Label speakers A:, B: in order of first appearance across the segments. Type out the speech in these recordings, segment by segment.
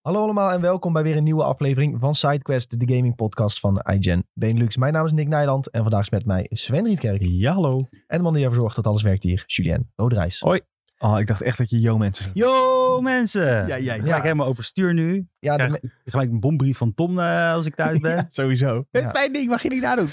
A: Hallo allemaal en welkom bij weer een nieuwe aflevering van SideQuest, de gaming podcast van iGen Benelux. Mijn naam is Nick Nijland en vandaag is met mij Sven Rietkerk.
B: Ja, hallo.
A: En de man die ervoor zorgt dat alles werkt hier, Julien Roderijs.
B: Hoi. Oh, ik dacht echt dat je yo mensen...
C: Yo mensen!
B: Ja, ja,
C: Ik
B: ja.
C: ga ik helemaal overstuur nu.
A: Ja, de
C: Krijg-
A: me-
C: Gelijk een bombrief van Tom eh, als ik thuis ben.
B: Sowieso.
A: Ja.
B: mijn ding, wat ging ik daar doen?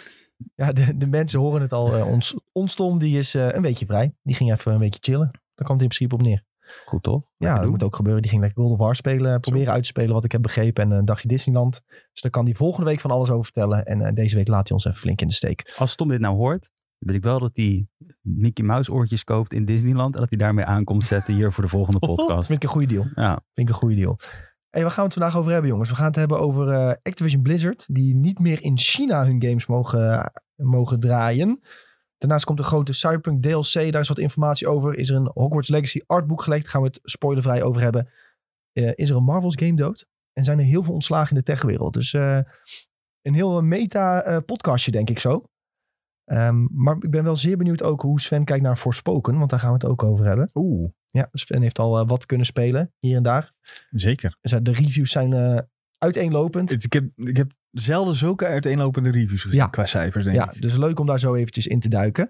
A: ja de, de mensen horen het al. eh, ons, ons Tom die is eh, een weekje vrij. Die ging even een weekje chillen. Daar kwam hij in principe op neer.
C: Goed toch?
A: Ja, dat
C: doen.
A: moet ook gebeuren. Die ging lekker World of War spelen, proberen uit te spelen wat ik heb begrepen. En een dagje Disneyland. Dus daar kan hij volgende week van alles over vertellen. En eh, deze week laat hij ons even flink in de steek.
C: Als Tom dit nou hoort, wil ik wel dat hij Mickey Mouse oortjes koopt in Disneyland. En dat hij daarmee aankomt zetten hier voor de volgende
A: Dat
C: podcast.
A: vind ik een goede deal.
C: Ja,
A: Vind ik een goede deal. Hey, waar gaan we het vandaag over hebben, jongens? We gaan het hebben over eh, Activision Blizzard, die niet meer in China hun games mogen, mogen draaien. Daarnaast komt een grote Cyberpunk DLC, daar is wat informatie over. Is er een Hogwarts Legacy artboek gelekt, daar gaan we het spoilervrij over hebben. Eh, is er een Marvel's game dood? En zijn er heel veel ontslagen in de techwereld. Dus eh, een heel eh, meta-podcastje, denk ik zo. Ehm, maar ik ben wel zeer benieuwd ook hoe Sven kijkt naar Forspoken, want daar gaan we het ook over hebben.
B: Oeh,
A: Ja, Sven heeft al eh, wat kunnen spelen, hier en daar.
B: zeker.
A: Dus, eh, De reviews zijn eh, uiteenlopend.
B: Het- ik, heb, ik heb zelden zulke uiteenlopende reviews gezien
A: Ja.
B: qua cijfers, denk
A: Ja,
B: ik.
A: dus leuk om daar zo eventjes in te duiken.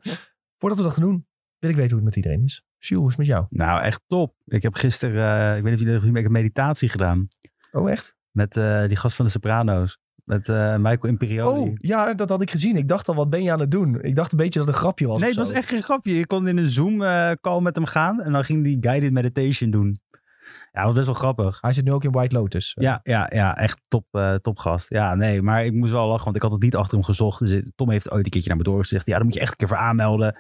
A: Voordat we dat gaan doen, wil ik weten hoe het met iedereen is. Sjoe, hoe is het met jou?
C: nou echt top. Ik heb gisteren, eh, ik weet niet of jullie dat gezien hebben, ik heb een meditatie gedaan.
A: Oh, echt?
C: Met eh, die gast van de Soprano's. Met eh, Michael Imperioli.
A: Oh, ja, dat had ik gezien. Ik dacht al, wat ben je aan het doen? Ik dacht een beetje dat het een grapje was.
C: nee,
A: of
C: het was
A: zo.
C: echt geen grapje. Je kon in een Zoom-call met hem gaan. En dan ging die guided meditation doen. Ja, dat was best wel grappig.
A: Hij zit nu ook in White Lotus.
B: Dus,
C: Ja, ja, ja, echt top, eh, topgast. Ja, nee, maar ik moest wel lachen, want ik had het niet achter hem gezocht. Dus Tom heeft ooit een keertje naar me doorgezegd. Ja, dan moet je echt een keer voor aanmelden.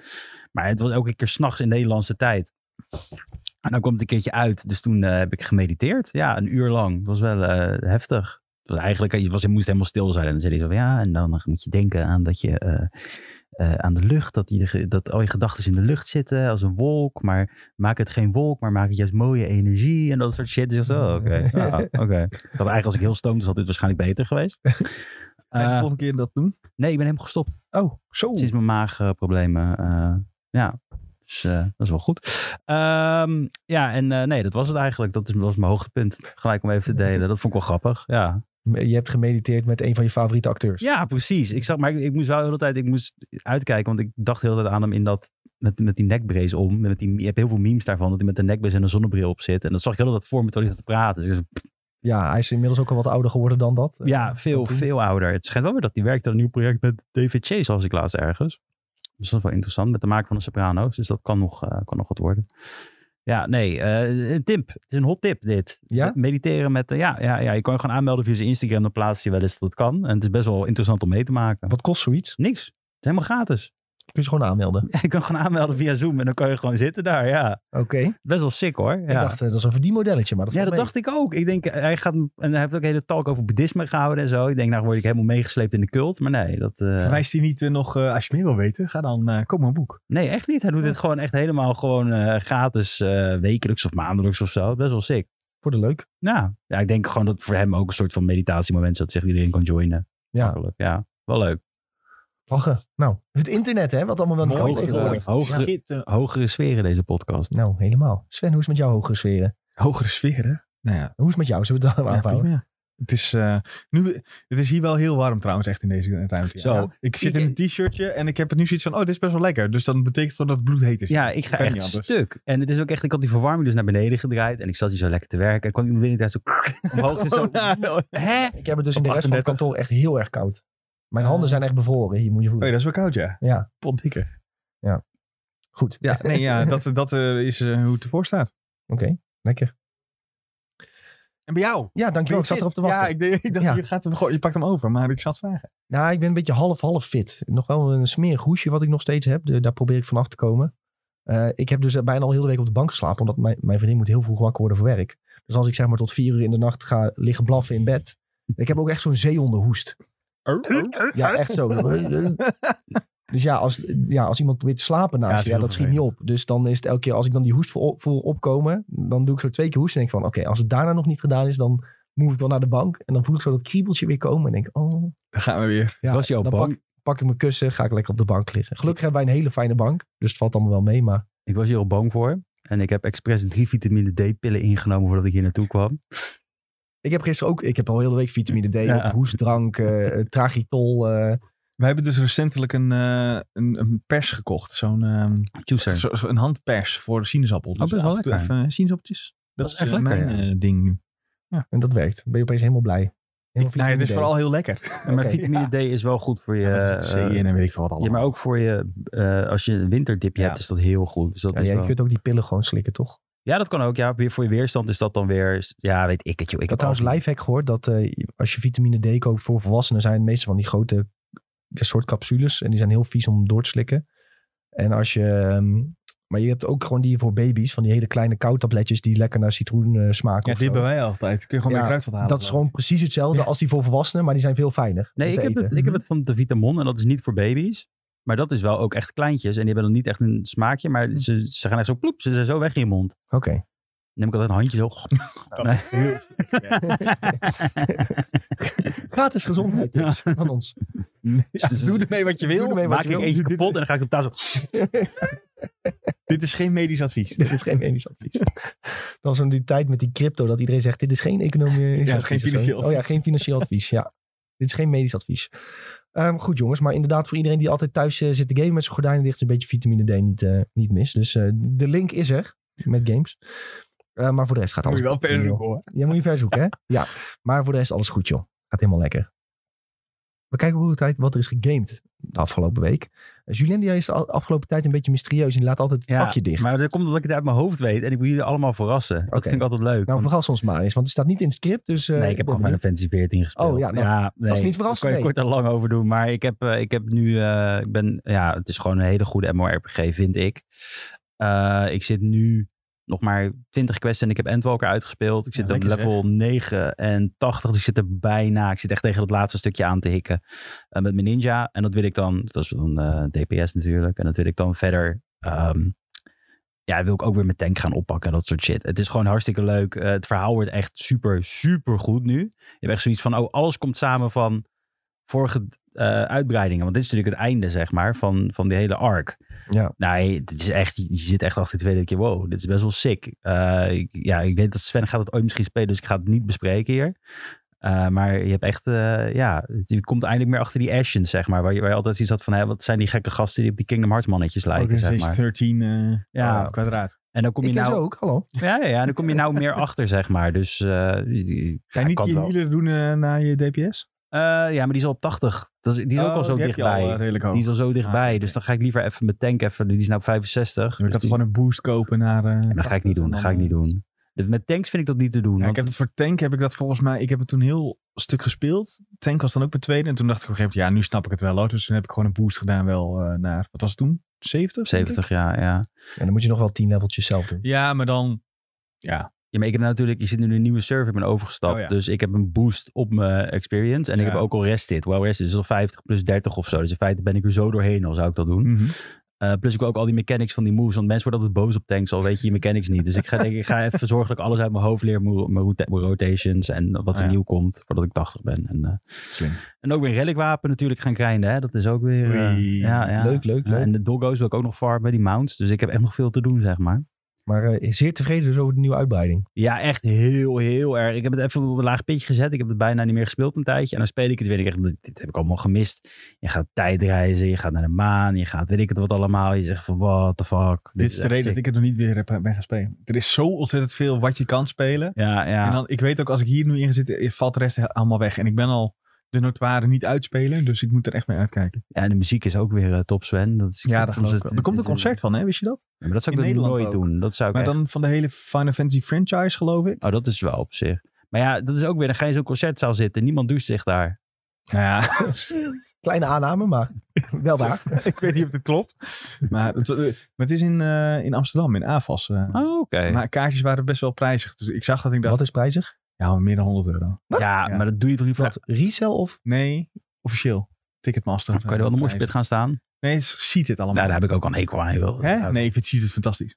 C: Maar het was elke keer s'nachts in Nederlandse tijd. En dan komt het een keertje uit. Dus toen eh, heb ik gemediteerd. Ja, een uur lang. Dat was wel eh, heftig. Het was eigenlijk, je, was, je moest helemaal stil zijn. En dan zei hij zo van, ja, en dan eh, moet je denken aan dat je... eh, eh, aan de lucht, dat, je, ge- dat al je gedachten in de lucht zitten als een wolk. Maar maak het geen wolk, maar maak het juist mooie energie en dat soort shit. Dus ik dacht, oh, oké. ah, oké. Ik had eigenlijk als ik heel stoomd was, had dit waarschijnlijk beter geweest.
B: Ga je de
C: Eh,
B: volgende keer dat doen?
C: nee, ik ben helemaal gestopt.
B: Oh, zo.
C: Sinds mijn maagproblemen. eh, ja, dus eh, dat is wel goed. Ehm, ja, en eh, nee, dat was het eigenlijk. Dat is, was mijn hoogtepunt. Gelijk om even te delen. Dat vond ik wel grappig. Ja,
A: Je hebt gemediteerd met een van je favoriete acteurs.
C: ja, precies. Ik zag, maar ik, ik moest wel de hele tijd ik moest uitkijken, want ik dacht de hele tijd aan hem in dat, met, met die nekbrace om. Met die, je hebt heel veel memes daarvan, dat hij met een nekbrace en een zonnebril op zit. En dat zag ik de hele tijd voor me toen hij zat te praten. Dus ik dacht,
A: Ja, hij is inmiddels ook al wat ouder geworden dan eh, dat.
C: ja, veel,
A: dat-
C: veel ouder. Het schijnt wel weer dat hij werkt aan een nieuw project met David Chase, zoals ik laatst ergens. Dus dat is wel interessant, met de maker van de Soprano's. Dus dat kan nog, eh, kan nog wat worden. Ja, nee, eh, een tip. Het is een hot tip dit.
A: Ja?
C: Mediteren met, eh, ja, ja, ja, je kan je gewoon aanmelden via zijn Instagram. Dan plaatst hij wel eens dat het kan. En het is best wel interessant om mee te maken.
A: Wat kost zoiets?
C: Niks. Het is helemaal gratis.
A: Kun je ze gewoon aanmelden.
C: Je kan gewoon aanmelden via Zoom en dan kan je gewoon zitten daar. Ja,
A: Oké.
C: best wel sick hoor.
A: Ik
C: Ja,
A: dacht, eh, dat is een verdienmodelletje, maar dat
C: ja
A: valt
C: dat
A: mee.
C: dacht ik ook. Ik denk, eh, hij gaat, en hij heeft ook een hele talk over boeddhisme gehouden en zo. Ik denk, nou word ik helemaal meegesleept in de cult. Maar nee, dat, eh,
B: Wijst hij niet eh, nog, eh, als je meer wil weten, ga dan, eh koop mijn boek.
C: nee, echt niet. Hij doet dit gewoon echt helemaal gewoon eh, gratis, eh, wekelijks of maandelijks of zo. Best wel sick.
A: Voor de leuk.
C: Nou, ja, ik denk gewoon dat voor hem ook een soort van meditatiemoment is dat zich iedereen kan joinen.
A: Ja.
C: Makkelijk, ja. Wel leuk.
A: Lachen. Nou, het internet, hè? Wat allemaal wel
B: Mooi
A: kan
B: tegenwoordig.
A: tegenwoordig.
C: Hogere,
B: Schitterend.
C: hogere sferen deze podcast.
A: Nou, helemaal. Sven, hoe is het met jou hogere sferen?
B: Hogere sfeer, hè? Nou ja,
A: Hoe is het met jou? Zullen we het daar maar
B: Ja,
A: afhouden?
B: prima. Het is, eh, nu, het is hier wel heel warm trouwens, echt in deze ruimte. ja.
C: Zo.
B: Ja, ik zit in
C: Ik-
B: een t-shirtje en ik heb het nu zoiets van, oh, dit is best wel lekker. Dus dan betekent dat het bloed heet is.
C: Ja, ik ga
B: Kan niet
C: echt
B: anders.
C: stuk. En het is ook echt, ik had die verwarming dus naar beneden gedraaid. En ik zat hier zo lekker te werken. En kwam iemand binnen en zo omhoog. en zo,
B: Oh, nou.
C: Hè?
A: Ik heb het dus in
B: Op
A: de rest van het
B: 38.
A: kantoor echt heel erg koud. Mijn
B: Ah.
A: handen zijn echt bevroren. Hier moet je
B: Oh ja,
A: voelen.
B: dat is wel koud, ja.
A: Ja.
B: Potdikke.
A: Goed.
B: Ja, nee, ja, dat, dat eh, is eh, hoe het ervoor staat.
A: Oké, lekker.
B: En bij jou?
A: Ja,
B: Ben je
A: dankjewel. Ik zat
B: fit?
A: erop te
B: Ja,
A: wachten.
B: ik, denk- ik dacht,
A: Ja.
B: Je, gaat hem, gewoon- je pakt hem over, maar ik zat vragen.
A: Nou, ik ben een beetje half-half fit. Nog wel een smerig hoesje wat ik nog steeds heb. De- daar probeer ik vanaf te komen. Eh, ik heb dus bijna al heel de week op de bank geslapen. Omdat mijn, mijn vriendin moet heel vroeg wakker worden voor werk. Dus als ik zeg maar tot vier uur in de nacht ga liggen blaffen in bed. Ik heb ook echt zo'n zeehondenhoest.
B: Oh,
A: Ja, echt zo. Dus ja als, ja, als iemand probeert te slapen
B: Ja,
A: naast
B: dat is
A: je, ja,
B: heel
A: dat schiet niet op.
B: vervelend.
A: Dus dan is het elke keer, als ik dan die hoest voel, voel opkomen, dan doe ik zo twee keer hoesten en denk ik van, oké, als het daarna nog niet gedaan is, dan move ik wel naar de bank. En dan voel ik zo dat kriebeltje weer komen en denk, oh.
B: Daar gaan we weer.
A: Ja,
C: Was je al
A: dan
C: bang?
A: Pak, pak ik mijn kussen, ga ik lekker op de bank liggen. Gelukkig hebben wij een hele fijne bank, dus het valt allemaal wel mee, maar
C: Ik was hier al bang voor. En ik heb expres drie vitamine D-pillen ingenomen voordat ik hier naartoe kwam.
A: Ik heb gisteren ook, ik heb al heel de week vitamine D,
C: Ja.
A: op, hoestdrank, eh, eh, tragitol. eh.
B: We hebben dus recentelijk een, eh, een, een pers gekocht. Zo'n ehm,
C: Juicer.
B: zo, zo- een handpers voor de sinaasappel. Dus
C: Oh, best wel
B: af en toe
C: lekker.
B: even sinaasappeltjes. Dat,
C: is
B: is
C: echt
B: eh,
C: lekker,
B: mijn
C: ja.
B: eh, ding nu.
A: en dat werkt. Dan ben je opeens helemaal blij. Helemaal
B: nou, ja, het is
A: vitamine D.
B: vooral heel lekker.
C: Maar
A: Oké.
C: vitamine D is wel goed voor je...
B: Ja, er zit C
C: eh,
B: in en weet ik veel wat allemaal.
C: ja, maar ook voor je... eh, als je een winterdipje
B: Ja.
C: hebt, is dat heel goed. Dus dat
A: Ja,
C: is
A: jij
C: wel-
A: kunt ook die pillen gewoon slikken, toch?
C: Ja, dat kan ook. Ja, weer voor je weerstand is dat dan weer. Ja, weet ik het, joh. Ik
A: Ik had
C: heb
A: trouwens
C: altijd-
A: lifehack gehoord dat eh, als je vitamine D koopt voor volwassenen zijn het meestal van die grote ja, soort capsules. En die zijn heel vies om door te slikken. En als je... ehm, maar je hebt ook gewoon die voor baby's, van die hele kleine koudtabletjes die lekker naar citroen eh, smaken.
B: Ja,
A: of
B: die
A: zo.
B: hebben wij altijd. Kun je gewoon
A: Ja,
B: weer kruidvat halen.
A: Dat is gewoon precies hetzelfde als die voor volwassenen, maar die zijn veel fijner. om
C: Nee,
A: te
C: ik heb,
A: eten. Mhm.
C: het, ik heb het van de Vitamon en dat is niet voor baby's. Maar dat is wel ook echt kleintjes. En die hebben dan niet echt een smaakje.
A: Mhm.
C: Maar ze, ze gaan echt zo ploep. Ze zijn zo weg in je mond.
A: Oké.
C: Dan neem ik altijd een handje zo.
B: Dat is heel-
A: Gratis gezondheid van ons.
C: Dus het is-
B: Doe ermee wat je wil.
A: Doe ermee wat
C: maak
A: je
C: ik
A: wil.
C: eentje kapot en dan ga ik op tafel. zo-
B: Dit is geen medisch advies.
A: Dit is geen medisch advies. Dan zo'n die tijd met die crypto dat iedereen zegt: dit is geen economisch
B: Ja,
A: advies.
B: geen
A: of zo.
B: financieel
A: Oh ja, geen financieel advies. Ja, dit is geen medisch advies. Ehm, goed jongens, maar inderdaad voor iedereen die altijd thuis eh, zit te gamen met zijn gordijnen dicht, is een beetje vitamine D niet, eh, niet mis. Dus eh, de link is er met games. Eh, maar voor de rest gaat
B: Moet
A: alles
B: je wel
A: goed,
B: per
A: joh.
B: hoor.
A: Ja, moet je verzoeken, hè? Ja. Maar voor de rest alles goed, joh. Gaat helemaal lekker. We kijken hoe de tijd wat er is gegamed de afgelopen week. Eh, Julien die is de al- afgelopen tijd een beetje mysterieus en die laat altijd het vakje dicht.
C: Maar dat komt omdat ik het uit mijn hoofd weet. En ik wil jullie allemaal verrassen. Dat
A: Oké.
C: vind ik altijd leuk.
A: Nou,
C: Want-
A: verras ons maar eens, want het staat niet in het script. Dus, eh,
C: nee, ik heb
A: ben
C: gewoon Final
A: benieuwd.
C: Fantasy 14 gespeeld.
A: Oh, ja, nou,
C: nee,
A: is niet verrassend,
C: Daar kan
A: nee.
C: je kort en lang over doen. Maar ik heb, eh, ik heb nu... eh, ik ben, ja, het is gewoon een hele goede MMORPG, vind ik. Eh, ik zit nu nog maar 20 quests en ik heb Endwalker uitgespeeld. Ik zit
B: Ja,
C: op
B: lekker
C: level 89. Dus ik zit er bijna. Ik zit echt tegen het laatste stukje aan te hikken eh, met mijn ninja. En dat wil ik dan... Dat is dan eh, DPS natuurlijk. En dat wil ik dan verder... ehm, ja, wil ik ook weer mijn tank gaan oppakken en dat soort shit. Het is gewoon hartstikke leuk. Eh, het verhaal wordt echt super, super goed nu. Je hebt echt zoiets van, oh, alles komt samen van vorige eh, uitbreidingen. Want dit is natuurlijk het einde, zeg maar, van, van die hele arc.
A: Ja.
C: Nee, dit is echt, je zit echt achter de tweede keer, wow, dit is best wel sick. Eh, ik- ja, ik weet dat Sven gaat het ooit misschien spelen, dus ik ga het niet bespreken hier. Eh, maar je hebt echt, eh, ja, je komt eindelijk meer achter die Ashen, zeg maar. Waar je, waar je altijd zoiets had van, hè, wat zijn die gekke gasten die op die Kingdom Hearts mannetjes lijken, zeg maar.
B: 13 eh,
C: Ja.
B: kwadraat.
C: En dan kom
A: Ik
C: je
A: ken
C: nou...
A: ze ook, hallo.
C: Ja, ja, ja, en dan kom je nou meer achter, zeg maar. Dus eh,
B: Ga je
C: ja,
B: niet
C: kan
B: je
C: wel.
B: healer doen eh, na je DPS?
C: Eh, ja, maar die is al op 80. Dat is, die is ook al zo
B: die heb je
C: dichtbij.
B: eh, redelijk hoog.
C: die is al zo dichtbij.
B: Ah, oké.
C: Dus dan ga ik liever even mijn tank even. Die is nou op 65.
B: ik
C: Dus
B: had
C: die-
B: gewoon een boost kopen naar... eh,
C: Ja, maar dat ga ik niet
B: 80
C: doen. Dat ga ik
B: en
C: niet
B: dan,
C: doen. Dus Met tanks vind ik dat niet te doen.
B: Ja,
C: want-
B: ik heb het voor Tank, heb ik dat volgens mij... Ik heb het toen heel stuk gespeeld. Tank was dan ook mijn tweede. En toen dacht ik op een gegeven moment, ja, nu snap ik het wel. Hoor. Dus toen heb ik gewoon een boost gedaan wel eh, naar... Wat was het toen? 70? denk ik?
C: 70, ja, ja.
A: En dan moet je nog wel tien leveltjes zelf doen.
B: Ja, maar dan... Ja,
C: Ja, maar ik heb nou natuurlijk, je zit nu in een nieuwe server, ik ben overgestapt.
B: Oh ja.
C: Dus ik heb een boost op mijn experience. En ik
B: Ja.
C: heb ook al rested. Wel rested is al 50 plus 30 of zo. Dus in feite ben ik er zo doorheen al zou ik dat doen.
B: Mhm.
C: Eh, plus ik wil ook al die mechanics van die moves. Want mensen worden altijd boos op tanks, al weet je je mechanics niet. Dus ik ga denk ik, ik ga even zorgen dat ik alles uit mijn hoofd leer. Mijn, ro- mijn rota- mijn rotations en wat er
B: Ah, ja.
C: nieuw komt voordat ik 80 ben. En, eh,
B: slim.
C: en ook weer een relicwapen natuurlijk gaan grinden. Hè? Dat is ook weer... eh,
B: Oei.
C: ja, ja.
A: Leuk, leuk,
C: Ja,
A: leuk.
C: en de doggo's wil ik ook nog farmen, die mounts. Dus ik heb echt nog veel te doen, zeg maar.
A: Maar eh, zeer tevreden dus over de nieuwe uitbreiding.
C: Ja, echt heel, heel erg. Ik heb het even op een laag pitje gezet. Ik heb het bijna niet meer gespeeld een tijdje. En dan speel ik het weer. Ik denk echt, dit heb ik allemaal gemist. Je gaat tijdreizen, je gaat naar de maan, je gaat weet ik het wat allemaal. Je zegt van, what the fuck.
B: Dit is de
C: echt
B: reden dat
C: sick.
B: ik het nog niet weer heb, eh, ben gaan spelen. Er is zo ontzettend veel wat je kan spelen.
C: Ja, ja.
B: En dan, ik weet ook, als ik hier nu in zit, eh, valt de rest he- allemaal weg. En ik ben al de notoire niet uitspelen, dus ik moet er echt mee uitkijken.
C: Ja, en de muziek is ook weer eh, top, Sven. Dat is, soms het-
B: Er komt een
C: het-
B: concert van, hè? Wist je dat?
C: Ja, maar dat zou ik
B: in
C: dan nooit
B: Nederland ook.
C: doen. Dat zou ik
B: Maar
C: echt-
B: dan van de hele Final Fantasy franchise, geloof ik.
C: Oh, dat is wel op zich. Maar ja, dat is ook weer, dan ga je in zo'n concertzaal zitten. Niemand doucht zich daar.
B: Ja,
A: Kleine aanname, maar wel waar.
B: ik weet niet of het klopt. Maar het, eh, maar het is in, eh, in Amsterdam, in AFAS. eh.
C: Oh, oké.
B: Maar kaartjes waren best wel prijzig. Dus ik zag dat en ik dacht,
A: Wat is prijzig?
B: ja, meer dan 100 euro.
C: Ja,
B: Ja.
C: maar dat doe je toch niet voor...
A: Wat? Resell of?
B: Nee, officieel. Ticketmaster.
C: Nou, kan je er wel een morspit gaan staan?
B: Nee, ziet dit allemaal.
C: Nou, daar heb ik ook al een hekel aan. joh.
B: Hè? Nee, ik vind ziet het fantastisch.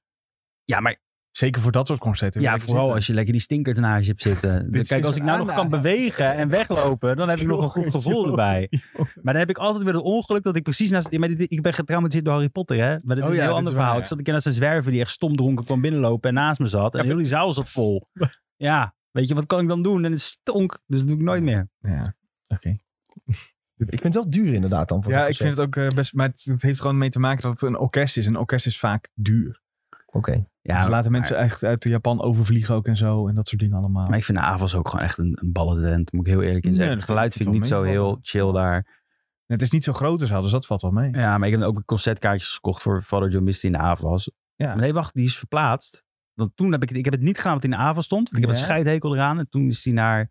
C: Ja, maar
B: Zeker voor dat soort concerten.
C: ja,
B: Lekker
C: vooral
B: zitten.
C: als je lekker die stinkert naast je hebt zitten.
B: Dit is
C: Kijk, als ik
B: zo'n
C: nou nog kan
B: aanname.
C: bewegen en weglopen, dan heb ik nog een goed gevoel erbij. Maar dan heb ik altijd weer het ongeluk dat ik precies naast... ja, Maar dit- ik ben getraumatiseerd door Harry Potter, hè? Maar dit
B: Oh
C: is
B: ja,
C: een heel
B: dit
C: ander
B: is waar,
C: verhaal.
B: ja.
C: Ik zat een keer naast een zwerver die echt stom dronken kwam binnenlopen en naast me zat. En
B: Ja,
C: heel die zaal zat vol. Ja, Weet je, wat kan ik dan doen? En het stonk, dus dat doe ik nooit meer.
B: Ja, oké.
A: Ik vind het wel duur inderdaad dan. Voor
B: Ja,
A: zo'n
B: ik vind
A: concert.
B: het ook eh, best... Maar het, het heeft gewoon mee te maken dat het een orkest is. En een orkest is vaak duur.
A: Oké.
C: Ja,
B: dus laten
C: maar-
B: mensen echt uit Japan overvliegen ook en zo. En dat soort dingen allemaal.
C: Maar ik vind de AFAS ook gewoon echt een, een ballentalent, moet ik heel eerlijk in
B: Nee,
C: zeggen.
B: dat
C: het geluid
B: vind
C: vind
B: ik
C: ik niet zo
B: wel meevallen.
C: heel chill daar.
B: Het is niet zo groot als ze hadden, dus dat valt wel mee.
C: Ja, maar ik heb dan ook weer concertkaartjes gekocht voor Father John Misty in de AFAS.
B: Ja.
C: Maar nee, wacht, die is verplaatst. Want toen heb ik, het- ik heb het niet gedaan wat in de AFAS stond. want Ik heb
B: Ja.
C: het scheidhekel eraan. En toen is hij naar,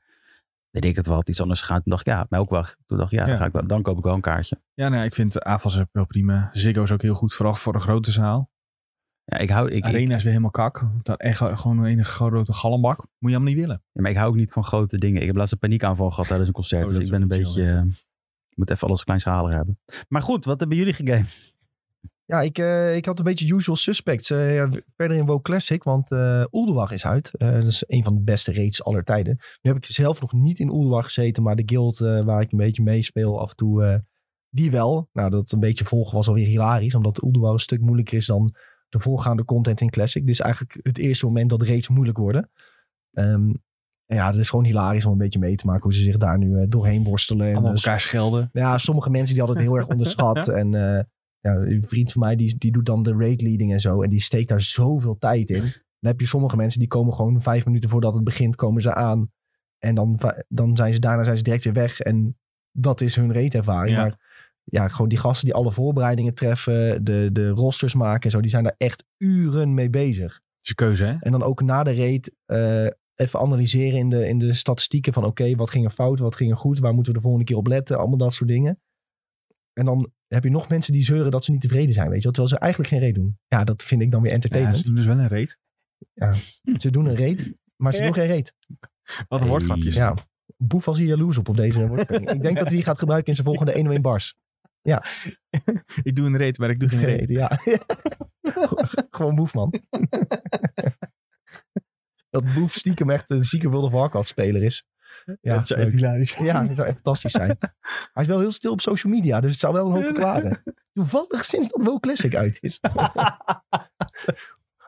C: weet ik het wat, iets anders gegaan. Toen dacht ik, ja, mij ook wel. Toen dacht ik, ja,
B: Ja.
C: Dan, ga ik wel, dan koop ik wel een kaartje.
B: Ja, nou, ja, ik vind de AFAS ook wel prima. Ziggo is ook heel goed, vooral voor een grote zaal.
C: Ja, ik hou, ik, ik-
B: Arena is weer helemaal kak. want Dat echt gewoon een enige grote galmbak. Moet je helemaal niet willen.
C: ja, maar ik hou ook niet van grote dingen. Ik heb laatst een paniekaanval gehad tijdens een concert.
B: Oh, dat
C: dus
B: is
C: ik ben een
B: ook niet chill,
C: beetje, eh, ik moet even alles kleinschaliger hebben. Maar goed, wat hebben jullie gegamed?
A: Ja, ik, eh, ik had een beetje usual suspects. eh, ja, verder in WoW Classic, want eh Oelderwag is uit. Eh, dat is een van de beste raids aller tijden. Nu heb ik zelf nog niet in Oelderwag gezeten, maar de guild eh, waar ik een beetje meespeel af en toe, eh, die wel. Nou, dat een beetje volgen was alweer hilarisch, omdat Oelderwag een stuk moeilijker is dan de voorgaande content in Classic. Dit is eigenlijk het eerste moment dat raids moeilijk worden. Ehm, en ja, het is gewoon hilarisch om een beetje mee te maken hoe ze zich daar nu eh, doorheen worstelen. En,
B: Allemaal
A: eh,
B: elkaar schelden.
A: nou Ja, sommige mensen die hadden het heel erg onderschat. En eh, ja, een vriend van mij die, die doet dan de raid leading en zo. En die steekt daar zoveel tijd in. Dan heb je sommige mensen die komen gewoon vijf minuten voordat het begint, komen ze aan. En dan, va- dan zijn ze daarna zijn ze direct weer weg. En dat is hun raidervaring.
B: Ja.
A: Maar ja, gewoon die gasten die alle voorbereidingen treffen, de, de rosters maken en zo, die zijn daar echt uren mee bezig.
B: Dat is een keuze, hè?
A: En dan ook na de raid eh, even analyseren in de, in de statistieken van oké, wat ging er fout, wat ging er goed, waar moeten we de volgende keer op letten, allemaal dat soort dingen. En dan heb je nog mensen die zeuren dat ze niet tevreden zijn, weet je wel, terwijl ze eigenlijk geen raid doen. Ja, dat vind ik dan weer
B: Ja, ze
A: entertainment.
B: doen dus wel een reet.
A: Ze doen een raid, maar ze doen geen raid.
B: Wat een
C: Hey.
B: woordgrapje. is.
A: Ja, Boef was hier jaloers op op deze woordspelling. Ik denk dat hij die gaat gebruiken in zijn volgende 1 1 bars.
B: Ik doe een reet, maar ik doe geen
A: Geen
B: reet.
A: raid, ja. Gewoon Boef, man. dat Boef stiekem echt een zieke World of Warcraft speler is. Ja,
B: dat zou echt
A: leuk.
B: hilarisch.
A: Ja, dat zou echt fantastisch zijn. Hij is wel heel stil op social media, dus het zou wel een hoop verklaren. Toevallig sinds dat WoW Classic uit is.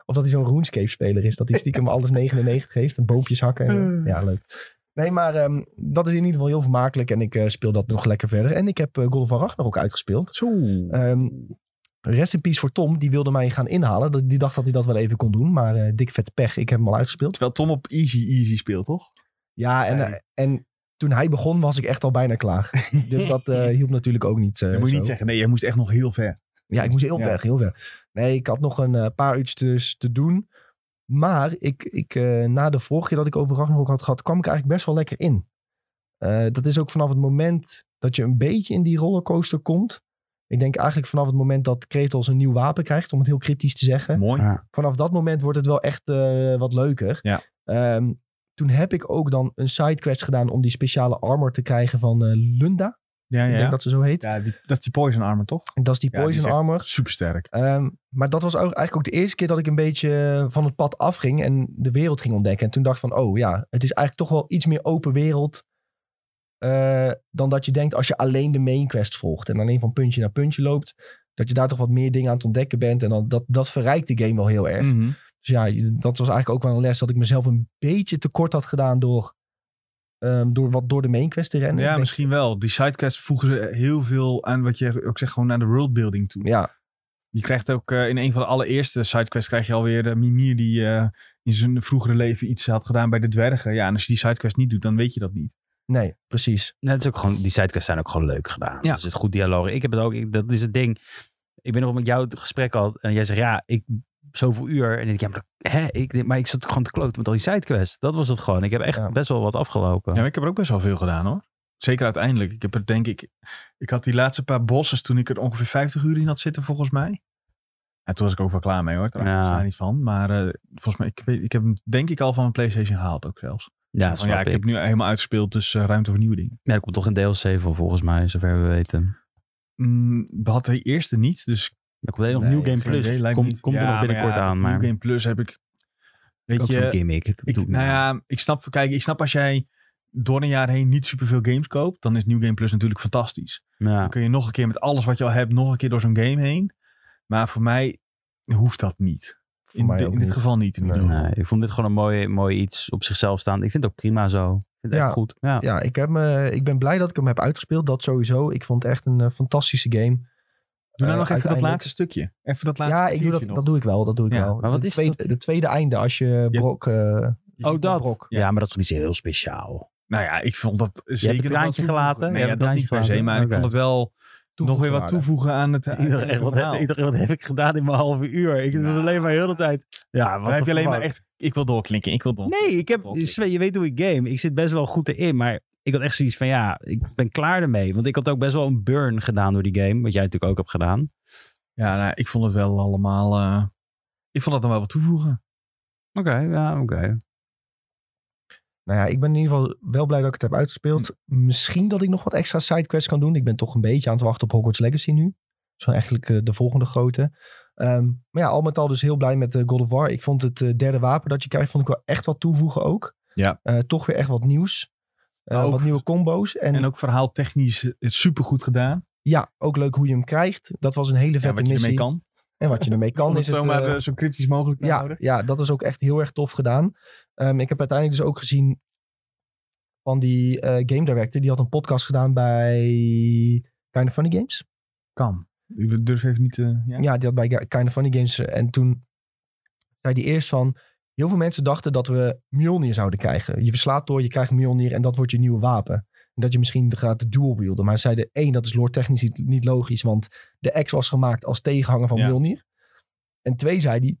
A: of dat hij zo'n RuneScape-speler is, dat hij stiekem alles 99 heeft en boompjes hakken. En,
B: Eh.
A: ja, leuk. Nee, maar ehm, dat is in ieder geval heel vermakelijk en ik eh, speel dat nog lekker verder. En ik heb eh, God of War Ragnarok uitgespeeld.
B: Zo.
A: Ehm, rest in peace voor Tom, die wilde mij gaan inhalen. Dat- Die dacht dat hij dat wel even kon doen, maar eh, dik vet pech. Ik heb hem al uitgespeeld.
B: Terwijl Tom op easy, easy speelt, toch?
A: Ja, en,
B: Zei
A: eh, en toen hij begon was ik echt al bijna klaar. Dus dat eh, hielp natuurlijk ook niet. eh,
B: dat moet je
A: zo.
B: niet zeggen. Nee, jij moest echt nog heel ver.
A: Ja, ik moest heel
B: Ja.
A: ver, heel ver. Nee, ik had nog een eh, paar uurtjes te doen. Maar ik, ik, eh, na de vorige keer dat ik over Ragnarok had gehad, kwam ik eigenlijk best wel lekker in. Eh, dat is ook vanaf het moment dat je een beetje in die rollercoaster komt. Ik denk eigenlijk vanaf het moment dat Kratos een nieuw wapen krijgt, om het heel cryptisch te zeggen
B: Mooi.
C: Ja.
A: vanaf dat moment wordt het wel echt eh, wat leuker.
B: Ja.
A: Ehm, toen heb ik ook dan een sidequest gedaan om die speciale armor te krijgen van eh, Lunda.
B: Ja,
A: Ik
B: ja.
A: denk dat ze zo heet.
B: ja die, dat is die poison armor, toch?
A: En Dat is die
B: Ja, die
A: poison
B: is echt
A: armor.
B: Supersterk.
A: Ehm, maar dat was ook eigenlijk ook de eerste keer dat ik een beetje eh, van het pad afging en de wereld ging ontdekken. En toen dacht ik van, oh ja, het is eigenlijk toch wel iets meer open wereld eh, dan dat je denkt als je alleen de main quest volgt. En alleen van puntje naar puntje loopt, dat je daar toch wat meer dingen aan het ontdekken bent. En dan, dat, dat verrijkt de game wel heel erg.
B: Mhm.
A: Dus ja, je- dat was eigenlijk ook wel een les dat ik mezelf een beetje tekort had gedaan door, ehm, door, wat, door de main quest te rennen. Ik
B: Ja,
A: denk-
B: misschien wel. Die sidequests voegen ze heel veel aan wat je ook zegt, gewoon naar de worldbuilding toe.
A: Ja,
B: Je krijgt ook eh, in een van de allereerste sidequests krijg je alweer eh, Mimir die eh, in zijn vroegere leven iets had gedaan bij de dwergen. Ja, en als je die sidequest niet doet, dan weet je dat niet.
A: nee, precies.
C: Nee, het is ook gewoon, die sidequests zijn ook gewoon leuk gedaan.
B: Ja.
C: Dus het is goed dialoog. Ik heb het ook, ik- dat is het ding. Ik ben nog met jou het gesprek had en jij zegt ja, ik zoveel uur. En ik denk, ja, maar, dat- hè, ik, denk, maar ik zat gewoon te kloten met al die sidequests. Dat was het gewoon. Ik heb echt
A: Ja.
C: best wel wat afgelopen.
B: Ja, maar ik heb er ook best wel veel gedaan hoor. Zeker uiteindelijk. Ik heb er denk ik, ik had die laatste paar bosses toen ik er ongeveer 50 uur in had zitten volgens mij. En toen was ik ook wel klaar mee hoor. Daar
C: Ja.
B: was daar niet van. Maar eh, volgens mij, ik, weet, ik heb hem denk ik al van mijn Playstation gehaald ook zelfs.
C: Ja,
B: Van,
C: snap
B: Oh, ja,
C: ik.
B: ik heb nu helemaal uitgespeeld, dus eh, ruimte voor nieuwe dingen.
C: Ja, er komt toch een DLC voor volgens mij, zover we weten.
B: Mm, we hadden de eerste niet, dus
C: Er komt alleen nog
B: Nee,
C: New Game
B: geen
C: Plus.
B: idee, lijkt me
C: komt
B: niet.
C: komt er
B: Ja,
C: nog
B: maar
C: binnenkort
B: ja,
C: aan. Maar
B: New Game Plus heb ik, weet
C: ook zo'n
B: je,
C: gimmick. Dat doe
B: ik,
C: ik
B: nou
C: niet.
B: ja, ik snap, kijk, ik snap als jij door een jaar heen niet superveel games koopt, dan is New Game Plus natuurlijk fantastisch.
C: Ja.
B: Dan kun je nog een keer met alles wat je al hebt, nog een keer door zo'n game heen. Maar voor mij hoeft dat niet.
A: Voor
B: In,
A: mij
B: di-
A: ook
B: in dit
A: niet.
B: geval niet. In ieder
A: Nee.
B: geval.
C: Nee, ik vond dit gewoon een mooi, mooi iets op zichzelf staan. Ik vind het ook prima zo. Ik vind het
A: Ja.
C: echt goed. Ja.
A: Ja, ik, heb me, ik ben blij dat ik hem heb uitgespeeld. Dat sowieso. Ik vond het echt een eh, fantastische game.
B: Doe nou
A: Eh,
B: nog even dat
A: uiteindelijk-
B: laatste stukje. Even dat laatste
A: ja, ik doe dat,
B: kwartiertje
A: dat
B: nog.
A: doe ik wel. Dat doe ik
B: Ja,
A: wel.
C: maar wat
A: de
C: is
A: tweede,
C: dat?
A: De tweede einde als je
B: Ja.
A: Brok... eh,
C: Ook Oh, dat.
A: Brok.
C: Ja, maar dat is niet heel speciaal.
B: Nou ja, ik vond dat zeker...
C: het
B: nog
C: traantje
B: wat toevoegen.
C: gelaten?
B: Nee,
C: Je
B: ja,
C: hebt
B: dat
C: het
B: niet per
C: traantje
B: se. Maar ik
C: gelaten?
B: vond het wel nog weer wat toevoegen aan het aan
C: Ik dacht
B: het
C: echt, wat, heb,
B: verhaal.
C: ik dacht, wat heb ik gedaan in mijn halve uur? Ik was
B: Nou.
C: alleen maar heel de tijd. Ja, wat
B: Dan heb
C: de
B: je alleen
C: fuck?
B: maar echt... Ik wil doorklinken, ik wil doorklinken.
C: Nee, ik heb,
B: Oké.
C: Sven, je weet hoe ik game. Ik zit best wel goed erin, maar ik had echt zoiets van ja, ik ben klaar ermee. Want ik had ook best wel een burn gedaan door die game, wat jij natuurlijk ook hebt gedaan.
B: Ja, nou, ik vond het wel allemaal... eh, ik vond dat dan wel wat toevoegen.
C: Oké, ja, oké.
A: Nou ja, ik ben in ieder geval wel blij dat ik het heb uitgespeeld. Misschien dat ik nog wat extra sidequests kan doen. Ik ben toch een beetje aan het wachten op Hogwarts Legacy nu. Zo eigenlijk eh, de volgende grote. Ehm, maar ja, al met al dus heel blij met eh, God of War. Ik vond het eh, derde wapen dat je krijgt, vond ik wel echt wat toevoegen ook.
B: Ja.
A: Eh, toch weer echt wat nieuws. Eh,
B: Maar ook-
A: wat nieuwe combo's. En,
B: En ook verhaaltechnisch het supergoed gedaan.
A: ja, ook leuk hoe je hem krijgt. Dat was een hele
B: Ja,
A: vette
B: wat je ermee
A: missie.
B: kan.
A: En wat je ermee
B: Om
A: kan.
B: het
A: is het,
B: zomaar
A: eh,
B: eh, zo cryptisch mogelijk te
A: ja,
B: houden.
A: ja, dat is ook echt heel erg tof gedaan. Ehm, ik heb uiteindelijk dus ook gezien van die eh, game director. Die had een podcast gedaan bij Kind of Funny Games.
B: Kan. Ik durf even niet te... Ja.
A: Ja, die had bij Kind of Funny Games. eh, En toen zei die eerst van... Heel veel mensen dachten dat we Mjolnir zouden krijgen. Je verslaat door, je krijgt Mjolnir en dat wordt je nieuwe wapen. En dat je misschien gaat dual-wielden. Maar zij zeiden, één, dat is lore technisch niet, niet logisch. Want de X was gemaakt als tegenhanger van
B: Ja.
A: Mjolnir. En twee, zei die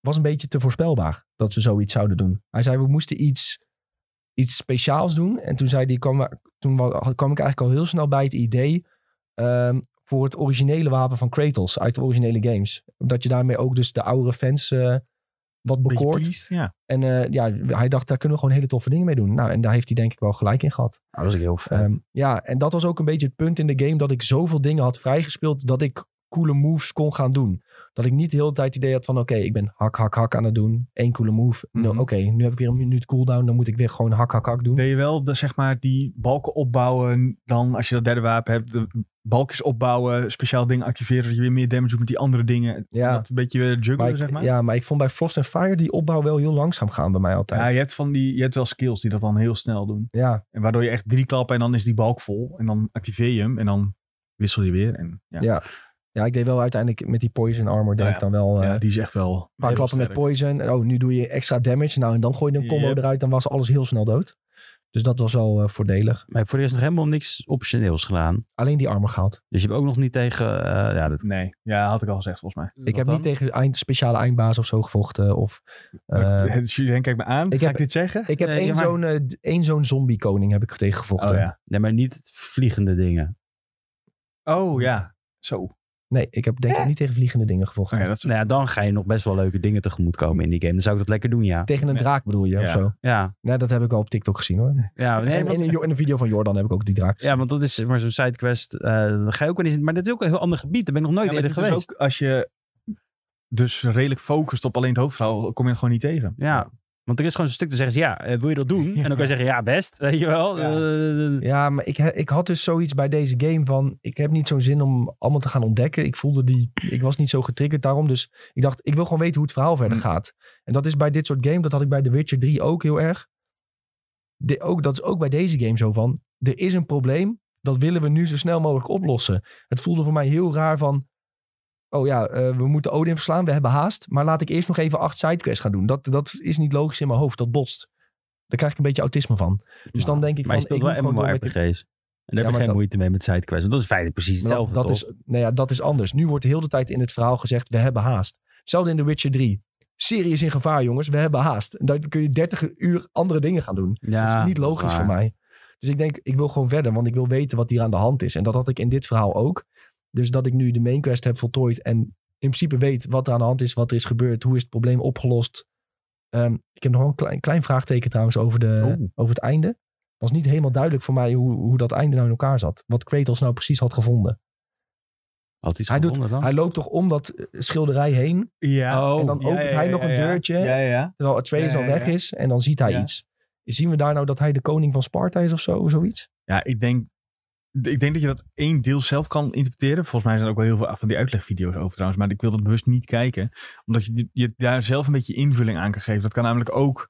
A: was een beetje te voorspelbaar dat we zoiets zouden doen. Hij zei, we moesten iets, iets speciaals doen. En toen, zei die, kwam, we- toen wa- kwam ik eigenlijk al heel snel bij het idee... ehm, voor het originele wapen van Kratos uit de originele games. Dat je daarmee ook dus de oudere fans eh, wat
B: Beetje
A: bekoort.
B: pleased, ja.
A: En eh, ja, hij dacht, daar kunnen we gewoon hele toffe dingen mee doen. Nou, en daar heeft hij denk ik wel gelijk in gehad.
C: dat was ik heel vet.
A: Ehm, ja, en dat was ook een beetje het punt in de game dat ik zoveel dingen had vrijgespeeld dat ik coole moves kon gaan doen. Dat ik niet de hele tijd het idee had van oké, ik ben hak, hak, hak aan het doen. Eén coole move. Nou,
B: Mhm.
A: Oké, nu heb ik weer een minuut cooldown, dan moet ik weer gewoon hak, hak, hak doen.
B: Deed je wel de, zeg maar, die balken opbouwen. Dan als je dat derde wapen hebt, de balkjes opbouwen. Speciaal dingen activeren, zodat je weer meer damage doet met die andere dingen.
A: Ja.
B: Dat een beetje weer
A: maar
B: juggelen,
A: ik,
B: zeg maar.
A: Ja, maar ik vond bij Frost and Fire die opbouw wel heel langzaam gaan bij mij altijd.
B: Ja,
A: Ja,
B: je hebt, van die, je hebt wel skills die dat dan heel snel doen.
A: ja,
B: En waardoor je echt drie klappen en dan is die balk vol. En dan activeer je hem en dan wissel je weer. En ja,
A: Ja, ik deed wel uiteindelijk met die poison armor deed
B: Ja,
A: ik dan wel eh,
B: Ja, die is echt wel
A: een paar
B: heel
A: klappen met
B: sterk.
A: poison. Oh, nu doe je extra damage. Nou, en dan gooi je een combo
B: Yep.
A: eruit, dan was alles heel snel dood. Dus dat was wel eh, voordelig.
C: Maar ik heb voor de rest nog helemaal niks optioneels gedaan.
A: Alleen die armor gehaald.
C: Dus je hebt ook nog niet tegen. eh, ja, dat,
B: Nee, ja, had ik al gezegd volgens mij.
A: Ik heb niet tegen eind, speciale eindbaas of zo gevochten. Of, eh,
B: Uh, Julien, kijk me aan.
A: ik
B: Ga
A: heb-
B: ik dit zeggen?
A: ik heb
C: nee,
A: één
C: ja, maar-
A: zo'n, eh, d- één zo'n zombie-koning heb ik tegengevochten.
B: Oh ja.
C: Nee, maar niet vliegende dingen.
B: Oh ja. Zo.
A: Nee, ik heb denk ik niet tegen vliegende dingen gevochten.
B: Oh, ja, dat is
C: Nou ja, dan ga je nog best wel leuke dingen tegemoet komen in die game. Dan zou ik dat lekker doen, ja.
A: Tegen een
B: Nee.
A: draak bedoel je of
B: Ja.
A: zo?
C: Ja,
A: Nee, dat heb ik al op TikTok gezien hoor.
C: ja, nee,
A: en,
C: want-
A: in, een, jo- in een video van Jordan heb ik ook die draak gezien.
C: ja want dat is zeg maar zo'n sidequest. eh, dan ga je ook wel eens in. Maar dat is ook een heel ander gebied. Daar ben ik nog nooit
B: Ja, maar
C: eerder
B: dit is
C: geweest.
B: ook als je dus redelijk focust op alleen het hoofdverhaal, kom je het gewoon niet tegen.
C: Ja, want er is gewoon zo'n stuk te zeggen, is, ja, eh, wil je dat doen? En dan kan je zeggen, ja, best, weet je wel.
B: Ja.
C: Eh,
A: Ja, maar ik, he- ik had dus zoiets bij deze game van... Ik heb niet zo'n zin om allemaal te gaan ontdekken. Ik voelde die... Ik was niet zo getriggerd daarom. Dus ik dacht, ik wil gewoon weten hoe het verhaal verder
B: Mm.
A: gaat. En dat is bij dit soort game... Dat had ik bij The Witcher 3 ook heel erg. De, ook, dat is ook bij deze game zo van... Er is een probleem. Dat willen we nu zo snel mogelijk oplossen. Het voelde voor mij heel raar van... Oh ja, eh, we moeten Odin verslaan. We hebben haast. Maar laat ik eerst nog even acht sidequests gaan doen. Dat, dat is niet logisch in mijn hoofd. Dat botst. Daar krijg ik een beetje autisme van. Dus dan denk ik
C: maar je
A: van...
C: speelt
A: ik
C: wel
A: moet gewoon door met
C: MMORPG's.
A: dit-
C: En daar
A: maar
C: heb je geen
A: dat-
C: moeite mee met sidequests. Want dat is feitelijk precies
A: Maar
C: hetzelfde,
A: dat, dat,
C: toch?
A: is, nou ja, dat is anders. Nu wordt de hele tijd in het verhaal gezegd, we hebben haast. Hetzelfde in The Witcher 3. Serie is in gevaar, jongens. We hebben haast. En Dan kun je 30 uur andere dingen gaan doen.
C: ja,
A: dat is niet
C: dat
A: logisch
C: waar.
A: voor mij. Dus ik denk, ik wil gewoon verder, want ik wil weten wat hier aan de hand is. En dat had ik in dit verhaal ook. Dus dat ik nu de main quest heb voltooid en in principe weet wat er aan de hand is, wat er is gebeurd, hoe is het probleem opgelost. Ehm, ik heb nog wel een klein, klein vraagteken trouwens over, de,
B: Oeh.
A: over het einde. Het was niet helemaal duidelijk voor mij hoe, hoe dat einde nou in elkaar zat. Wat Kratos nou precies had gevonden.
B: Oh.
C: Had iets
A: Hij doet-
C: gevonden dan?
A: Hij loopt toch om dat eh, schilderij heen.
B: Ja.
C: oh,
A: en dan opent hij nog een deurtje.
B: Ja, ja, ja.
A: Terwijl Atreus
B: Ja,
A: al
B: ja,
A: weg
B: ja.
A: is. En dan ziet hij
B: Ja.
A: iets. Zien we daar nou dat hij de koning van Sparta is of zo? Zoiets?
B: Ja, ik denk ik denk dat je dat één deel zelf kan interpreteren. Volgens mij zijn er ook wel heel veel van die uitlegvideo's over trouwens. Maar ik wil dat bewust niet kijken. Omdat je, je daar zelf een beetje invulling aan kan geven. Dat kan namelijk ook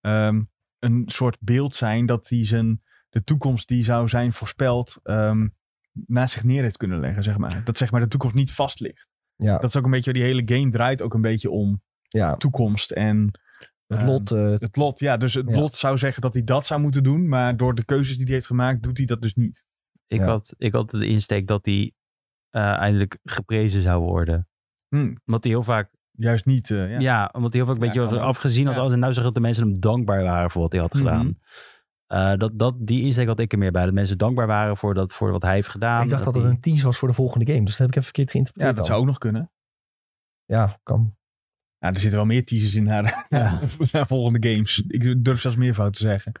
B: ehm, een soort beeld zijn dat hij zijn, de toekomst die zou zijn voorspeld ehm, naast zich neer heeft kunnen leggen. Zeg maar. Dat zeg maar de toekomst niet vast ligt.
A: Ja.
B: Dat is ook een beetje, die hele game draait ook een beetje om
A: Ja,
B: toekomst en
A: het
B: ehm,
A: lot. eh,
B: het lot, ja. Dus het
A: Ja.
B: lot zou zeggen dat hij dat zou moeten doen. Maar door de keuzes die hij heeft gemaakt, doet hij dat dus niet.
C: Ik,
A: Ja.
C: had, ik had de insteek dat hij eh, eindelijk geprezen zou worden.
B: Hm.
C: Omdat hij heel vaak,
B: Juist niet. eh,
C: ja.
B: ja.
C: omdat hij heel vaak een
B: Ja,
C: beetje
B: kan
C: was
B: wel.
C: afgezien als
B: Ja.
C: alles. En nou zag dat de mensen hem dankbaar waren voor wat hij had
B: Mhm.
C: gedaan. Eh, dat, dat, die insteek had ik er meer bij. Dat mensen dankbaar waren voor, dat, voor wat hij heeft gedaan.
A: ik dacht dat het
C: hij-
A: een tease was voor de volgende game. Dus dat heb ik even verkeerd
B: Ja,
A: geïnterpreteerd.
B: dat
A: dan.
B: zou ook nog kunnen.
A: Ja, kan.
B: Ja, er zitten wel meer teasers in naar,
C: Ja.
B: naar volgende games. Ik durf zelfs meer fout te zeggen.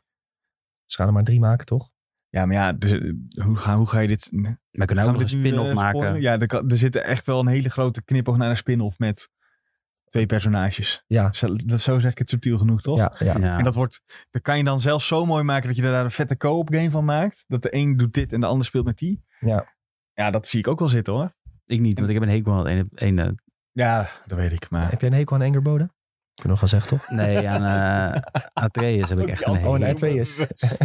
A: Ze gaan er maar drie maken, toch?
B: Ja, maar ja, dus, eh, hoe, ga, hoe ga je dit...
C: We kunnen ook
B: gaan
C: nog
B: we
C: een
B: dit nu,
C: spin-off
B: eh,
C: maken.
B: spoilen? Ja, er, kan- er zit echt wel een hele grote knipoog naar een spin-off met twee personages.
A: Ja.
B: Zo, dat, zo zeg ik het subtiel genoeg, toch?
A: Ja, ja.
C: Ja.
B: En dat wordt, dat kan je dan zelfs zo mooi maken dat je daar een vette co-op game van maakt. Dat de een doet dit en de ander speelt met die.
A: Ja.
B: Ja, dat zie ik ook wel zitten hoor.
C: Ik niet, want ik heb een eh, hekel aan het ene... ene
B: Ja, dat weet ik. Maar
A: Heb jij een hekel aan Engerboden? Kunnen we wel zeggen, toch?
C: nee, aan eh Atreus heb ik echt een
A: Oh,
C: hekel.
A: nee. Atreus.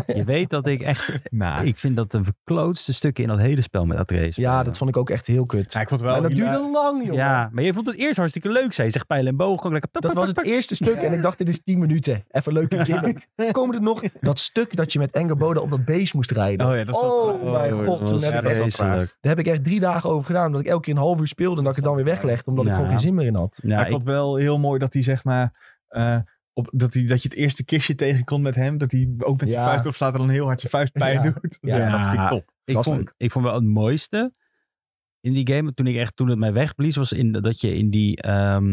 C: Je weet dat ik echt...
B: nou,
C: Ik vind dat de verklootste stukken in dat hele spel met Atreus.
A: Ja, dat vond ik ook echt heel kut.
B: ja, ik vond wel...
A: en dat
B: hila-
A: duurde lang, joh.
C: Ja, maar je vond het eerst hartstikke leuk, zei je. Zegt pijlen en boog. Gewoon lekker...
A: Dat was het eerste stuk en ik dacht, dit is 10 minuten. Even leuke gimmick. Komen er nog dat stuk dat je met Engerboden op dat beest moest rijden?
B: Oh ja, dat is wel
A: Oh,
B: klaar.
A: mijn
B: Oh,
A: god,
B: dat
A: toen
B: was-
A: heb ik
B: ja,
A: echt-
B: dat was wel klaar.
C: vreselijk.
A: Daar heb ik echt drie dagen over gedaan, omdat ik elke keer een half uur speelde en dat ik het dan weer weglegde, omdat ik
C: Ja.
A: gewoon geen zin meer in had.
C: Ja,
B: Maar ik
C: ik,
B: vond wel heel mooi dat hij zeg maar... eh, op, dat, hij, dat je het eerste kistje tegenkomt met hem. Dat hij ook met zijn
A: Ja.
B: vuist op staat en dan heel hard zijn vuist pijn
A: Ja.
B: doet.
A: Ja.
B: Ja. dat vind ik top.
C: ik,
A: was
C: vond,
A: leuk.
C: ik vond wel het mooiste in die game, toen, ik echt, toen het mij wegblies, was in, dat je in die, ehm,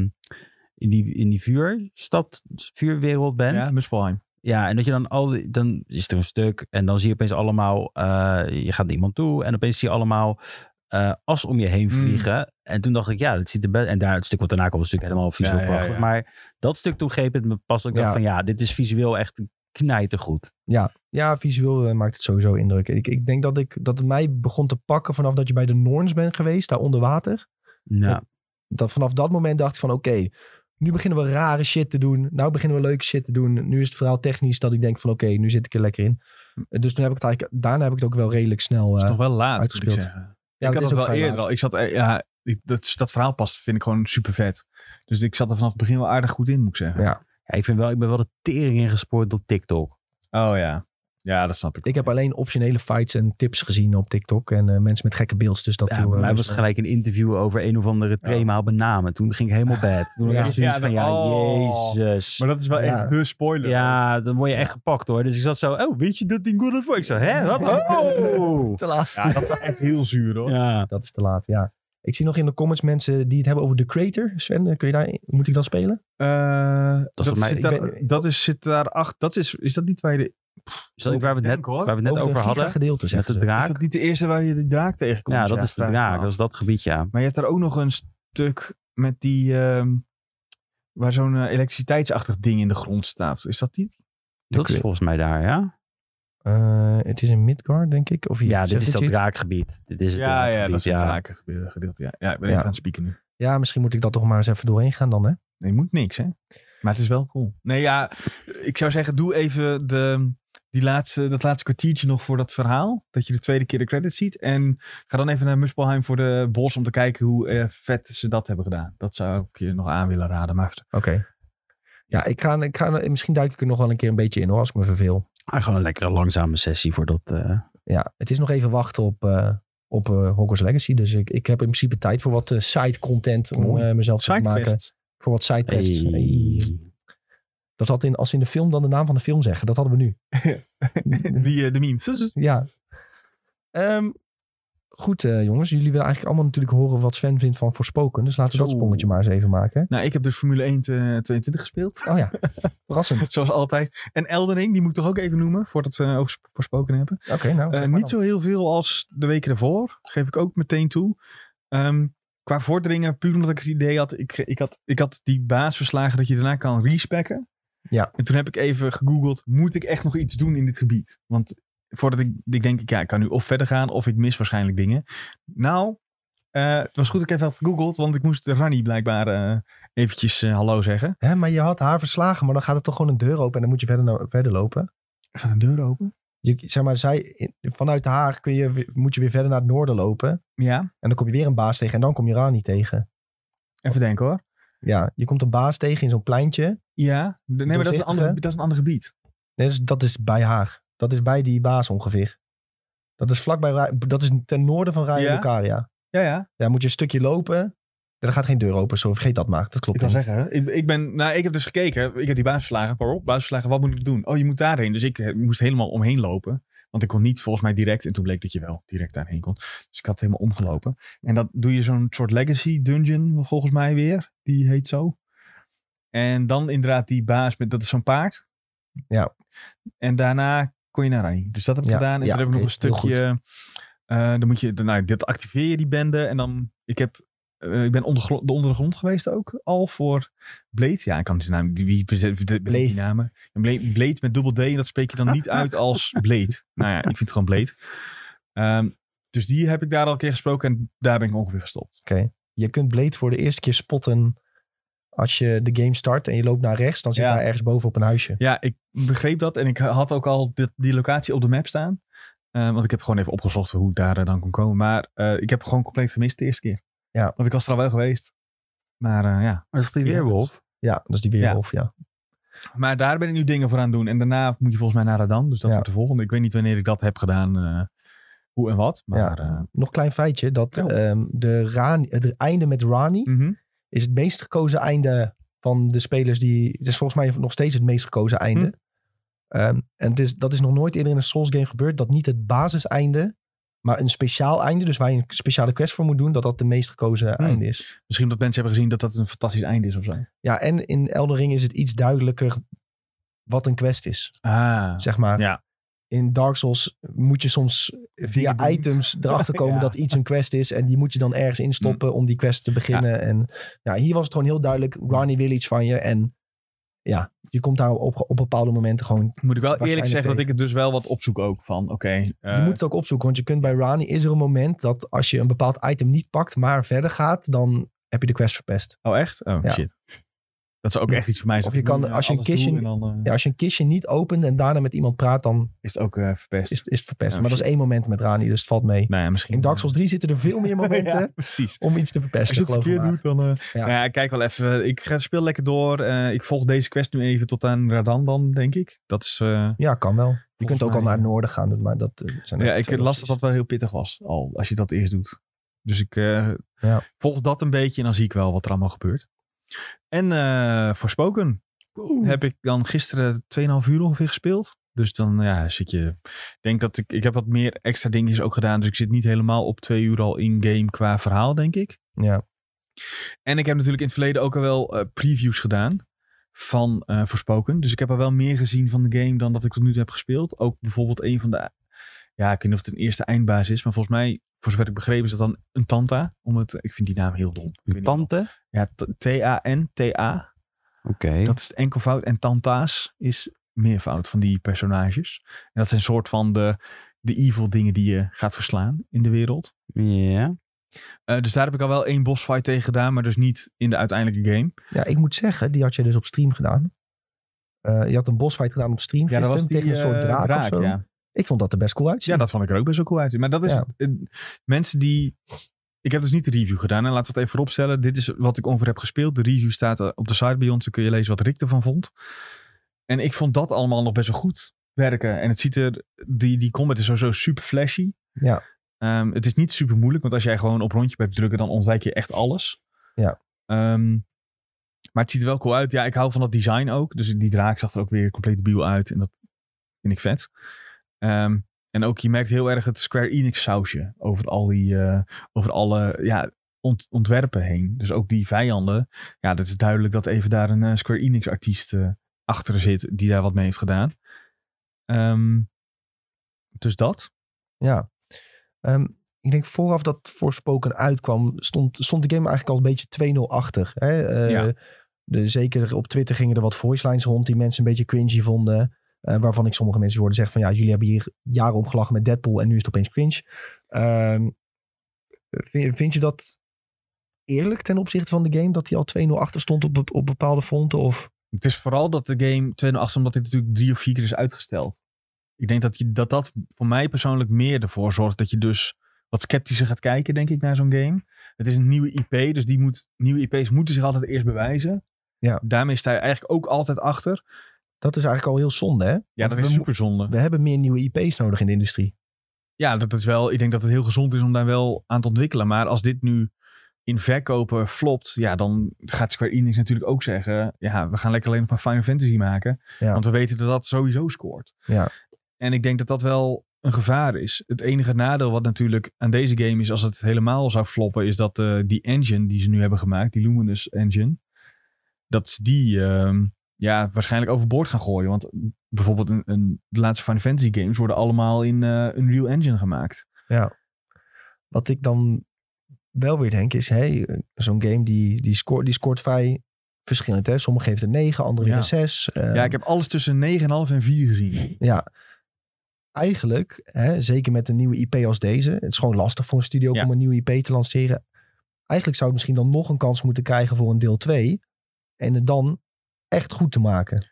C: in die, in die vuurstad, vuurwereld bent.
B: Ja, Muspelheim.
C: Ja, en dat je dan al, die- dan is er een stuk en dan zie je opeens allemaal, eh, je gaat naar iemand toe en opeens zie je allemaal eh, as om je heen
B: Mm.
C: vliegen. En toen dacht ik, ja, dat ziet er best, en daar het stuk wat daarna kwam, was natuurlijk helemaal visueel
B: Ja, ja,
C: prachtig.
B: ja.
C: Maar dat stuk toen greep het me pas, dat ik
A: Ja.
C: dacht van ja, dit is visueel echt knijtergoed.
A: Ja, visueel eh, maakt het sowieso indruk. Ik, ik denk dat, ik, dat het mij begon te pakken vanaf dat je bij de Norns bent geweest, daar onder water.
C: Nou,
A: Ja. Dat vanaf dat moment dacht ik van oké, nu beginnen we rare shit te doen. Nou beginnen we leuke shit te doen. Nu is het verhaal technisch dat ik denk van oké, nu zit ik er lekker in. Eh, Dus toen heb ik het eigenlijk, daarna heb ik het ook wel redelijk snel.
B: Dat
A: eh,
B: is nog wel laat, moet ik
A: uitgespeeld.
B: zeggen.
A: ja,
B: ik
A: is
B: had
A: ook
B: dat wel
A: vrij
B: eerder
A: laat.
B: al. Ik zat, eh, ja, ik- dat, dat verhaal past, vind ik gewoon super vet. Dus ik zat er vanaf het begin wel aardig goed in, moet ik zeggen.
C: ja, ik vind wel, ik ben wel de tering ingespoord door TikTok.
B: Oh ja. Ja, dat snap ik.
A: Ik heb alleen optionele fights en tips gezien op TikTok en eh, mensen met gekke beelds. Dus dat
C: Ja,
A: viel,
C: bij
A: eh,
C: mij
A: best
C: was
A: wel.
C: gelijk een interview over een of andere trema op een naam. En toen ging ik helemaal bad. Toen
A: Ja.
C: was ik zoiets
B: Ja,
C: van, ja,
B: dan- oh.
C: jezus.
B: Maar dat is wel
A: Ja.
B: echt de spoiler.
C: Ja, dan word je echt gepakt hoor. Dus ik zat zo, oh, weet je dat ding God of War? Ik zo, hè? Wat? Oh!
A: te laat.
B: Ja, dat was echt heel zuur hoor.
C: Ja.
A: Dat is te laat, ja. Ik zie nog in de comments mensen die het hebben over The Creator. Sven, eh, kun je daar, moet ik dat spelen?
B: Eh, dat,
C: voor mij-
B: zit
A: ik
B: daar,
A: ben-
B: dat is zit daar achter. Dat is, is dat niet waar je de,
C: Is dat niet waar we het net,
B: Denk, hoor.
C: waar we het net
A: de
C: over
A: eh, giga
C: hadden?
A: gedeelte,
C: Met
A: zeggen
C: de
A: ze.
B: is dat
C: draak?
B: niet de eerste waar je de draak tegenkomt?
C: Ja, dat is de draak. Dat is dat gebied, ja.
B: Maar je hebt daar ook nog een stuk met die ehm, waar zo'n eh, elektriciteitsachtig ding in de grond staat. Is dat die?
C: Dat is volgens mij daar, ja?
A: Eh, het is in Midgard, denk ik. Of hier.
C: Ja, dit
A: Zegt
C: is
A: het
C: dat
A: je iets?
C: draakgebied. Dit is het
B: Ja, ja, dat
C: draakgebied,
B: is een drakengedeelte. gedeelte, Ja. ja, ik ben
A: Ja.
B: even aan het spieken nu.
A: Ja, misschien moet ik dat toch maar eens even doorheen gaan dan, hè?
B: Nee, je moet niks, hè? Maar het is wel cool. Nee, ja, ik zou zeggen, doe even de, die laatste, dat laatste kwartiertje nog voor dat verhaal. Dat je de tweede keer de credits ziet. En ga dan even naar Muspelheim voor de bos om te kijken hoe eh, vet ze dat hebben gedaan. Dat zou ik je nog aan willen raden. Maar
A: Oké. Ja, ik ga, ik ga, misschien duik ik er nog wel een keer een beetje in, hoor, als ik me verveel.
C: Ah, Gewoon een lekkere langzame sessie voor dat... eh,
A: Ja, het is nog even wachten op, eh op eh, Hogwarts Legacy. Dus ik, ik heb in principe tijd voor wat side-content om
B: Mooi.
A: eh, mezelf te maken.
B: sidequests.
A: Voor wat sidequests.
C: hey.
A: Hey. Dat had in, als ze in de film dan de naam van de film zeggen. Dat hadden we nu.
B: Die, eh, de memes.
A: Ja. Ehm, goed, eh, jongens. Jullie willen eigenlijk allemaal natuurlijk horen wat Sven vindt van Voorspoken. Dus laten we dat
B: Zo.
A: sprongetje maar eens even maken.
B: Nou, ik heb dus Formule 1 te- 22 gespeeld.
A: Oh ja, verrassend.
B: Zoals altijd. En Eldering, die moet ik toch ook even noemen, voordat we over sp- gesproken hebben.
A: Oké, nou.
B: Eh,
A: zeg maar
B: niet
A: dan.
B: zo heel veel als de weken ervoor. Geef ik ook meteen toe. Ehm, qua vorderingen, puur omdat ik het idee had ik, ik had, ik had die baas verslagen dat je daarna kan respecken.
A: Ja.
B: En toen heb ik even gegoogeld, moet ik echt nog iets doen in dit gebied? Want voordat ik, ik denk, ja, ik kan nu of verder gaan of ik mis waarschijnlijk dingen. Nou, eh, het was goed dat ik even had gegoogeld, want ik moest Rani blijkbaar eh, eventjes eh, hallo zeggen.
A: Hè, maar je had haar verslagen, maar dan gaat het toch gewoon een deur open en dan moet je verder, naar- verder lopen.
B: Gaat de deur open?
A: Je, zeg maar, zij, in- vanuit haar kun je, weer- moet je weer verder naar het noorden lopen.
B: Ja,
A: En dan kom je weer een baas tegen en dan kom je Rani tegen.
B: even denken hoor.
A: Ja, je komt een baas tegen in zo'n pleintje.
B: Ja, de- nee, maar dat is, een
A: Doorzichtige.
B: ander, dat is een ander gebied.
A: Nee, dus dat is bij haar. Dat is bij die baas ongeveer. Dat is vlakbij, Ra- dat is ten noorden van Raya
B: Ja?
A: Lucaria.
B: Ja, ja.
A: Ja, moet je een stukje lopen. Ja, er gaat geen deur open, zo vergeet dat maar. Dat klopt
B: Ik kan
A: niet.
B: zeggen, ik, ik, ben, nou, ik heb dus gekeken. Ik heb die baasverslagen. Waarop? Baasverslagen, wat moet ik doen? Oh, je moet daarheen. Dus ik eh, moest helemaal omheen lopen. Want ik kon niet volgens mij direct. En toen bleek dat je wel direct daarheen kon. Dus ik had helemaal omgelopen. En dat doe je zo'n soort legacy dungeon volgens mij weer. Die heet zo. En dan inderdaad die baas met, dat is zo'n paard.
A: Ja.
B: En daarna kon je naar Rani. Dus dat heb ik
A: Ja,
B: gedaan. En
A: ja,
B: toen heb ik nog
A: oké,
B: een
A: heel
B: stukje... eh, dan moet je, nou, dit activeer je die bende. En dan, ik heb eh, ik ben ondergro- de ondergrond geweest ook al voor Blade. Ja, ik kan die naam. die- Wie bezet- de- bedenkt die
A: Blade.
B: namen? Ja, Blade, Blade met dubbel D. En dat spreek je dan niet uit als Blade. Nou ja, ik vind het gewoon Blade. Ehm, dus die heb ik daar al een keer gesproken. En daar ben ik ongeveer gestopt.
A: Je kunt Blade voor de eerste keer spotten als je de game start en je loopt naar rechts. Dan zit
B: Ja.
A: daar ergens boven op een huisje.
B: Ja, ik begreep dat. En ik had ook al dit- die locatie op de map staan. Eh, want ik heb gewoon even opgezocht hoe ik daar eh, dan kon komen. Maar eh, ik heb gewoon compleet gemist de eerste keer.
A: Ja.
B: Want ik was er al wel geweest. Maar eh, ja,
C: Maar dat is die
B: Ja,
C: weerwolf.
A: Ja, dat is die weerwolf, ja.
B: Maar daar ben ik nu dingen voor aan het doen. En daarna moet je volgens mij naar Radan. Dus dat
A: Ja.
B: wordt de volgende. Ik weet niet wanneer ik dat heb gedaan. eh, hoe en wat. Maar eh
A: Nog klein feitje, dat
B: Oh.
A: ehm, de Rani, het einde met Rani
B: mhm.
A: is het meest gekozen einde van de spelers die... Het is volgens mij nog steeds het meest gekozen einde.
B: Mm.
A: Ehm, en het is, dat is nog nooit eerder in een Souls game gebeurd. Dat niet het basiseinde, maar een speciaal einde. Dus waar je een speciale quest voor moet doen. Dat dat de meest gekozen
B: Mm.
A: einde is.
B: misschien dat mensen hebben gezien dat dat een fantastisch einde is of zo.
A: Ja, en in Elden Ring is het iets duidelijker wat een quest is.
B: Ah.
A: Zeg maar.
B: Ja.
A: In Dark Souls moet je soms via
B: Dingen doen.
A: items erachter komen
B: Ja.
A: dat iets een quest is. En die moet je dan ergens instoppen
B: Mm.
A: om die quest te beginnen. En ja, hier was het gewoon heel duidelijk. Ronnie wil iets van je. En ja, je komt daar op, op bepaalde momenten gewoon...
B: Moet ik wel eerlijk
A: Waarschijnlijk
B: zeggen dat
A: tegen.
B: ik het dus wel wat opzoek ook. Van oké. eh,
A: je moet het ook opzoeken. Want je kunt bij Ronnie is er een moment dat als je een bepaald item niet pakt, maar verder gaat, dan heb je de quest verpest.
B: Oh echt? Oh
A: Ja. Hm.
B: shit. Dat is ook echt iets voor mij. zijn.
A: Of je kan-
B: Eh,
A: als je een
B: alles doen
A: kistje-
B: en dan eh,
A: Ja, als je een kistje niet opent en daarna met iemand praat, dan
B: is het ook eh, verpest.
A: is, is het verpest.
B: Oh,
A: maar dat is één moment met Rani, dus het valt mee.
B: nou ja, misschien.
A: In Dark Souls 3 zitten er veel meer momenten
B: ja, precies.
A: om iets te
B: Als
A: verpesten.
B: je het
A: geloof me
B: verkeerd
A: maar.
B: doet, dan... eh,
A: Ja.
B: Nou ja, kijk wel even. Ik ga, speel lekker door. Eh, ik volg deze quest nu even tot aan Radan dan, denk ik. Dat is... eh,
A: Ja, kan wel. Je kunt
B: Volgens
A: ook al
B: mij,
A: naar het
B: ja.
A: noorden gaan, dus- maar dat eh, zijn
B: Ja,
A: ook
B: ik
A: twee
B: las dat
A: opties.
B: dat wel heel pittig was al, als je dat eerst doet. Dus ik eh,
A: Ja.
B: volg dat een beetje en dan zie ik wel wat er allemaal gebeurt. En eh, voor Spoken heb ik dan gisteren 2,5 uur ongeveer gespeeld. Dus dan ja, zit je... Ik denk dat ik... Ik heb wat meer extra dingetjes ook gedaan. Dus ik zit niet helemaal op twee uur al in-game qua verhaal, denk ik.
A: Ja,
B: En ik heb natuurlijk in het verleden ook al wel eh, previews gedaan van eh Voorspoken. Dus ik heb al wel meer gezien van de game dan dat ik tot nu toe heb gespeeld. Ook bijvoorbeeld een van de... Ja, ik weet niet of het een eerste eindbaas is. Maar volgens mij, voor zover ik begrepen, is dat dan een Tanta. Om het, ik vind die naam heel dom. Ik weet
C: Uw
B: niet
C: tante?
B: waarom. Ja, T- T-A-N-T-A.
C: Oké.
B: Dat is het enkelvoud. En Tanta's is meervoud van die personages. En dat zijn soort van de, de evil dingen die je gaat verslaan in de wereld.
C: Ja.
B: Eh, dus daar heb ik al wel één bossfight tegen gedaan. Maar dus niet in de uiteindelijke game.
A: ja, ik moet zeggen, die had je dus op stream gedaan. Eh, je had een bossfight gedaan op stream
B: Ja, dat was
A: gisteren
B: die,
A: tegen een soort
B: eh,
A: draak, of zo.
B: ja.
A: Ik vond dat er best cool uitzien.
B: ja, dat vond ik er ook best wel cool uit. Maar dat is
A: Ja.
B: eh, mensen die... Ik heb dus niet de review gedaan. En laten we het even vooropstellen. Dit is wat ik ongeveer heb gespeeld. De review staat eh, op de site bij ons. Dan kun je lezen wat Rick ervan vond. En ik vond dat allemaal nog best wel goed werken. En het ziet er... Die, die combat is sowieso super flashy.
A: Ja.
B: Ehm, het is niet super moeilijk. Want als jij gewoon op rondje blijft drukken... dan ontwijk je echt alles.
A: Ja.
B: Ehm, maar het ziet er wel cool uit. Ja, ik hou van dat design ook. Dus die draak zag er ook weer compleet biel uit. En dat vind ik vet. Ehm, en ook je merkt heel erg het Square Enix sausje over al die, eh, over alle ja, ont- ontwerpen heen. Dus ook die vijanden. Ja, dat is duidelijk dat even daar een eh, Square Enix artiest eh, achter zit die daar wat mee heeft gedaan. Ehm, dus dat.
A: Ja. Ehm, ik denk vooraf dat Forspoken uitkwam, stond, stond de game eigenlijk al een beetje 2-0 achter. Hè? Eh,
B: Ja.
A: de, zeker op Twitter gingen er wat voicelines rond die mensen een beetje cringy vonden. Eh, waarvan ik sommige mensen hoorde zeggen van ja, jullie hebben hier jaren om gelachen met Deadpool en nu is het opeens cringe. Ehm, vind, vind je dat eerlijk ten opzichte van de game dat hij al 2-0 achter stond op, be- op bepaalde fronten? Of
B: Het is vooral dat de game 2008, omdat hij natuurlijk drie of vier keer is uitgesteld. Ik denk dat je, dat, dat voor mij persoonlijk meer ervoor zorgt dat je dus wat sceptischer gaat kijken, denk ik, naar zo'n game. Het is een nieuwe IP, dus die moet, nieuwe IP's moeten zich altijd eerst bewijzen.
A: Ja.
B: Daarmee sta je eigenlijk ook altijd achter.
A: dat is eigenlijk al heel zonde, hè?
B: Ja, dat
A: we
B: is
A: mo-
B: super zonde.
A: We hebben meer nieuwe IP's nodig in de industrie.
B: Ja, dat is wel. Ik denk dat het heel gezond is om daar wel aan te ontwikkelen. Maar als dit nu in verkopen flopt, ja, dan gaat Square Enix natuurlijk ook zeggen: ja, we gaan lekker alleen nog maar Final Fantasy maken,
A: Ja.
B: want we weten dat dat sowieso scoort.
A: Ja.
B: En ik denk dat dat wel een gevaar is. Het enige nadeel wat natuurlijk aan deze game is, als het helemaal zou floppen, is dat eh, die engine die ze nu hebben gemaakt, die Luminous engine, dat ze die ehm, ja, waarschijnlijk overboord gaan gooien. Want bijvoorbeeld een, een, de laatste Final Fantasy games worden allemaal in eh Unreal Engine gemaakt.
A: Wat ik dan wel weer denk is, hey, eh, zo'n game die, die, scoort, die scoort vrij verschillend. Hè? Sommigen geven het een 9, anderen
B: Ja.
A: een 6.
B: Ja, ik heb alles tussen 9,5 en 4 gezien.
A: ja, eigenlijk, hè, zeker met een nieuwe IP als deze, het is gewoon lastig voor een studio ook
B: Ja.
A: om een nieuwe IP te lanceren. Eigenlijk zou het misschien dan nog een kans moeten krijgen voor een deel 2 en het dan echt goed te maken.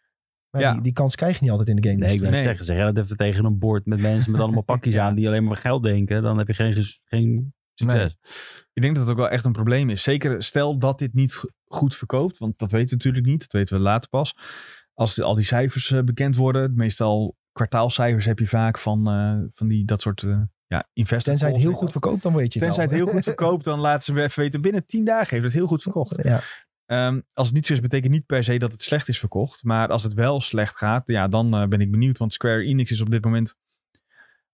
A: Maar
B: Ja.
A: die, die kans krijg je niet altijd in de game. Dus
C: Nee, ik wil
A: industry.
C: net
B: Nee.
C: zeggen, zeg jij dat even tegen een bord met mensen met allemaal pakjes aan die alleen maar geld denken, dan heb je geen, ges- geen succes.
B: Ik denk dat het ook wel echt een probleem is. Zeker stel dat dit niet go- goed verkoopt, want dat weten we natuurlijk niet. Dat weten we later pas. Als de- al die cijfers eh, bekend worden, meestal kwartaalcijfers heb je vaak van, eh, van die, dat soort eh ja, investment.
A: Tenzij het heel
B: calls.
A: goed verkoopt, dan weet je het
B: Tenzij het
A: wel.
B: heel goed verkoopt, dan laten ze even weten. Binnen 10 dagen heeft het heel goed verkocht.
A: Ja,
B: Ehm, als het niet zo is, betekent niet per se dat het slecht is verkocht. Maar als het wel slecht gaat, ja, dan eh, ben ik benieuwd. Want Square Enix is op dit moment...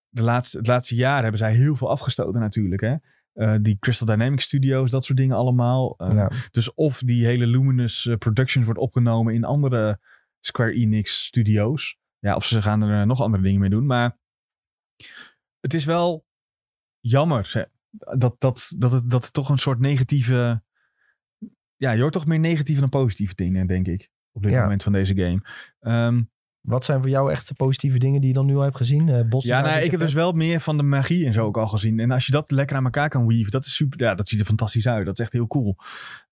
B: De laatste, het laatste jaar hebben zij heel veel afgestoten natuurlijk. Hè? Eh, die Crystal Dynamics Studios, dat soort dingen allemaal. Eh,
A: ja.
B: Dus of die hele Luminous eh, Productions wordt opgenomen in andere Square Enix studios. Ja, of ze gaan er eh, nog andere dingen mee doen. Maar het is wel jammer zeg, dat, dat, dat, het, dat het toch een soort negatieve... Ja, je hoort toch meer negatieve dan positieve dingen, denk ik. Op dit
A: Ja.
B: moment van deze game. Ehm,
A: Wat zijn voor jou echt de positieve dingen die je dan nu al hebt gezien? Eh, Bos
B: ja, nou, ik heb dus wel meer van de magie en zo ook al gezien. En als je dat lekker aan elkaar kan weaven, dat is super. Ja, dat ziet er fantastisch uit. Dat is echt heel cool.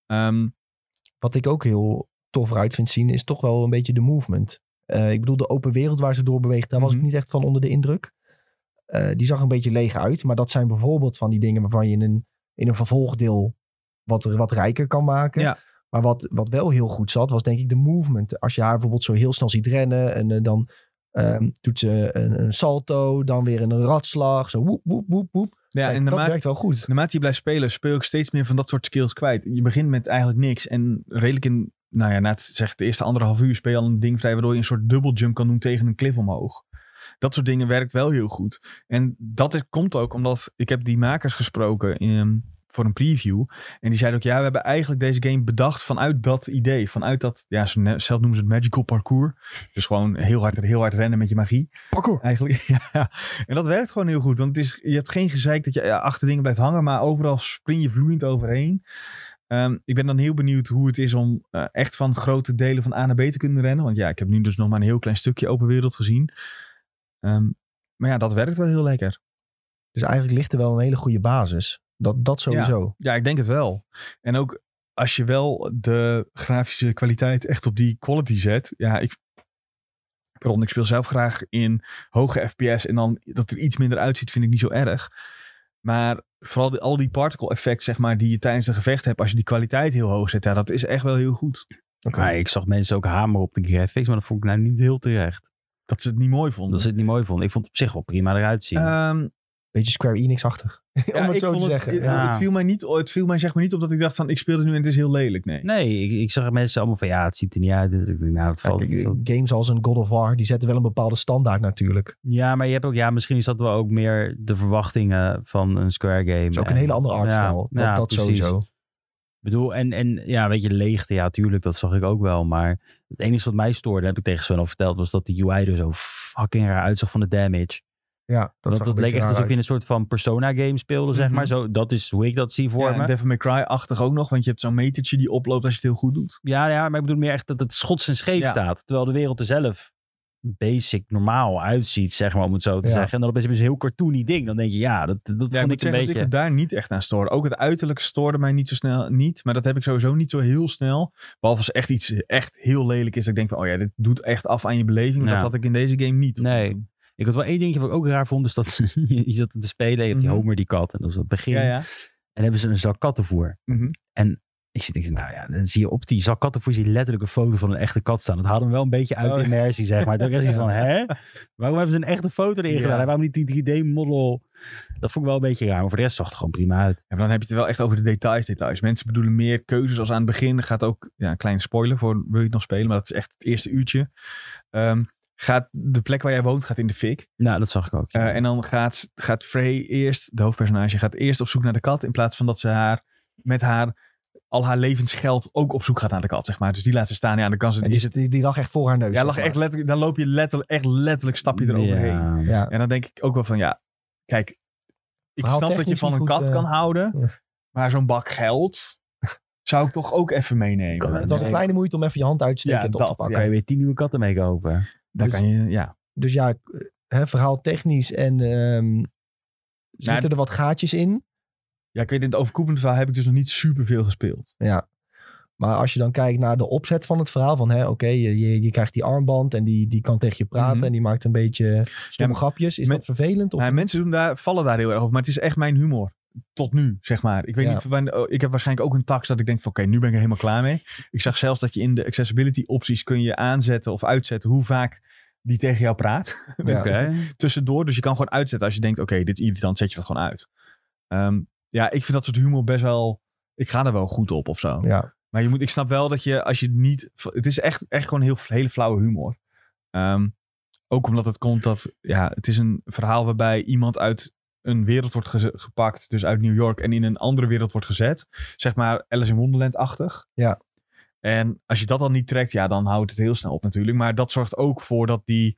B: Ehm,
A: Wat ik ook heel tof eruit vind zien, is toch wel een beetje de movement. Eh, ik bedoel, de open wereld waar ze door beweegt, daar was
B: Mhm.
A: ik niet echt van onder de indruk. Eh, die zag een beetje leeg uit. Maar dat zijn bijvoorbeeld van die dingen waarvan je in een, in een vervolgdeel wat, wat rijker kan maken.
B: Ja.
A: Maar wat, wat wel heel goed zat, was denk ik de movement. Als je haar bijvoorbeeld zo heel snel ziet rennen en eh, dan ehm, doet ze een, een salto, dan weer een ratslag, zo woep, woep, woep, woep.
B: ja,
A: Kijk,
B: en de
A: dat
B: ma-
A: werkt wel goed.
B: Naarmate je blijft spelen, speel ik steeds meer van dat soort skills kwijt. Je begint met eigenlijk niks. En redelijk in, nou ja, na het, zeg, de eerste anderhalf uur speel je al een ding vrij... waardoor je een soort double jump kan doen tegen een klif omhoog. Dat soort dingen werkt wel heel goed. En dat is, komt ook omdat ik heb die makers gesproken in, ehm, voor een preview. En die zeiden ook, ja, we hebben eigenlijk deze game bedacht vanuit dat idee. Vanuit dat, ja, ze ne- zelf noemen ze het magical parkour. Dus gewoon heel hard, heel hard rennen met je magie.
A: Parkour.
B: Eigenlijk, ja. En dat werkt gewoon heel goed. Want het is, je hebt geen gezeik dat je ja, achter dingen blijft hangen. Maar overal spring je vloeiend overheen. Ehm, ik ben dan heel benieuwd hoe het is om eh, echt van grote delen van A naar B te kunnen rennen. Want ja, ik heb nu dus nog maar een heel klein stukje open wereld gezien. Ehm, maar ja, dat werkt wel heel lekker.
A: Dus eigenlijk ligt er wel een hele goede basis. Dat, dat sowieso.
B: Ja, ik denk het wel. En ook als je wel de grafische kwaliteit echt op die quality zet. Ja, ik, pardon, ik speel zelf graag in hoge FPS. En dan dat er iets minder uitziet, vind ik niet zo erg. Maar vooral die- al die particle effects, zeg maar, die je tijdens een gevecht hebt. Als je die kwaliteit heel hoog zet, ja, dat is echt wel heel goed.
A: Oké.
C: Maar ik zag mensen ook hameren op de graphics, maar dat vond ik nou niet heel terecht.
B: Dat ze het niet mooi vonden.
C: Dat ze het niet mooi vonden. Ik vond het op zich wel prima eruit zien.
A: Eh.
B: Ehm,
A: Beetje Square Enix-achtig.
B: ja,
A: om het
B: ik
A: zo te
B: vond
A: zeggen.
B: Het,
A: ja.
B: het viel mij niet, het viel mij zeg maar niet op dat ik dacht van, ik speel het nu en het is heel lelijk. Nee.
C: nee, ik, ik zag mensen allemaal van ja, het ziet er niet uit. Ik denk, nou, het valt.
A: Kijk, games als een God of War, die zetten wel een bepaalde standaard natuurlijk.
C: Ja, maar je hebt ook, ja, misschien is dat wel ook meer de verwachtingen van een Square game.
A: Dat is ook
C: En-
A: een hele andere
C: ja,
A: artstijl. dat
C: ja,
A: dat
C: precies.
A: sowieso.
C: Ik bedoel, en, en ja, weet je, leegte, ja, tuurlijk, dat zag ik ook wel. Maar het enige wat mij stoorde, heb ik tegen Sven al verteld, was dat de UI er zo fucking raar uitzag van de damage.
A: Ja, dat,
C: Dat,
A: zag
C: dat,
A: een
C: leek
A: beetje
C: echt
A: raar
C: alsof je
A: uit.
C: in een soort van Persona-game speelde, zeg
B: Mhm.
C: maar. Zo, dat is hoe ik dat zie voor
B: Ja,
C: me.
B: en Devil May Cry-achtig ook nog, want je hebt zo'n metertje die oploopt als je het heel goed doet.
C: Ja, ja, maar ik bedoel meer echt dat het schots en scheef
B: Ja.
C: staat. Terwijl de wereld er zelf basic normaal uitziet, zeg maar, om het zo te
A: Ja.
C: zeggen. En dan opeens hebben ze een heel cartoony ding. Dan denk je, ja, dat,
B: Ja,
C: dat
B: ik
C: vond
B: moet
C: ik een
B: zeggen dat
C: beetje...
B: ik me daar niet echt aan stoorde. Ook het uiterlijk stoorde mij niet zo snel niet. Maar dat heb ik sowieso niet zo heel snel. Behalve als er echt iets echt heel lelijk is. Dat ik denk van, oh ja, dit doet echt af aan je beleving.
C: Ja.
B: Dat had ik in deze game niet. eh,
C: Nee. Ik had wel één dingetje wat ik ook raar vond, is dat ze, je zat te spelen, je hebt die
B: Mhm.
C: Homer, die kat, en dat was het begin.
B: Ja, ja.
C: En hebben ze een zak kattenvoer.
B: Mhm.
C: Ik zit, ik zit, nou ja, dan zie je op die zak kattenvoer zie je letterlijk een foto van een echte kat staan. Dat haalde hem wel een beetje uit
B: Oh,
C: de
B: ja.
C: immersie, zeg maar. Toen was ik van, hè? Waarom hebben ze een echte foto erin
B: Ja.
C: gedaan? En waarom niet die 3D-model? Dat vond ik wel een beetje raar, maar voor de rest zag het gewoon prima uit.
B: Ja, maar dan heb je het wel echt over de details, details. Mensen bedoelen meer keuzes als aan het begin. Er gaat ook, ja, een kleine spoiler voor wil je het nog spelen, maar dat is echt het eerste uurtje. Ehm, gaat de plek waar jij woont gaat in de fik.
C: Nou, dat zag ik ook. ja.
B: Eh, en dan gaat, gaat Frey eerst, de hoofdpersonage, gaat eerst op zoek naar de kat. In plaats van dat ze haar met haar, al haar levensgeld ook op zoek gaat naar de kat, zeg maar. Dus die laat ze staan. Ja, dan kan ze.
A: En die,
B: is
A: zit-
B: het,
A: die, die lag echt voor haar neus.
B: ja,
A: zeg
B: lag
A: maar.
B: echt letterlijk, dan loop je letterlijk, echt letterlijk stap je eroverheen.
C: Ja.
A: Ja.
B: En dan denk ik ook wel van, ja, kijk, ik
A: Verhaal
B: snap dat je
A: technisch
B: van een
A: niet goed,
B: kat kan
A: eh,
B: houden,
A: ja.
B: maar zo'n bak geld zou ik toch ook even meenemen. Dus
C: Kan
A: Het was een kleine moeite om even je hand uit te steken
B: Ja,
A: en het op
B: dat,
A: te pakken.
C: Dan kan je weer tien nieuwe katten mee kopen.
B: Dan
A: Dus-
B: kan je, ja.
A: Dus ja, k- hè, verhaal technisch en ehm, zitten er wat gaatjes in.
B: ja, ik weet in het overkoepelende verhaal heb ik dus nog niet superveel gespeeld.
A: Ja. Maar als je dan kijkt naar de opzet van het verhaal, van hè, oké, je, je, je krijgt die armband en die, die kan tegen je praten
B: Mhm.
A: en die maakt een beetje stomme
B: Ja,
A: grapjes. Is
B: met-
A: dat vervelend? Of,
B: Nou, mensen doen daar, vallen daar heel erg over. Maar het is echt mijn humor. Tot nu, zeg maar. Ik weet
A: Ja.
B: niet, wanneer- oh, ik heb waarschijnlijk ook een tax dat ik denk van oké, nu ben ik er helemaal klaar mee. Ik zag zelfs dat je in de accessibility opties kun je aanzetten of uitzetten hoe vaak die tegen jou praat.
A: Ja.
C: Oké.
B: Tussendoor. Dus je kan gewoon uitzetten als je denkt oké, dit is irritant, zet je dat gewoon uit. Ehm, ja, ik vind dat soort humor best wel, ik ga er wel goed op of zo.
A: ja.
B: Maar je moet, ik snap wel dat je als je niet. Het is echt, echt gewoon heel, hele flauwe humor. Ehm, ook omdat het komt dat. Ja, het is een verhaal waarbij iemand uit een wereld wordt geze- gepakt. Dus uit New York. En in een andere wereld wordt gezet. Zeg maar Alice in Wonderland-achtig.
A: Ja.
B: En als je dat dan niet trekt, ja, dan houdt het heel snel op natuurlijk. Maar dat zorgt ook voor dat die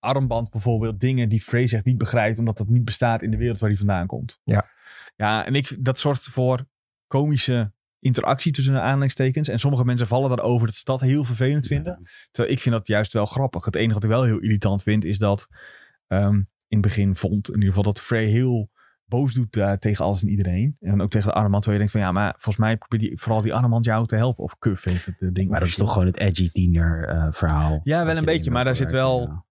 B: armband bijvoorbeeld dingen die Frey zegt niet begrijpt, omdat dat niet bestaat in de wereld waar hij vandaan komt.
A: Ja.
B: Ja, en ik, dat zorgt voor komische interactie tussen de aanleidingstekens. En sommige mensen vallen daarover dat ze dat heel vervelend vinden. Terwijl ik vind dat juist wel grappig. Het enige wat ik wel heel irritant vind is dat ehm, in het begin vond in ieder geval dat Frey heel boos doet eh, tegen alles en iedereen. En dan ook tegen de Armand. Terwijl je denkt van ja, maar volgens mij probeert die, vooral die Armand jou te helpen. Of Cuff heet het eh, ding.
C: Maar dat is toch gewoon het edgy tiener eh, verhaal.
B: Ja, wel
C: Dat
B: een
C: je
B: beetje,
C: erin
B: maar daar zit
C: verwerkt,
B: wel-
C: ja.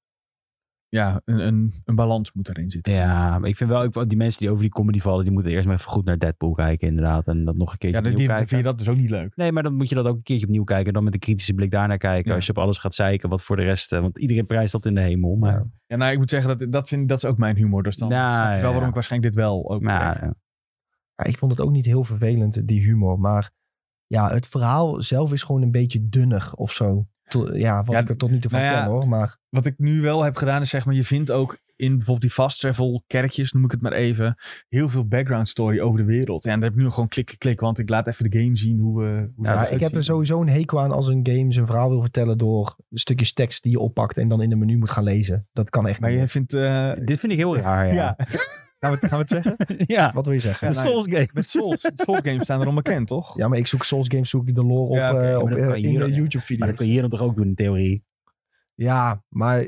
B: Ja, een, een, een balans moet daarin zitten.
C: Ja, maar ik vind wel, ik, die mensen die over die comedy vallen, die moeten eerst maar even goed naar Deadpool kijken inderdaad. En dat nog een keertje
B: Ja, dan
C: opnieuw
B: vind
C: kijken.
B: je dat dus ook niet leuk.
C: Nee, maar dan moet je dat ook een keertje opnieuw kijken. En dan met een kritische blik daarnaar kijken.
B: Ja.
C: Als je op alles gaat zeiken, wat voor de rest... eh, Want iedereen prijst dat in de hemel. Maar
A: Ja.
B: Ja, nou, ik moet zeggen, dat, dat, vind, dat is ook mijn humor. Dus dan
C: Nou,
B: snap je wel
C: ja.
B: waarom ik waarschijnlijk dit wel ook
C: nou,
B: trek.
C: ja.
A: Ja, ik vond het ook niet heel vervelend, die humor. Maar ja, het verhaal zelf is gewoon een beetje dunnig of zo. To- ja, wat
B: Ja,
A: ik er tot nu toe van
B: nou ja,
A: ken hoor. Maar
B: wat ik nu wel heb gedaan is zeg maar, je vindt ook in bijvoorbeeld die fast travel kerkjes, noem ik het maar even, heel veel background story over de wereld. Ja, en daar heb ik nu gewoon klikken klik, want ik laat even de game zien hoe... eh, hoe
A: ja,
B: dat
A: ik heb er
B: uitziet.
A: sowieso een hekel aan als een game zijn verhaal wil vertellen door stukjes tekst die je oppakt en dan in een menu moet gaan lezen. Dat kan echt
B: Maar
A: niet.
B: je vindt... eh,
C: Dit vind ik heel raar,
B: ja.
C: ja. Ja,
B: gaan, we, gaan we het zeggen?
A: Wat wil je zeggen?
B: Ja,
C: een
B: nou,
C: Souls game.
B: Met Souls. Souls games staan erom bekend, toch?
A: Ja, maar ik zoek Souls games, zoek ik de lore op,
B: Ja, oké,
A: eh,
B: maar
A: op
C: dat
A: eh,
C: kan
A: in
C: hier
A: de
C: ook, ja.
A: YouTube
C: Maar
A: video's.
C: dat kun je hier dan toch ook doen in theorie?
A: Ja, maar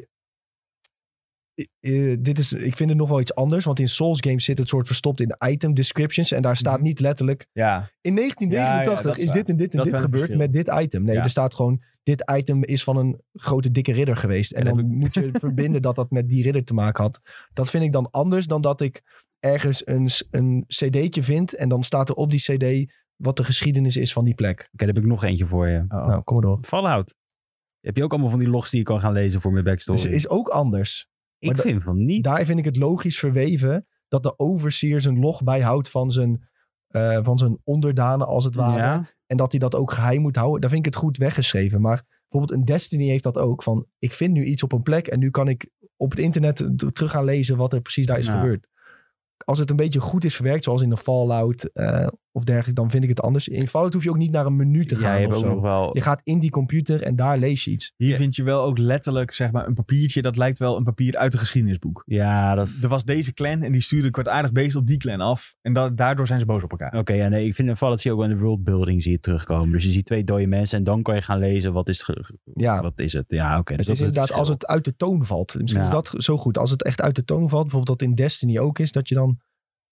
A: eh, eh, dit is, ik vind het nog wel iets anders, want in Souls games zit het soort verstopt in de item descriptions en daar staat
B: Mhm.
A: niet letterlijk
B: Ja.
A: in
B: Ja, ja, dat
A: 1989
B: is
A: is
B: waar.
A: dit en dit en
B: Dat is
A: dit
B: wel een
A: gebeurd
B: verschil.
A: met dit item. Nee,
B: Ja.
A: er staat gewoon dit item is van een grote dikke ridder geweest. En
C: Ja, dat
A: dan moet je verbinden dat dat met die ridder te maken had. Dat vind ik dan anders dan dat ik ergens een, s- een cd'tje vind en dan staat er op die cd wat de geschiedenis is van die plek.
C: Oké, daar heb ik nog eentje voor je.
B: Oh.
A: Nou, kom maar door.
C: Fallout. Heb je ook allemaal van die logs die je kan gaan lezen voor mijn backstory?
A: Dus het is ook anders.
C: ik
A: maar da-
C: vind van niet.
A: Daar vind ik het logisch verweven dat de overseer zijn log bijhoudt van zijn, eh, van zijn onderdanen als het ware.
C: Ja.
A: En dat hij dat ook geheim moet houden. Daar vind ik het goed weggeschreven. Maar bijvoorbeeld een Destiny heeft dat ook. Van ik vind nu iets op een plek. En nu kan ik op het internet t- terug gaan lezen wat er precies daar is
C: Ja.
A: gebeurd. Als het een beetje goed is verwerkt. Zoals in de Fallout. eh, of dergelijke, dan vind ik het anders. In Fallout hoef je ook niet naar een menu te
C: ja,
A: gaan
C: je hebt
A: of
C: ook nog
A: zo.
C: wel...
A: Je gaat in die computer en daar lees je iets.
B: Hier vind je wel ook letterlijk zeg maar, een papiertje. Dat lijkt wel een papier uit een geschiedenisboek.
C: Ja, dat...
B: Er was deze clan en die stuurde een kwaadaardig beest op die clan af. En da- daardoor zijn ze boos op elkaar.
C: Oké, ja, nee, ik vind in Fallout zie je ook wel in de worldbuilding zie je het terugkomen. Dus je ziet twee dode mensen en dan kan je gaan lezen wat is, ge-
A: Ja,
C: wat is het. Ja, oké. dus
A: Ah. het
C: dat
A: is inderdaad
C: verschil.
A: als het uit de toon valt. Misschien
C: Ja.
A: is dat zo goed. Als het echt uit de toon valt, bijvoorbeeld dat in Destiny ook is, dat je dan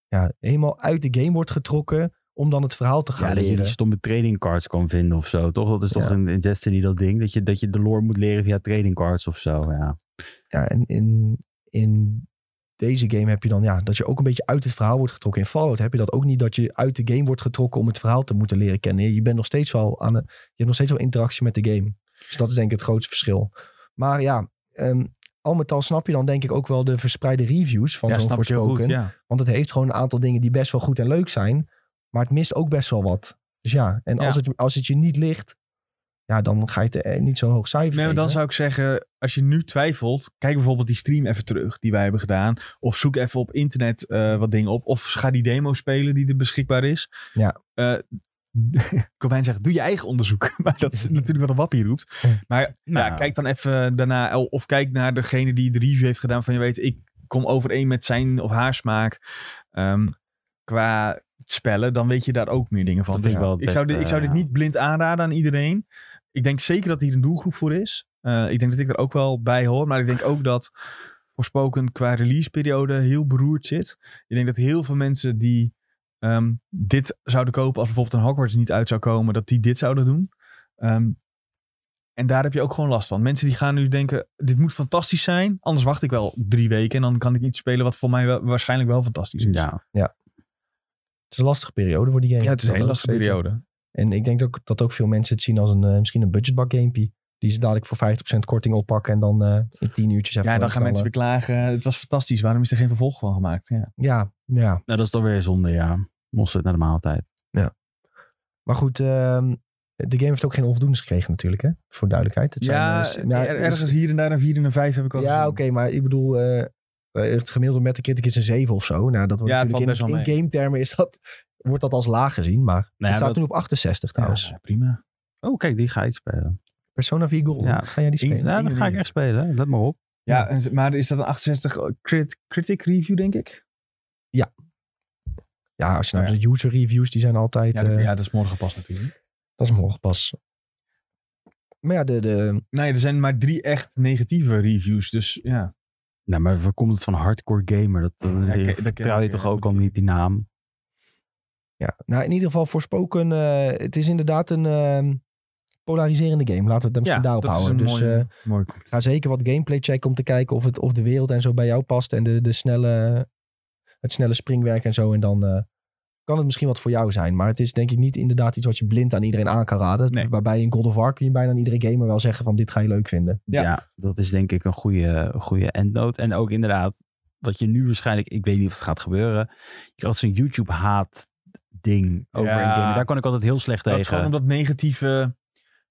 A: ja, helemaal uit de game wordt getrokken om dan het verhaal te gaan
C: Ja, dat je dus-
A: leren.
C: die stomme trading cards kan vinden of zo, toch? Dat is toch
A: Ja.
C: in, in Destiny dat ding, dat je, dat je de lore moet leren via trading cards of zo, ja.
A: Ja, en in, in deze game heb je dan ja, dat je ook een beetje uit het verhaal wordt getrokken. In Fallout heb je dat ook niet, dat je uit de game wordt getrokken om het verhaal te moeten leren kennen. Je- Je bent nog steeds wel aan, een- je hebt nog steeds wel interactie met de game. Dus dat is denk ik het grootste verschil. Maar ja, ehm, al met al snap je dan denk ik ook wel de verspreide reviews van zo'n
B: je heel
A: Forspoken.
B: Ja.
A: Want het heeft gewoon een aantal dingen die best wel goed en leuk zijn. Maar het mist ook best wel wat. Dus ja, en
B: Ja.
A: Als, het, als het je niet ligt, ja, dan ga je het eh, niet zo'n hoog cijfer
B: Nee, maar dan
A: geven.
B: zou ik zeggen, als je nu twijfelt, kijk bijvoorbeeld die stream even terug die wij hebben gedaan. Of zoek even op internet eh, wat dingen op. Of ga die demo spelen die er beschikbaar is.
A: Ja.
B: Eh, ik wil bijna zeggen, doe je eigen onderzoek. Maar dat is natuurlijk wat een wappie roept. Maar ja,
C: Nou.
B: kijk dan even daarna. Of kijk naar degene die de review heeft gedaan. Van je weet, ik kom overeen met zijn of haar smaak. Ehm, qua spellen, dan weet je daar ook meer dingen van.
C: Dat is wel het
B: ik, zou
C: beste,
B: dit, ik zou dit
C: ja.
B: niet blind aanraden aan iedereen. Ik denk zeker dat hier een doelgroep voor is. Eh, ik denk dat ik er ook wel bij hoor. Maar ik denk ook dat voorspoken qua releaseperiode heel beroerd zit. Ik denk dat heel veel mensen die ehm, dit zouden kopen als bijvoorbeeld een Hogwarts niet uit zou komen, dat die dit zouden doen. Ehm, en daar heb je ook gewoon last van. Mensen die gaan nu denken, dit moet fantastisch zijn. Anders wacht ik wel drie weken en dan kan ik iets spelen wat voor mij wel- waarschijnlijk wel fantastisch is.
C: Ja, Nou,
A: Het is een lastige periode voor die game.
B: Ja, het is een
A: Dat
B: hele
A: ook
B: lastige
A: zeker.
B: periode.
A: En ik denk ook dat ook veel mensen het zien als een, eh, misschien een budgetbak gamepie. Die ze dadelijk voor 50% korting oppakken en dan eh in 10 uurtjes even
B: Ja, eh, dan gaan
A: knallen.
B: mensen beklagen. Het was fantastisch. Waarom is er geen vervolg van gemaakt? Ja.
A: Ja, ja.
C: Nou, dat is toch weer zonde, ja. Mosterd naar de maaltijd.
A: Maar goed, ehm, de game heeft ook geen onvoldoendes gekregen natuurlijk, hè? Voor duidelijkheid. Het
B: Ja,
A: zijn, eh, s- nou,
B: er- ergens hier en daar een vier en een vijf heb ik al
A: Ja,
B: gezien.
A: oké, maar ik bedoel, eh, het gemiddelde Metacritic is een 7 of zo. Nou, dat wordt
B: Ja, het
A: natuurlijk
B: valt
A: in,
B: best
A: in
B: wel
A: game termen is dat, wordt dat als laag gezien. Maar
C: Nou ja,
A: het staat
C: dat-
A: toen op 68 trouwens.
B: Ja, prima.
C: Oh, kijk, die ga ik spelen.
A: Persona 4 Gold,
C: Ja.
A: ga jij die
B: Ik-
A: spelen?
C: Ja, dat ga ik echt spelen. Let maar op.
B: Ja, en- maar is dat een 68 crit, critic review, denk ik?
A: Ja, als je naar
B: Oh, Ja.
A: de user reviews, die zijn altijd...
B: Ja, dat-
A: eh,
B: ja, dat is morgen pas natuurlijk.
A: Dat is morgen pas. Maar ja, de, de,
B: Nee, er zijn maar drie echt negatieve reviews. Dus ja.
C: Nou, maar waar komt het van hardcore gamer? Dat, dat,
B: Ja, ik- dat ken
C: vertrouw je
B: ik,
C: toch
B: ja.
C: ook al niet, die naam?
A: ja. Nou, in ieder geval voorspoken. eh, het is inderdaad een eh, polariserende game. Laten we het dan
B: ja,
A: misschien daarop
B: dat is
A: houden.
B: een
A: Dus
B: mooie,
A: eh,
B: mooie conclusie.
A: ga zeker wat gameplay checken om te kijken of, het, of de wereld en zo bij jou past. En de, de snelle, het snelle springwerk en zo. En dan eh, kan het misschien wat voor jou zijn. Maar het is denk ik niet inderdaad iets wat je blind aan iedereen aan kan raden.
B: Nee.
A: Waarbij in God of War kun je bijna aan iedere gamer wel zeggen van dit ga je leuk vinden.
B: Ja.
C: Ja. dat is denk ik een goede, goede endnote. En ook inderdaad, wat je nu waarschijnlijk, ik weet niet of het gaat gebeuren. Je krijgt zo'n YouTube-haat ding over
B: Ja.
C: een game. En Daar kan ik altijd heel slecht
B: Dat is
C: tegen.
B: gewoon omdat negatieve,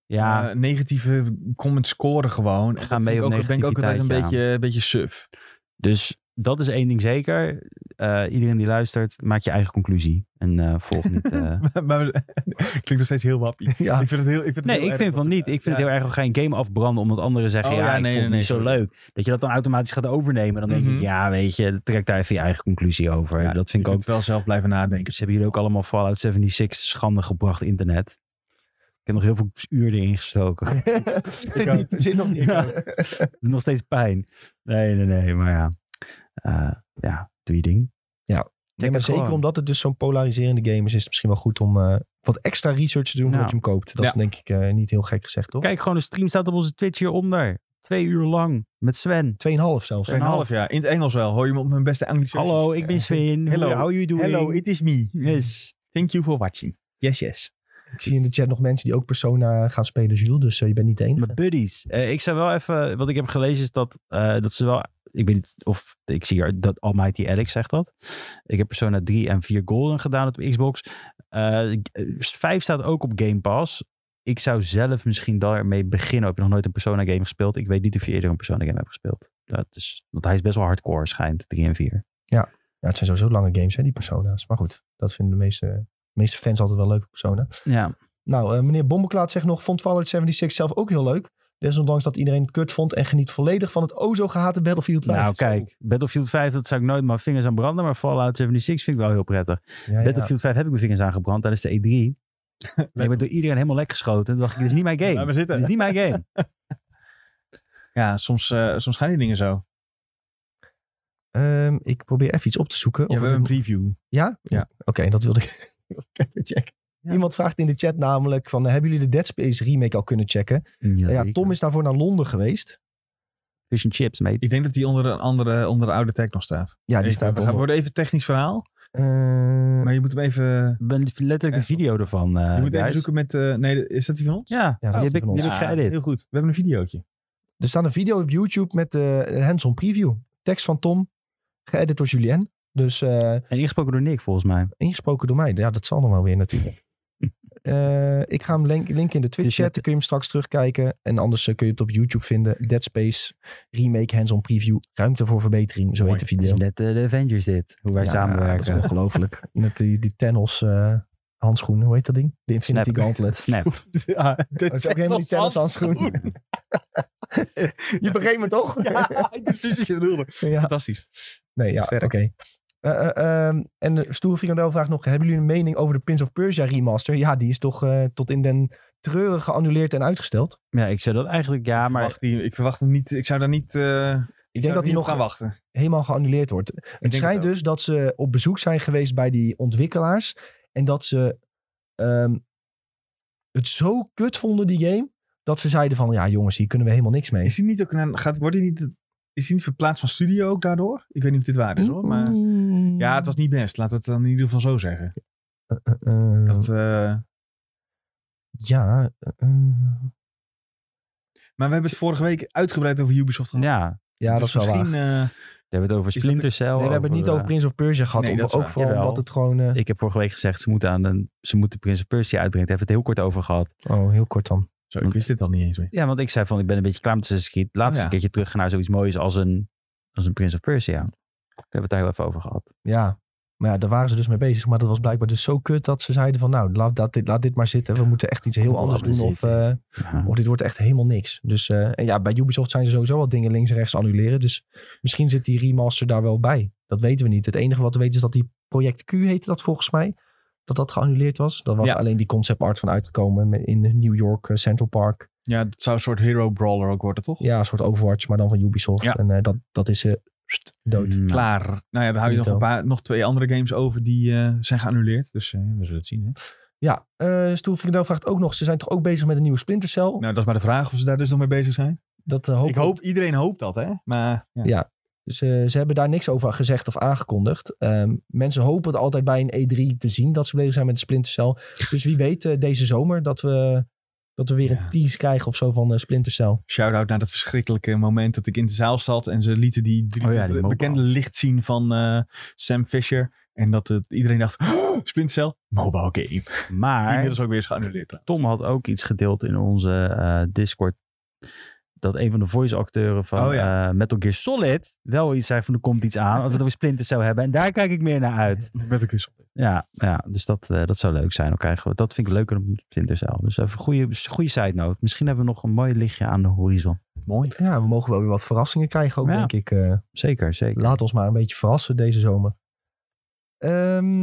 C: Ja,
B: eh, negatieve comments scoren gewoon. En
C: Gaan
B: dat
C: mee
B: vind
C: op
B: ik ook, denk ik ook altijd een
C: negativiteit,
B: beetje, een beetje suf.
C: dus dat is één ding zeker. Eh, iedereen die luistert, maak je eigen conclusie. En eh, volg niet... eh,
B: maar we- klinkt nog steeds heel wappie.
A: Ja,
B: Ik vind het heel, ik vind het
C: Nee,
B: heel
C: ik
B: erg
C: vind
B: wat
C: van
B: we-
C: niet. Ik vind
B: Ja.
C: het heel erg wel geen game afbranden omdat anderen zeggen,
B: Oh,
C: ja,
B: ja,
C: ik
B: nee,
C: vond het
B: nee,
C: niet zo
B: nee,
C: leuk. Dat je dat dan automatisch gaat overnemen. Dan denk
B: Mhm.
C: ik, ja, weet je, trek daar even je eigen conclusie over.
B: Ja,
C: dat vind
B: je
C: ik ook.
B: kunt wel zelf blijven nadenken.
C: Ze hebben jullie ook allemaal Fallout 76 schande gebracht internet. Ik heb nog heel veel uren erin gestoken.
A: Die zin om niet.
C: Ja. Nog steeds pijn. Nee, nee, nee, maar ja. Eh, ja, doe je ding.
A: Nee,
C: Check
A: maar
C: het
A: zeker
C: gewoon.
A: omdat het dus zo'n polariserende game is, is het misschien wel goed om eh, wat extra research te doen voordat
C: Nou. Ja.
A: je hem koopt. Dat is denk ik eh, niet heel gek gezegd, toch?
C: Kijk, gewoon de stream staat op onze Twitch hieronder. Twee uur lang met Sven.
A: Tweeënhalf zelfs.
C: Tweeënhalf.
B: Tweeënhalf jaar. In het Engels wel. Hoor je me op mijn beste Engelse
C: Hallo, ik ben Sven.
B: Hello.
C: How are you doing?
B: Hello, it is me.
C: Yes.
B: Thank you for watching. Yes, yes.
A: Ik zie in de chat nog mensen die ook Persona gaan spelen, Jules. Dus eh, je bent niet de enige.
C: Mijn buddies. Eh, ik zou wel even, wat ik heb gelezen is dat, eh, dat ze wel, ik weet niet of, ik zie hier dat Almighty Alex zegt dat. Ik heb Persona 3 en 4 Golden gedaan op Xbox. Eh, ik- eh, 5 staat ook op Game Pass. Ik zou zelf misschien daarmee beginnen. Heb je nog nooit een Persona game gespeeld? Ik weet niet of je eerder een Persona game hebt gespeeld. Dat is, want hij is best wel hardcore schijnt, 3 en 4.
A: Ja, het zijn sowieso lange games, hè, die Persona's. Maar goed, dat vinden de meeste De meeste fans altijd wel leuke personen.
C: Ja.
A: Nou, eh, meneer Bombeklaat zegt nog, vond Fallout 76 zelf ook heel leuk. Desondanks dat iedereen het kut vond en geniet volledig van het o zo gehate Battlefield 5.
C: Nou, kijk. Battlefield 5, dat zou ik nooit mijn vingers aan branden. Maar Fallout 76 vind ik wel heel prettig.
A: Zo. Ja, ja.
C: Battlefield 5 heb ik mijn vingers aan gebrand tijdens de E3. En ik ben door iedereen helemaal lek geschoten. Toen dacht ik, dit is niet mijn game.
B: Laat maar
C: Dit is
B: zitten.
C: niet mijn game.
B: Ja, soms, eh, soms gaan die dingen zo.
A: Ehm, ik probeer even iets op te zoeken.
B: Ja, we
A: Of
B: hebben
A: het-
B: een preview.
A: ja?
B: Ja.
A: Oké, dat wilde ik even checken.
B: Ja.
A: Iemand vraagt in de chat namelijk van, eh, hebben jullie de Dead Space remake al kunnen checken? Ja,
C: zeker.
A: Tom is daarvoor naar Londen geweest.
C: Fish and chips, mate.
B: Ik denk dat die onder een andere, onder de oude tag nog staat.
A: Ja, die
B: Even,
A: staat
B: we gaan,
A: onder.
B: worden even technisch verhaal.
A: Eh,
B: Maar je moet hem even,
C: Ik ben letterlijk een video ervan. eh,
B: je moet even
C: guys.
B: zoeken met... eh, nee, is dat die van ons?
C: Ja,
A: dat
C: die
A: is
C: heb ik,
A: van ons.
C: die heb ik geëdit.
B: heel goed. We hebben een videootje.
A: Er staat een video op YouTube met de hands-on preview. Tekst van Tom, geëdit door Julien. Dus eh,
C: En ingesproken door Nick, volgens mij.
A: ingesproken door mij. Ja, dat zal nog wel weer natuurlijk. Eh, ik ga hem link, linken in de Twitch
C: Het is net-
A: chat. Dan kun je hem straks terugkijken. En anders eh, kun je het op YouTube vinden. Dead Space Remake Hands-on Preview. Ruimte voor verbetering. Zo
B: Mooi.
A: heet de
C: Het is
A: video.
C: net eh, de Avengers dit. Hoe wij
A: Ja, Dat is
C: samenwerken.
A: ongelooflijk. Met die, die Thanos eh, handschoen. Hoe heet dat ding? De Infinity
C: Snap.
A: Gauntlet.
C: Snap.
B: Ja,
A: Dat is ook helemaal niet Thanos handschoen. Je begreep me toch?
B: Ja, ik ben fysiek bedoelde.
A: ja.
B: Fantastisch.
A: Nee, ja,
B: Sterk.
A: oké. Eh, eh, ehm, en de stoere frikandel vraagt nog... Hebben jullie een mening over de Prince of Persia remaster? Ja, die is toch eh, tot in den treuren geannuleerd en uitgesteld.
C: Ja, ik zou dat eigenlijk, ja,
B: Maar
C: maar
B: Wacht, die, ik verwacht hem niet. Ik zou daar niet. eh, ik
A: Ik
B: zou
A: denk
B: er
A: dat
B: niet
A: die
B: op gaan
A: nog
B: wachten.
A: helemaal geannuleerd wordt.
B: denk
A: het schijnt
B: het ook.
A: dus dat ze op bezoek zijn geweest bij die ontwikkelaars. En dat ze ehm, het zo kut vonden, die game... Dat ze zeiden van, ja jongens, hier kunnen we helemaal niks mee.
B: Is die niet ook naar, gaat, wordt die niet, is die niet verplaatst van studio ook daardoor? Ik weet niet of dit waar is hoor. Maar
A: Mm.
B: ja, het was niet best. Laten we het dan in ieder geval zo zeggen.
A: Eh, eh,
B: Dat, eh,
A: Ja, eh,
B: maar we hebben het vorige week uitgebreid over Ubisoft gehad.
C: ja.
A: ja dat
B: Dus
A: is wel waar.
B: misschien, eh,
C: We hebben het over
B: dat
C: Splinter Cell.
A: Nee, we hebben het niet over
C: eh,
A: Prince of Persia gehad.
B: Nee,
A: om-
B: dat is
A: ook
B: waar.
A: vooral
C: Jawel.
A: omdat het gewoon... eh,
C: Ik heb vorige week gezegd, ze moeten, aan een, ze moeten Prince of Persia uitbrengen. Daar hebben we het heel kort over gehad.
A: Oh, heel kort dan.
B: zo, ik wist dit al niet eens meer.
C: Ja, want ik zei van, ik ben een beetje klaar met Assassin's Creed. Laat
B: Oh,
C: eens
B: ja.
C: een keertje terug gaan naar zoiets moois als een, als een Prince of Persia. Daar hebben we het daar heel even over gehad.
A: Ja, maar ja, daar waren ze dus mee bezig. Maar dat was blijkbaar dus zo kut dat ze zeiden van... nou, laat, dat, dit, laat dit maar zitten. We moeten echt iets heel
C: Laat
A: anders
C: het
A: doen. Of,
C: zitten.
A: eh,
C: Ja.
A: of dit wordt echt helemaal niks. Dus eh, en ja, bij Ubisoft zijn ze sowieso wat dingen links en rechts annuleren. Dus misschien zit die remaster daar wel bij. Dat weten we niet. Het enige wat we weten is dat die Project Q heette dat volgens mij. Dat dat geannuleerd was. Daar was
B: Ja.
A: alleen die concept art van uitgekomen met- in New York eh, Central Park.
B: Ja, het zou een soort hero brawler ook worden, toch?
A: Ja, een soort Overwatch, maar dan van Ubisoft.
B: Ja.
A: En eh, dat, dat is eh, pst, dood.
C: Mm.
B: Klaar. Nou ja, dan hou je nog,
A: Finito.
B: een paar, nog twee andere games over die eh, zijn geannuleerd. Dus eh, we zullen het zien. Hè?
A: Ja, eh Stoel Frikandel vraagt ook nog. Ze zijn toch ook bezig met een nieuwe Splinter Cell?
B: Nou, dat is maar de vraag of ze daar dus nog mee bezig zijn.
A: dat eh, hoop
B: ik hoop, iedereen hoopt dat, hè? Maar ja.
A: Ja. Dus, eh, Ze, ze hebben daar niks over gezegd of aangekondigd. Ehm, mensen hopen het altijd bij een E3 te zien dat ze bezig zijn met de Splinter Cell. Dus wie weet eh, deze zomer dat we, dat we weer
B: Ja.
A: een tease krijgen of zo van eh Splinter Cell.
B: Shout-out naar dat verschrikkelijke moment dat ik in de zaal zat. En ze lieten die drie
C: Oh ja, die
B: be-
C: mobile.
B: bekende licht zien van eh, Sam Fisher. En dat het, iedereen dacht, oh, Splinter Cell, mobile game. Die
C: Maar
B: inmiddels ook weer is geannuleerd. trouwens.
C: Tom had ook iets gedeeld in onze eh, Discord. Dat een van de voice-acteuren van
B: Oh ja.
C: eh, Metal Gear Solid wel iets zei van er komt iets aan. Als we het over Splinter Cell hebben. En daar kijk ik meer naar uit.
B: Met een kus.
C: Ja, ja dus dat, eh, dat zou leuk zijn. Dan krijgen we, dat vind ik leuker dan Splinter Cell. Dus even een goede, goede side note. Misschien hebben we nog een mooi lichtje aan de horizon.
B: Mooi.
A: Ja, we mogen wel weer wat verrassingen krijgen ook,
C: Ja.
A: denk ik. eh.
C: Zeker, zeker.
A: laat ons maar een beetje verrassen deze zomer. Ehm,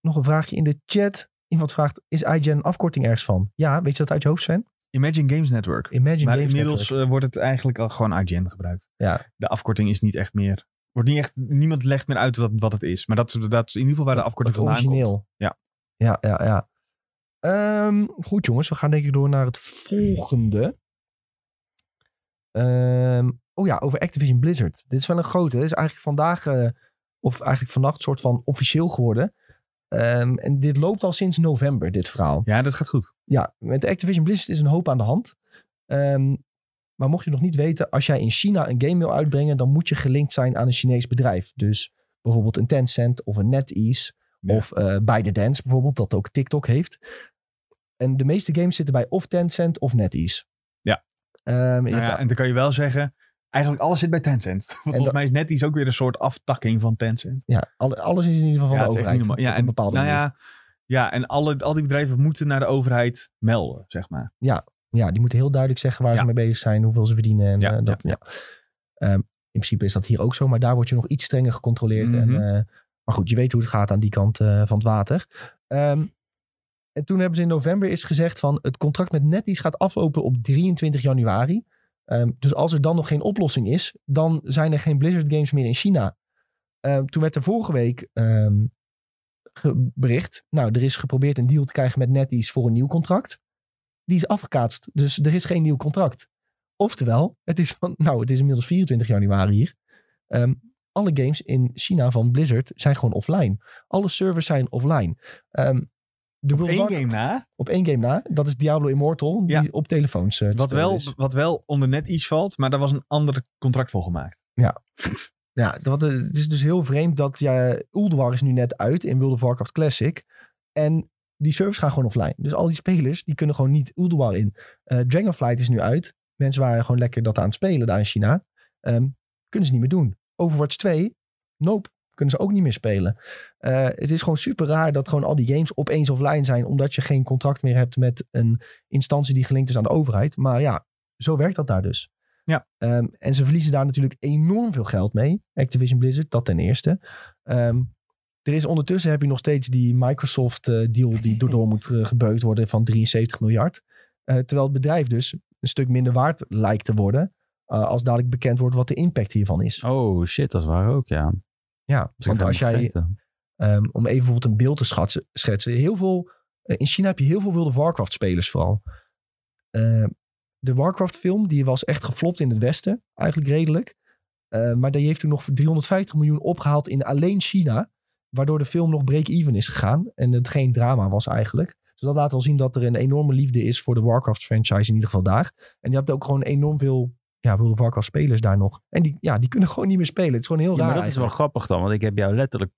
A: nog een vraagje in de chat. Iemand vraagt, is IGN een afkorting ergens van? Ja, weet je dat uit je hoofd, Sven?
B: Imagine Games Network.
A: Imagine
B: maar
A: Games
B: inmiddels
A: Network.
B: eh, wordt het eigenlijk al gewoon IGN gebruikt.
A: Ja.
B: De afkorting is niet echt meer... Wordt niet echt, niemand legt meer uit wat, wat het is. Maar dat, is- dat is in ieder geval waar de afkorting
A: Het
B: vandaan
A: origineel.
B: komt. Ja.
A: Ja, ja, ja. Ehm, goed jongens, we gaan denk ik door naar het volgende. Ehm, oh ja, over Activision Blizzard. Dit is wel een grote. Dit is eigenlijk vandaag, eh, of eigenlijk vannacht, soort van officieel geworden. Ehm, en dit loopt al sinds november, dit verhaal.
B: Ja, dat gaat goed.
A: Ja, met Activision Blizzard is een hoop aan de hand. Ehm, maar mocht je nog niet weten, als jij in China een game wil uitbrengen, dan moet je gelinkt zijn aan een Chinees bedrijf. Dus bijvoorbeeld een Tencent of een NetEase
B: Ja.
A: of eh ByteDance bijvoorbeeld, dat ook TikTok heeft. En de meeste games zitten bij of Tencent of NetEase.
B: Ja.
A: Ehm, je
B: Nou
A: hebt
B: ja, en dan kan je wel zeggen... Eigenlijk alles zit bij Tencent. Want volgens
A: dat-
B: mij is net iets ook weer een soort aftakking van Tencent.
A: Ja, alle- alles is in ieder geval van de
B: het is echt
A: overheid.
B: niet normaal. Ja,
A: op
B: en,
A: een bepaalde
B: nou
A: manier.
B: ja, Ja, en alle, al die bedrijven moeten naar de overheid melden, zeg maar.
A: Ja, die moeten heel duidelijk zeggen waar
B: Ja.
A: ze mee bezig zijn, hoeveel ze verdienen. En,
B: Ja,
A: eh, dat, ja, Ehm, in principe is dat hier ook zo, maar daar word je nog iets strenger gecontroleerd.
B: Mhm.
A: en, eh, maar goed, je weet hoe het gaat aan die kant eh, van het water. Ehm, en toen hebben ze in november is gezegd van het contract met NetEase gaat aflopen op 23 januari. Ehm, dus als er dan nog geen oplossing is, dan zijn er geen Blizzard games meer in China. Ehm, toen werd er vorige week ehm, ge- bericht, nou er is geprobeerd een deal te krijgen met NetEase voor een nieuw contract. Die is afgekaatst, dus er is geen nieuw contract. Oftewel, het is, van, nou, het is inmiddels 24 januari hier. Ehm, alle games in China van Blizzard zijn gewoon offline. Alle servers zijn offline. Ehm, de World
B: Eén
A: War-
B: game na,
A: op één game na. Dat is Diablo Immortal,
B: Ja.
A: die op telefoons eh, te
B: wat
A: spelen
B: wel,
A: is.
B: wat wel onder net iets valt, maar daar was een ander contract voor gemaakt.
A: Ja, wat, eh, het is dus heel vreemd dat ja, Ulduar is nu net uit in World of Warcraft Classic. En die servers gaan gewoon offline. Dus al die spelers, die kunnen gewoon niet Ulduar in. Eh, Dragonflight is nu uit. Mensen waren gewoon lekker dat aan het spelen daar in China. Ehm, kunnen ze niet meer doen. Overwatch 2, nope, kunnen ze ook niet meer spelen. Eh, het is gewoon super raar dat gewoon al die games opeens offline zijn... omdat je geen contract meer hebt met een instantie die gelinkt is aan de overheid. Maar ja, zo werkt dat daar dus. Ehm, en ze verliezen daar natuurlijk enorm veel geld mee. Activision Blizzard, dat ten eerste. Ehm, er is ondertussen heb je nog steeds die Microsoft-deal die door moet eh, gebeukt worden van 73 miljard. Eh, terwijl het bedrijf dus een stuk minder waard lijkt te worden. eh, als dadelijk bekend wordt wat de impact hiervan is.
C: Oh shit, dat is waar ook, ja. Dat
A: ja,
C: is
A: want
C: helemaal
A: als jij,
C: vergeten.
A: Ehm, om even bijvoorbeeld een beeld te schatsen, schetsen. Heel veel, eh, in China heb je heel veel World of Warcraft spelers vooral. Ehm, de Warcraft film, die was echt geflopt in het westen. Eigenlijk redelijk. Ehm, maar die heeft toen nog 350 miljoen opgehaald in alleen China. Waardoor de film nog break-even is gegaan. En het geen drama was eigenlijk. Dus dat laat wel zien dat er een enorme liefde is voor de Warcraft franchise in ieder geval daar. En je hebt ook gewoon enorm veel ja, World of Warcraft spelers daar nog. En die, ja, die kunnen gewoon niet meer spelen. Het is gewoon heel
C: Ja,
A: raar
C: maar dat is wel
A: eigenlijk.
C: grappig dan, want ik heb jou letterlijk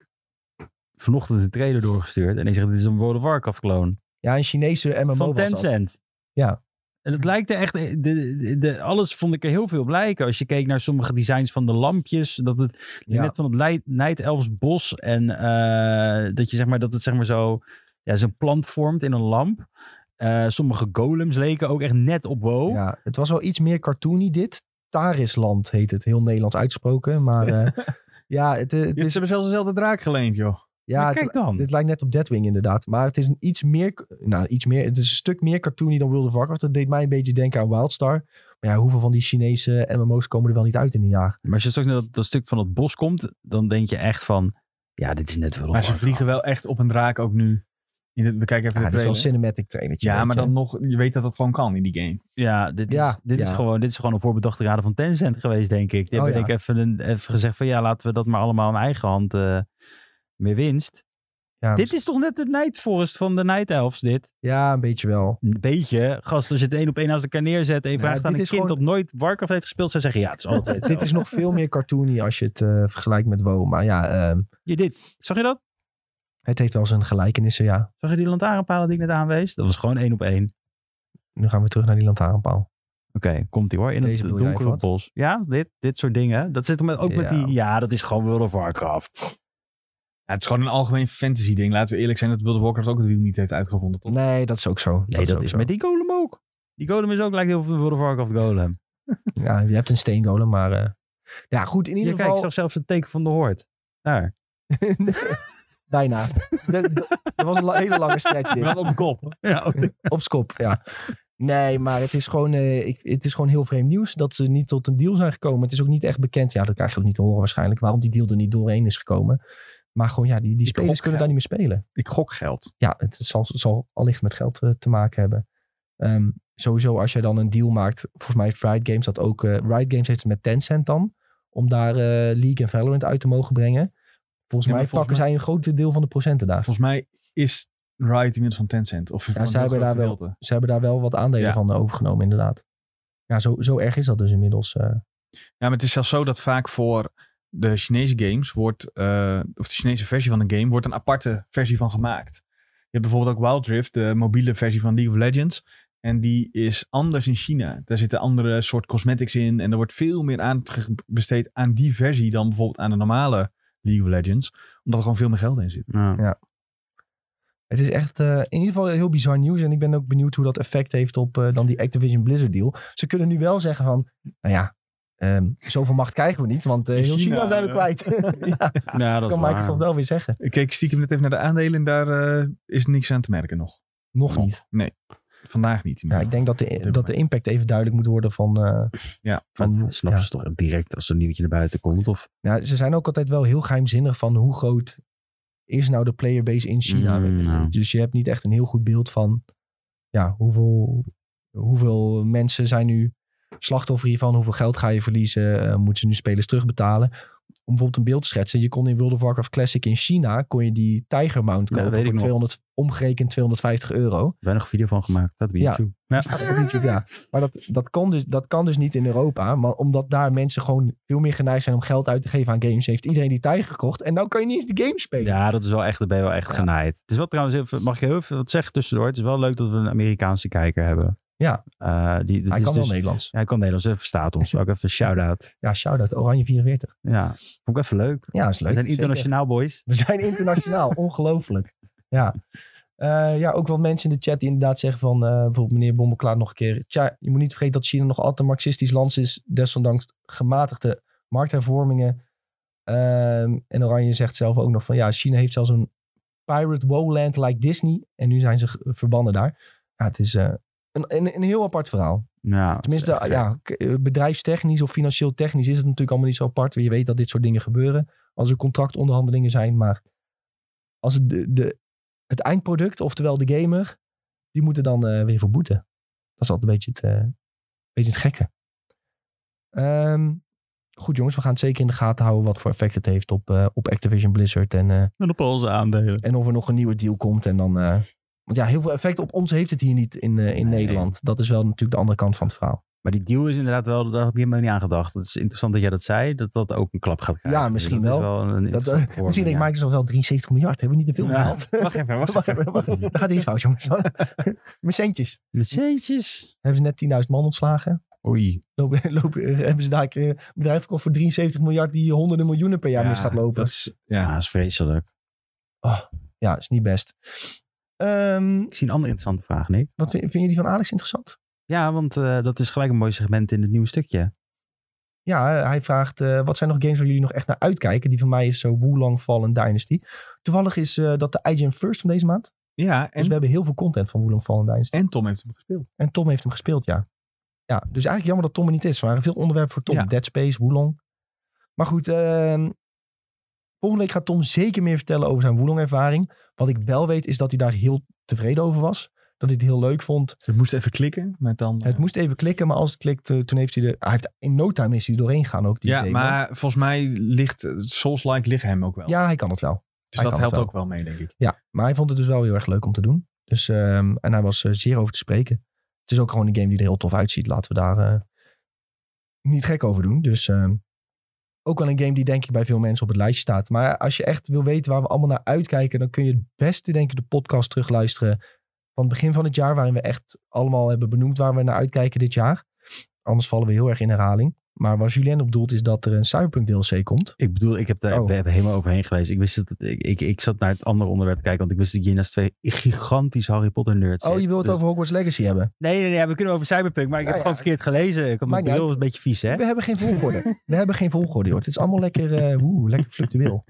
C: vanochtend de trailer doorgestuurd. En hij zegt, dit is een World of Warcraft clone.
A: Ja, een Chinese MMO
C: van
A: was dat.
C: Tencent.
A: Ja.
C: En het lijkt er echt, de, de, de- alles vond ik er heel veel op lijken. Als je keek naar sommige designs van de lampjes, dat het
A: Ja.
C: Net van het Lei- Nijdelfsbos. En eh, dat, je, zeg maar, dat het zeg maar zo, ja, zo'n plant vormt in een lamp. Eh, sommige golems leken ook echt net op WoW.
A: Ja, het was wel iets meer cartoony dit. Tarisland heet het, heel Nederlands uitgesproken. Maar eh, ja, het, eh, het
B: Ja, ze
A: is...
B: hebben zelfs dezelfde draak geleend, joh.
A: Ja,
C: Maar
A: het,
C: kijk dan.
A: dit lijkt net op Deadwing inderdaad. Maar het is een iets meer... Nou, iets meer... Het is een stuk meer cartoony dan World of Warcraft. Dat deed mij een beetje denken aan Wildstar. Maar ja, hoeveel van die Chinese MMO's komen er wel niet uit in een jaar?
C: Maar als je straks naar dat, dat stuk van het bos komt, dan denk je echt van... Ja, dit is net wel
B: Maar ze vliegen wel echt op een draak ook nu. In de, we kijken even
A: Ja,
B: de
A: dat is wel een
B: trailer.
A: cinematic trainertje.
B: Ja,
A: weet
B: maar
A: je.
B: dan nog, je weet dat dat gewoon kan in die game.
C: Ja, dit, Is,
A: Ja,
C: dit, Is
A: ja.
C: gewoon, dit is gewoon een voorbedachte raden van Tencent geweest, denk ik. Die
A: Oh,
C: hebben
A: ja.
C: denk ik even, een, even gezegd van... Ja, laten we dat maar allemaal aan eigen hand eh meer winst.
A: Ja, dus-
C: Dit is toch net het Night Forest van de Night Elves, dit?
A: ja, een beetje wel.
C: Een beetje. Gast, als je het één op één naast elkaar neerzet en je
A: Nou,
C: vraagt aan
A: dit
C: een kind
A: is gewoon-
C: dat nooit Warcraft heeft gespeeld, zou zeggen ja, het is altijd
A: Dit is nog veel meer cartoony als je het eh, vergelijkt met WoW. Maar ja, ehm,
C: Je dit. Zag je dat?
A: het heeft wel zijn gelijkenissen, ja.
C: Zag je die lantaarnpalen die ik net aanwees? Dat was gewoon één op één.
A: Nu gaan we terug naar die lantaarnpaal.
C: Oké, komt ie hoor. In
A: Deze
C: het
A: bedoel jij,
C: donkere
A: wat?
C: bos. Ja, dit, dit soort dingen. Dat zit er met, ook met
A: Ja.
C: die... Ja, dat is gewoon World of Warcraft.
B: Ja, het is gewoon een algemeen fantasy ding. Laten we eerlijk zijn dat World of Warcraft ook het wiel niet heeft uitgevonden. Toch?
A: Nee, dat is ook zo.
C: Nee, dat,
A: ook
C: is
A: zo.
C: met die golem ook. Die golem is ook lijkt heel veel op World of Warcraft golem.
A: Ja, je hebt een steengolem, maar... eh, ja, goed, in
C: Ja,
A: ieder
C: kijk, ik
A: geval...
C: zag zelfs het teken van de hoort. Daar.
A: Bijna. dat, dat- dat was een la- hele lange stretch dit.
B: Wel op de kop.
C: Ja, oké.
A: Op z'n kop, ja. Nee, maar het is, gewoon, eh, ik, het is gewoon heel vreemd nieuws dat ze niet tot een deal zijn gekomen. Het is ook niet echt bekend. Ja, dat krijg je ook niet te horen waarschijnlijk. Waarom die deal er niet doorheen is gekomen. Maar gewoon, ja, die, die spelers
B: gok
A: kunnen daar niet meer spelen.
B: Ik gok geld.
A: ja, het zal, zal allicht met geld eh, te maken hebben. Ehm, sowieso als jij dan een deal maakt, volgens mij heeft Riot Games dat ook. eh Riot Games heeft het met Tencent dan, om daar eh, League en Valorant uit te mogen brengen. Volgens
B: Ja, maar volgens
A: mij pakken
B: mij-
A: zij een groot deel van de procenten daar.
B: Volgens mij is Riot inmiddels van Tencent. Of van een heel
A: zij hebben
B: groot
A: daar wel-
B: gedeelte.
A: Ze hebben daar wel wat aandelen
B: Ja.
A: van eh, overgenomen inderdaad. Ja, zo, zo erg is dat dus inmiddels. eh.
B: Ja, maar het is zelfs zo dat vaak voor de Chinese games wordt, eh, of de Chinese versie van een game, wordt een aparte versie van gemaakt. Je hebt bijvoorbeeld ook Wild Rift, de mobiele versie van League of Legends. En die is anders in China. Daar zitten andere soort cosmetics in. En er wordt veel meer aandacht ge- besteed aan die versie dan bijvoorbeeld aan de normale League of Legends. Omdat er gewoon veel meer geld in zit.
C: Ja.
A: Het is echt eh, in ieder geval heel bizar nieuws. En ik ben ook benieuwd hoe dat effect heeft op eh, dan die Activision Blizzard deal. Ze kunnen nu wel zeggen van, nou ja, ehm, zoveel macht krijgen we niet. Want eh, heel China,
B: China,
A: zijn we
B: ja.
A: kwijt. ja,
C: Ja, dat
A: dat kan Microsoft wel weer zeggen.
B: Ik keek stiekem net even naar de aandelen en daar eh, is niks aan te merken nog.
A: Nog niet.
B: Vandaag niet. in
A: Ja,
B: ieder
A: ik denk dat de,
B: dit
A: dat de impact even duidelijk moet worden van... eh,
B: Ja,
A: van
C: Dat snappen ze toch direct als een nieuwtje naar buiten komt? Of
A: Nou, ze zijn ook altijd wel heel geheimzinnig van hoe groot is nou de playerbase in China.
C: Mm, nou.
A: Dus je hebt niet echt een heel goed beeld van ja, hoeveel, hoeveel mensen zijn nu slachtoffer hiervan. Hoeveel geld ga je verliezen? eh, moeten ze nu spelers terugbetalen? Om bijvoorbeeld een beeld te schetsen. Je kon in World of Warcraft Classic in China kon je die Tiger Mount
C: Ja, dat
A: kopen
C: weet ik nog.
A: voor 200, omgerekend 250 euro.
C: weinig video van gemaakt. Dat op
A: Ja.
C: YouTube. Ja.
A: Staat op YouTube, ja. Maar dat, dat, kan dus, dat kan dus niet in Europa. Maar omdat daar mensen gewoon veel meer geneigd zijn om geld uit te geven aan games, heeft iedereen die tijger gekocht. En nou kan je niet eens de game spelen.
C: Ja, dat is wel echt, daar ben je wel echt
A: Ja.
C: genaaid. Het is wel trouwens, even, mag ik heel even wat zeggen tussendoor? Het is wel leuk dat we een Amerikaanse kijker hebben.
A: Ja.
C: Eh, die, dit
A: Hij
C: is
A: kan
C: dus,
A: wel Nederlands.
C: Ja, hij kan Nederlands, hij verstaat ons. Ook even een shout-out.
A: Ja, shout-out. Oranje 44.
C: Ja, vond ik even leuk.
A: Ja, is leuk.
C: we zijn
A: Zeker.
C: internationaal boys.
A: We zijn internationaal. Ongelooflijk. Ja. Eh, ja, ook wat mensen in de chat die inderdaad zeggen van eh, bijvoorbeeld meneer Bommelklaar nog een keer. Tja, je moet niet vergeten dat China nog altijd een marxistisch land is. Desondanks gematigde markthervormingen. Ehm, en Oranje zegt zelf ook nog van ja, China heeft zelfs een pirate woland like Disney. En nu zijn ze ge- verbannen daar. Ja, het is eh, een, een, een heel apart verhaal.
C: Ja, dat is
A: Tenminste,
C: echt gek.
A: ja, k- eh, bedrijfstechnisch of financieel technisch is het natuurlijk allemaal niet zo apart. Je weet dat dit soort dingen gebeuren als er contractonderhandelingen zijn. Maar als het, de, de, het eindproduct, oftewel de gamer, die moeten dan eh, weer voor boeten. Dat is altijd een beetje het, eh, beetje het gekke. Ehm, goed jongens, we gaan het zeker in de gaten houden wat voor effect het heeft op, eh, op Activision Blizzard. En, eh,
C: En op onze aandelen.
A: en of er nog een nieuwe deal komt. En dan, eh, want ja, heel veel effect op ons heeft het hier niet in, eh, in
C: Nee.
A: Nederland. Dat is wel natuurlijk de andere kant van het verhaal.
C: Maar die deal is inderdaad wel, daar heb ik helemaal niet aan gedacht. Het is interessant dat jij dat zei, dat dat ook een klap gaat krijgen.
A: Ja, misschien
C: dat
A: wel.
C: Is wel een
A: Dat, eh,
C: interessante
A: misschien denkt
C: vorming,
A: Microsoft wel 73 miljard. Hebben we niet te veel
C: Ja.
A: betaald?
B: geval. Wacht even, wacht
A: Wacht
B: even.
A: even, wacht even. Daar gaat iets fout, jongens. Mijn centjes.
C: ja. Met centjes.
A: Hebben ze net 10.000 man ontslagen?
C: Oei.
A: Lopen, lopen, hebben ze daar een keer een bedrijf verkocht voor 73 miljard die honderden miljoenen per jaar mis gaat lopen?
B: Dat is,
C: Ja,
B: ja.
C: dat is vreselijk.
A: Ja, is niet best. Ehm,
C: Ik zie een andere interessante vraag, Nick.
A: wat vind, vind je die van Alex interessant?
C: Ja, want eh, dat is gelijk een mooi segment in het nieuwe stukje.
A: Ja, hij vraagt, eh, wat zijn nog games waar jullie nog echt naar uitkijken? Die van mij is zo Wulong Fallen Dynasty. Toevallig is eh, dat de IGN First van deze maand.
B: ja,
A: Dus we
B: en,
A: hebben heel veel content van Wulong Fallen Dynasty.
B: en Tom heeft hem gespeeld.
A: En Tom heeft hem gespeeld, ja. Ja, dus eigenlijk jammer dat Tom er niet is. Er waren veel onderwerpen voor Tom.
B: Ja.
A: Dead Space, Wulong. Maar goed, ehm, volgende week gaat Tom zeker meer vertellen over zijn Wulong-ervaring. Wat ik wel weet is dat hij daar heel tevreden over was. Dat hij het heel leuk vond.
B: Dus moest even klikken, maar dan...
A: Het moest even klikken, maar als het klikt, eh, toen heeft hij de... Hij heeft, in no time is hij er doorheen gegaan ook, die
B: ja,
A: demo.
B: maar volgens mij ligt eh, Souls-like liggen hem ook wel.
A: Ja, hij kan het wel.
B: dus
A: hij
B: dat
A: kan het
B: helpt
A: wel.
B: ook wel mee, denk ik.
A: Ja, maar hij vond het dus wel heel erg leuk om te doen. Dus, ehm, en hij was eh, zeer over te spreken. Het is ook gewoon een game die er heel tof uitziet. Laten we daar eh, niet gek over doen. Dus ehm, ook wel een game die denk ik bij veel mensen op het lijstje staat. Maar als je echt wil weten waar we allemaal naar uitkijken... dan kun je het beste denk ik de podcast terugluisteren van het begin van het jaar... waarin we echt allemaal hebben benoemd waar we naar uitkijken dit jaar. Anders vallen we heel erg in herhaling. Maar waar Julien op doelt is dat er een Cyberpunk DLC komt.
C: Ik bedoel, ik heb daar
A: Oh.
C: we hebben helemaal overheen gelezen. Ik, wist dat, ik, ik, ik zat naar het andere onderwerp te kijken, want ik wist dat je naast twee gigantische Harry Potter nerds
A: Oh,
C: zit.
A: je wilt het
C: Dus-
A: over Hogwarts Legacy hebben?
C: Nee, nee, nee, we kunnen over Cyberpunk, maar ik
A: Ja,
C: heb
A: ja.
C: gewoon verkeerd gelezen. Ik had mijn
A: Maakt niet
C: bril
A: uit.
C: een beetje vies, hè?
A: We hebben geen volgorde. We hebben geen volgorde, joh. Het is allemaal lekker, eh, woe, lekker fluctueel.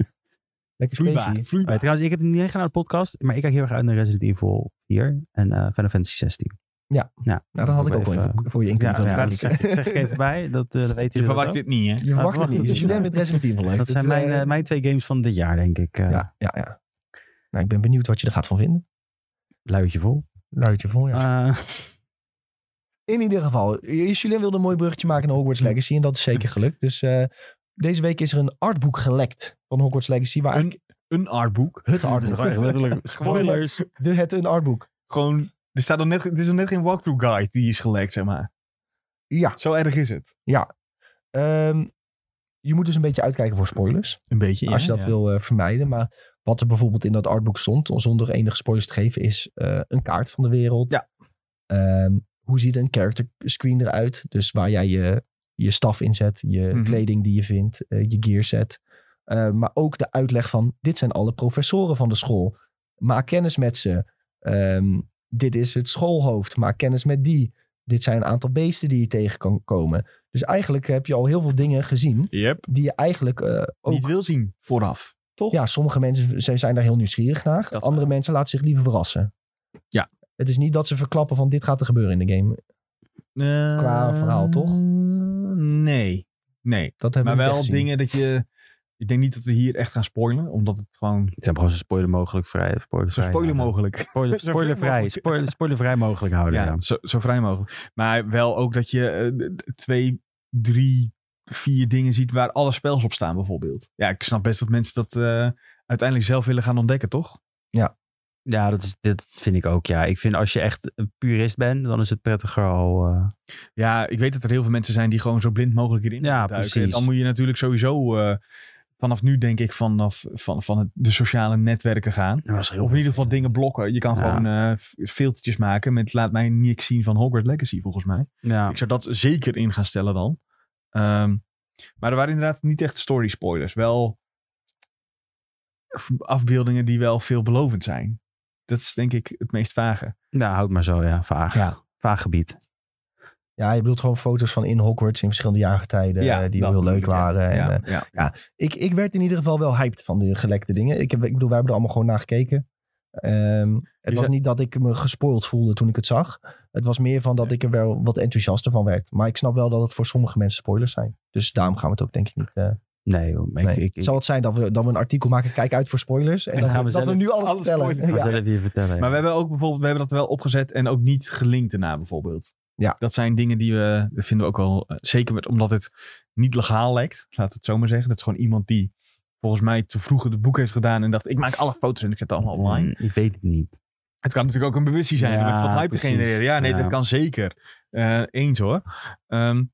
A: Lekker specie.
B: vloeibaar.
C: Maar trouwens, ik heb het niet echt gedaan aan de podcast, maar ik kijk heel erg uit naar Resident Evil 4 en eh Final Fantasy 16.
A: Ja.
C: ja.
A: Nou, dat had ik ook wel even voor je in kunnen
C: Ja,
A: vullen,
C: ja, dat
A: denk ik.
C: zeg, zeg ik even bij. Dat, eh dat
B: Je
C: weet jullie dat
B: verwacht
C: ook.
B: dit niet, hè?
A: Je verwacht het
C: verwacht
A: niet.
C: ik
A: Dus jullie
C: niet.
A: hebben het Resident Evil. hè?
C: Dat
A: Dus,
C: zijn
A: eh,
C: mijn, eh, mijn twee games van dit jaar, denk ik. eh
A: Ja, ja, ja. Nou, ik ben benieuwd wat je er gaat van vinden.
C: Luidje vol.
A: Luidje vol, ja.
C: Eh,
A: In ieder geval, Julien wilde een mooi bruggetje maken naar
C: Hm.
A: Hogwarts Legacy. En dat is zeker gelukt. Dus eh, deze week is er een artboek gelekt van Hogwarts Legacy. Waar
B: Een, een artboek.
A: het
C: dat
A: artboek.
C: waren letterlijk spoilers.
A: De, het een artboek.
B: Gewoon, er staat nog net, er is nog net geen walkthrough guide die is gelekt, zeg maar.
A: Ja.
B: Zo erg is het.
A: Ehm, je moet dus een beetje uitkijken voor spoilers.
B: Een beetje,
A: als je dat wil eh, vermijden. Maar wat er bijvoorbeeld in dat artbook stond, zonder enige spoilers te geven, is eh, een kaart van de wereld.
B: Ja.
A: Ehm, hoe ziet een character screen eruit? Dus waar jij je, je staf in zet, je
B: Mhm.
A: kleding die je Ehm, vindt, eh, je gear set. Eh, maar ook de uitleg van, dit zijn alle professoren van de school. Maak kennis met ze. Ehm, dit is het schoolhoofd. Maak kennis met die. Dit zijn een aantal beesten die je tegen kan komen. Dus eigenlijk heb je al heel veel dingen gezien
B: Yep.
A: die je eigenlijk eh, ook...
B: Niet wil zien vooraf. Toch?
A: Ja, sommige mensen ze zijn daar heel nieuwsgierig naar.
B: Dat
A: Andere
B: wel.
A: mensen laten zich liever verrassen.
B: Ja.
A: Het is niet dat ze verklappen van dit gaat er gebeuren in de game.
B: Eh,
A: Qua verhaal, toch?
B: Nee. Nee.
A: Dat hebben
B: maar wel
A: we niet echt gezien.
B: dingen dat je... Ik denk niet dat we hier echt gaan spoilen, omdat het gewoon
C: Het zijn gewoon zo spoiler mogelijk vrij.
B: zo
C: Spoilervrij
B: spoiler
C: houden.
B: mogelijk.
C: Spoiler,
B: Zo
C: spoilervrij,
B: mogelijk.
C: spoiler, spoilervrij mogelijk houden.
B: Ja,
C: Oh, Ja.
B: Zo, zo vrij mogelijk. Maar wel ook dat je eh, d- d- twee, drie, vier dingen ziet waar alle spels op staan bijvoorbeeld. Ja, ik snap best dat mensen dat eh, uiteindelijk zelf willen gaan ontdekken, toch?
C: Ja, dat, is, dat vind ik ook. Ja, ik vind als je echt een purist bent, dan is het prettiger al. eh,
B: Ja, ik weet dat er heel veel mensen zijn die gewoon zo blind mogelijk hierin
C: Ja,
B: duiken.
C: precies.
B: En Dan moet je natuurlijk sowieso eh, vanaf nu denk ik vanaf van, van het, de sociale netwerken gaan.
C: dat is heel
B: Of in ieder geval dingen blokken. Je kan
C: Ja.
B: gewoon eh, f- filtertjes maken met laat mij niks zien van Hogwarts Legacy volgens mij.
C: ja.
B: Ik zou dat zeker in gaan stellen dan. Ehm, maar er waren inderdaad niet echt story spoilers. Wel f- afbeeldingen die wel veelbelovend zijn. Dat is denk ik het meest vage.
C: Nou, houd maar zo, ja. Vaag.
B: Ja.
C: Vaag gebied.
A: Ja, je bedoelt gewoon foto's van in Hogwarts in verschillende jaargetijden eh, die
B: dat
A: heel leuk
B: bedoel ik, ja.
A: waren. En,
B: Ja,
A: eh,
B: ja.
A: ik, ik werd in ieder geval wel hyped van de gelekte dingen. Ik, heb, ik bedoel, wij hebben er allemaal gewoon naar gekeken. Ehm, het
B: Je
A: was
B: zei-
A: niet dat ik me gespoild voelde toen ik het zag. Het was meer van dat ik er wel wat enthousiaster van werd. Maar ik snap wel dat het voor sommige mensen spoilers zijn. Dus daarom gaan we het ook denk ik niet... eh
C: Nee, joh, maar
A: nee.
C: ik, ik, ik
A: Zal het zijn dat we, dat we een artikel maken, kijk uit voor spoilers. En,
C: En
A: dat,
C: gaan
A: we,
C: we
A: dat we
C: zelf
A: nu alles,
B: alle
A: vertellen.
B: spoilers-
C: ga
A: Ja.
C: zelf even vertellen. ja.
B: Maar we hebben ook bijvoorbeeld, we hebben dat wel opgezet en ook niet gelinkt daarna bijvoorbeeld.
A: Ja.
B: Dat zijn dingen die we, dat vinden we ook wel, eh, zeker met, omdat het niet legaal lekt, laat het zo maar zeggen. Dat is gewoon iemand die volgens mij te vroeg het boek heeft gedaan en dacht ik maak alle foto's en ik zet het allemaal online.
C: Mm, Ik weet het niet.
B: Het kan natuurlijk ook een bewustzijn zijn.
C: Ja,
B: om wat hype te
C: precies.
B: genereren. Ja, nee,
C: Ja.
B: dat kan zeker. Eh, eens hoor. Ehm,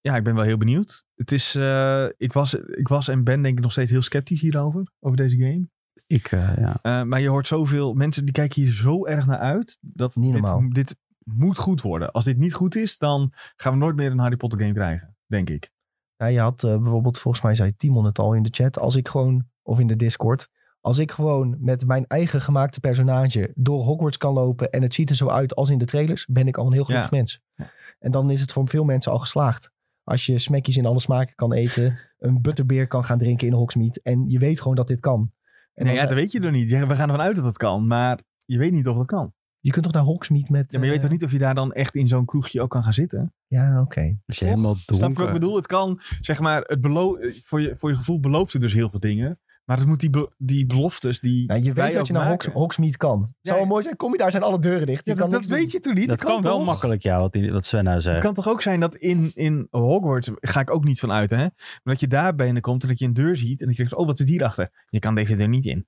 B: ja, ik ben wel heel benieuwd. Het is, eh, ik, was, ik was en ben denk ik nog steeds heel sceptisch hierover. Over deze game.
C: Ik, eh, ja.
B: Eh, maar je hoort zoveel mensen die kijken hier zo erg naar uit. Dat
A: Niet
B: dit,
A: normaal.
B: dit moet goed worden. Als dit niet goed is, dan gaan we nooit meer een Harry Potter game krijgen. Denk ik.
A: Ja, je had eh, bijvoorbeeld, volgens mij zei Timon het al in de chat, als ik gewoon, of in de Discord, als ik gewoon met mijn eigen gemaakte personage door Hogwarts kan lopen en het ziet er zo uit als in de trailers, ben ik al een heel gelukkig
B: Ja.
A: mens.
B: Ja.
A: En dan is het voor veel mensen al geslaagd. Als je smekjes in alle smaken kan eten, een butterbeer kan gaan drinken in Hogsmeade en je weet gewoon dat dit kan. En
B: Nee,
A: dan-
B: ja, dat weet je nog niet. Ja, We gaan ervan uit dat dat kan. Maar je weet niet of dat kan.
A: Je kunt toch naar Hogsmeade met...
B: Ja, maar je weet
A: eh,
B: toch niet of je daar dan echt in zo'n kroegje ook kan gaan zitten?
A: Ja, oké.
C: Als je
B: Toch?
C: helemaal
B: Snap je wat ik
C: dronken...
B: bedoel? Het kan, zeg maar, het belo- eh, voor, je, voor je gevoel belooft het dus heel veel dingen. Maar het moet die, be- die beloftes die.
A: Nou, je
B: wij
A: weet dat
B: ook
A: je naar
B: maken.
A: Hogs Hogsmeade kan.
B: Ja,
A: Zou wel mooi zijn, kom je daar, zijn alle deuren dicht.
B: Ja,
A: Je
B: dat
A: kan
B: dat
A: niks doen.
B: weet je toen niet.
C: Dat kan wel
B: toch?
C: makkelijk, ja, wat, die- wat Sven nou
B: Het
C: zegt.
B: kan toch ook zijn dat in, in Hogwarts, ga ik ook niet van uit, hè? Maar dat je daar binnenkomt en dat je een deur ziet en dat je denkt, oh, wat zit hierachter? Je kan deze deur niet in.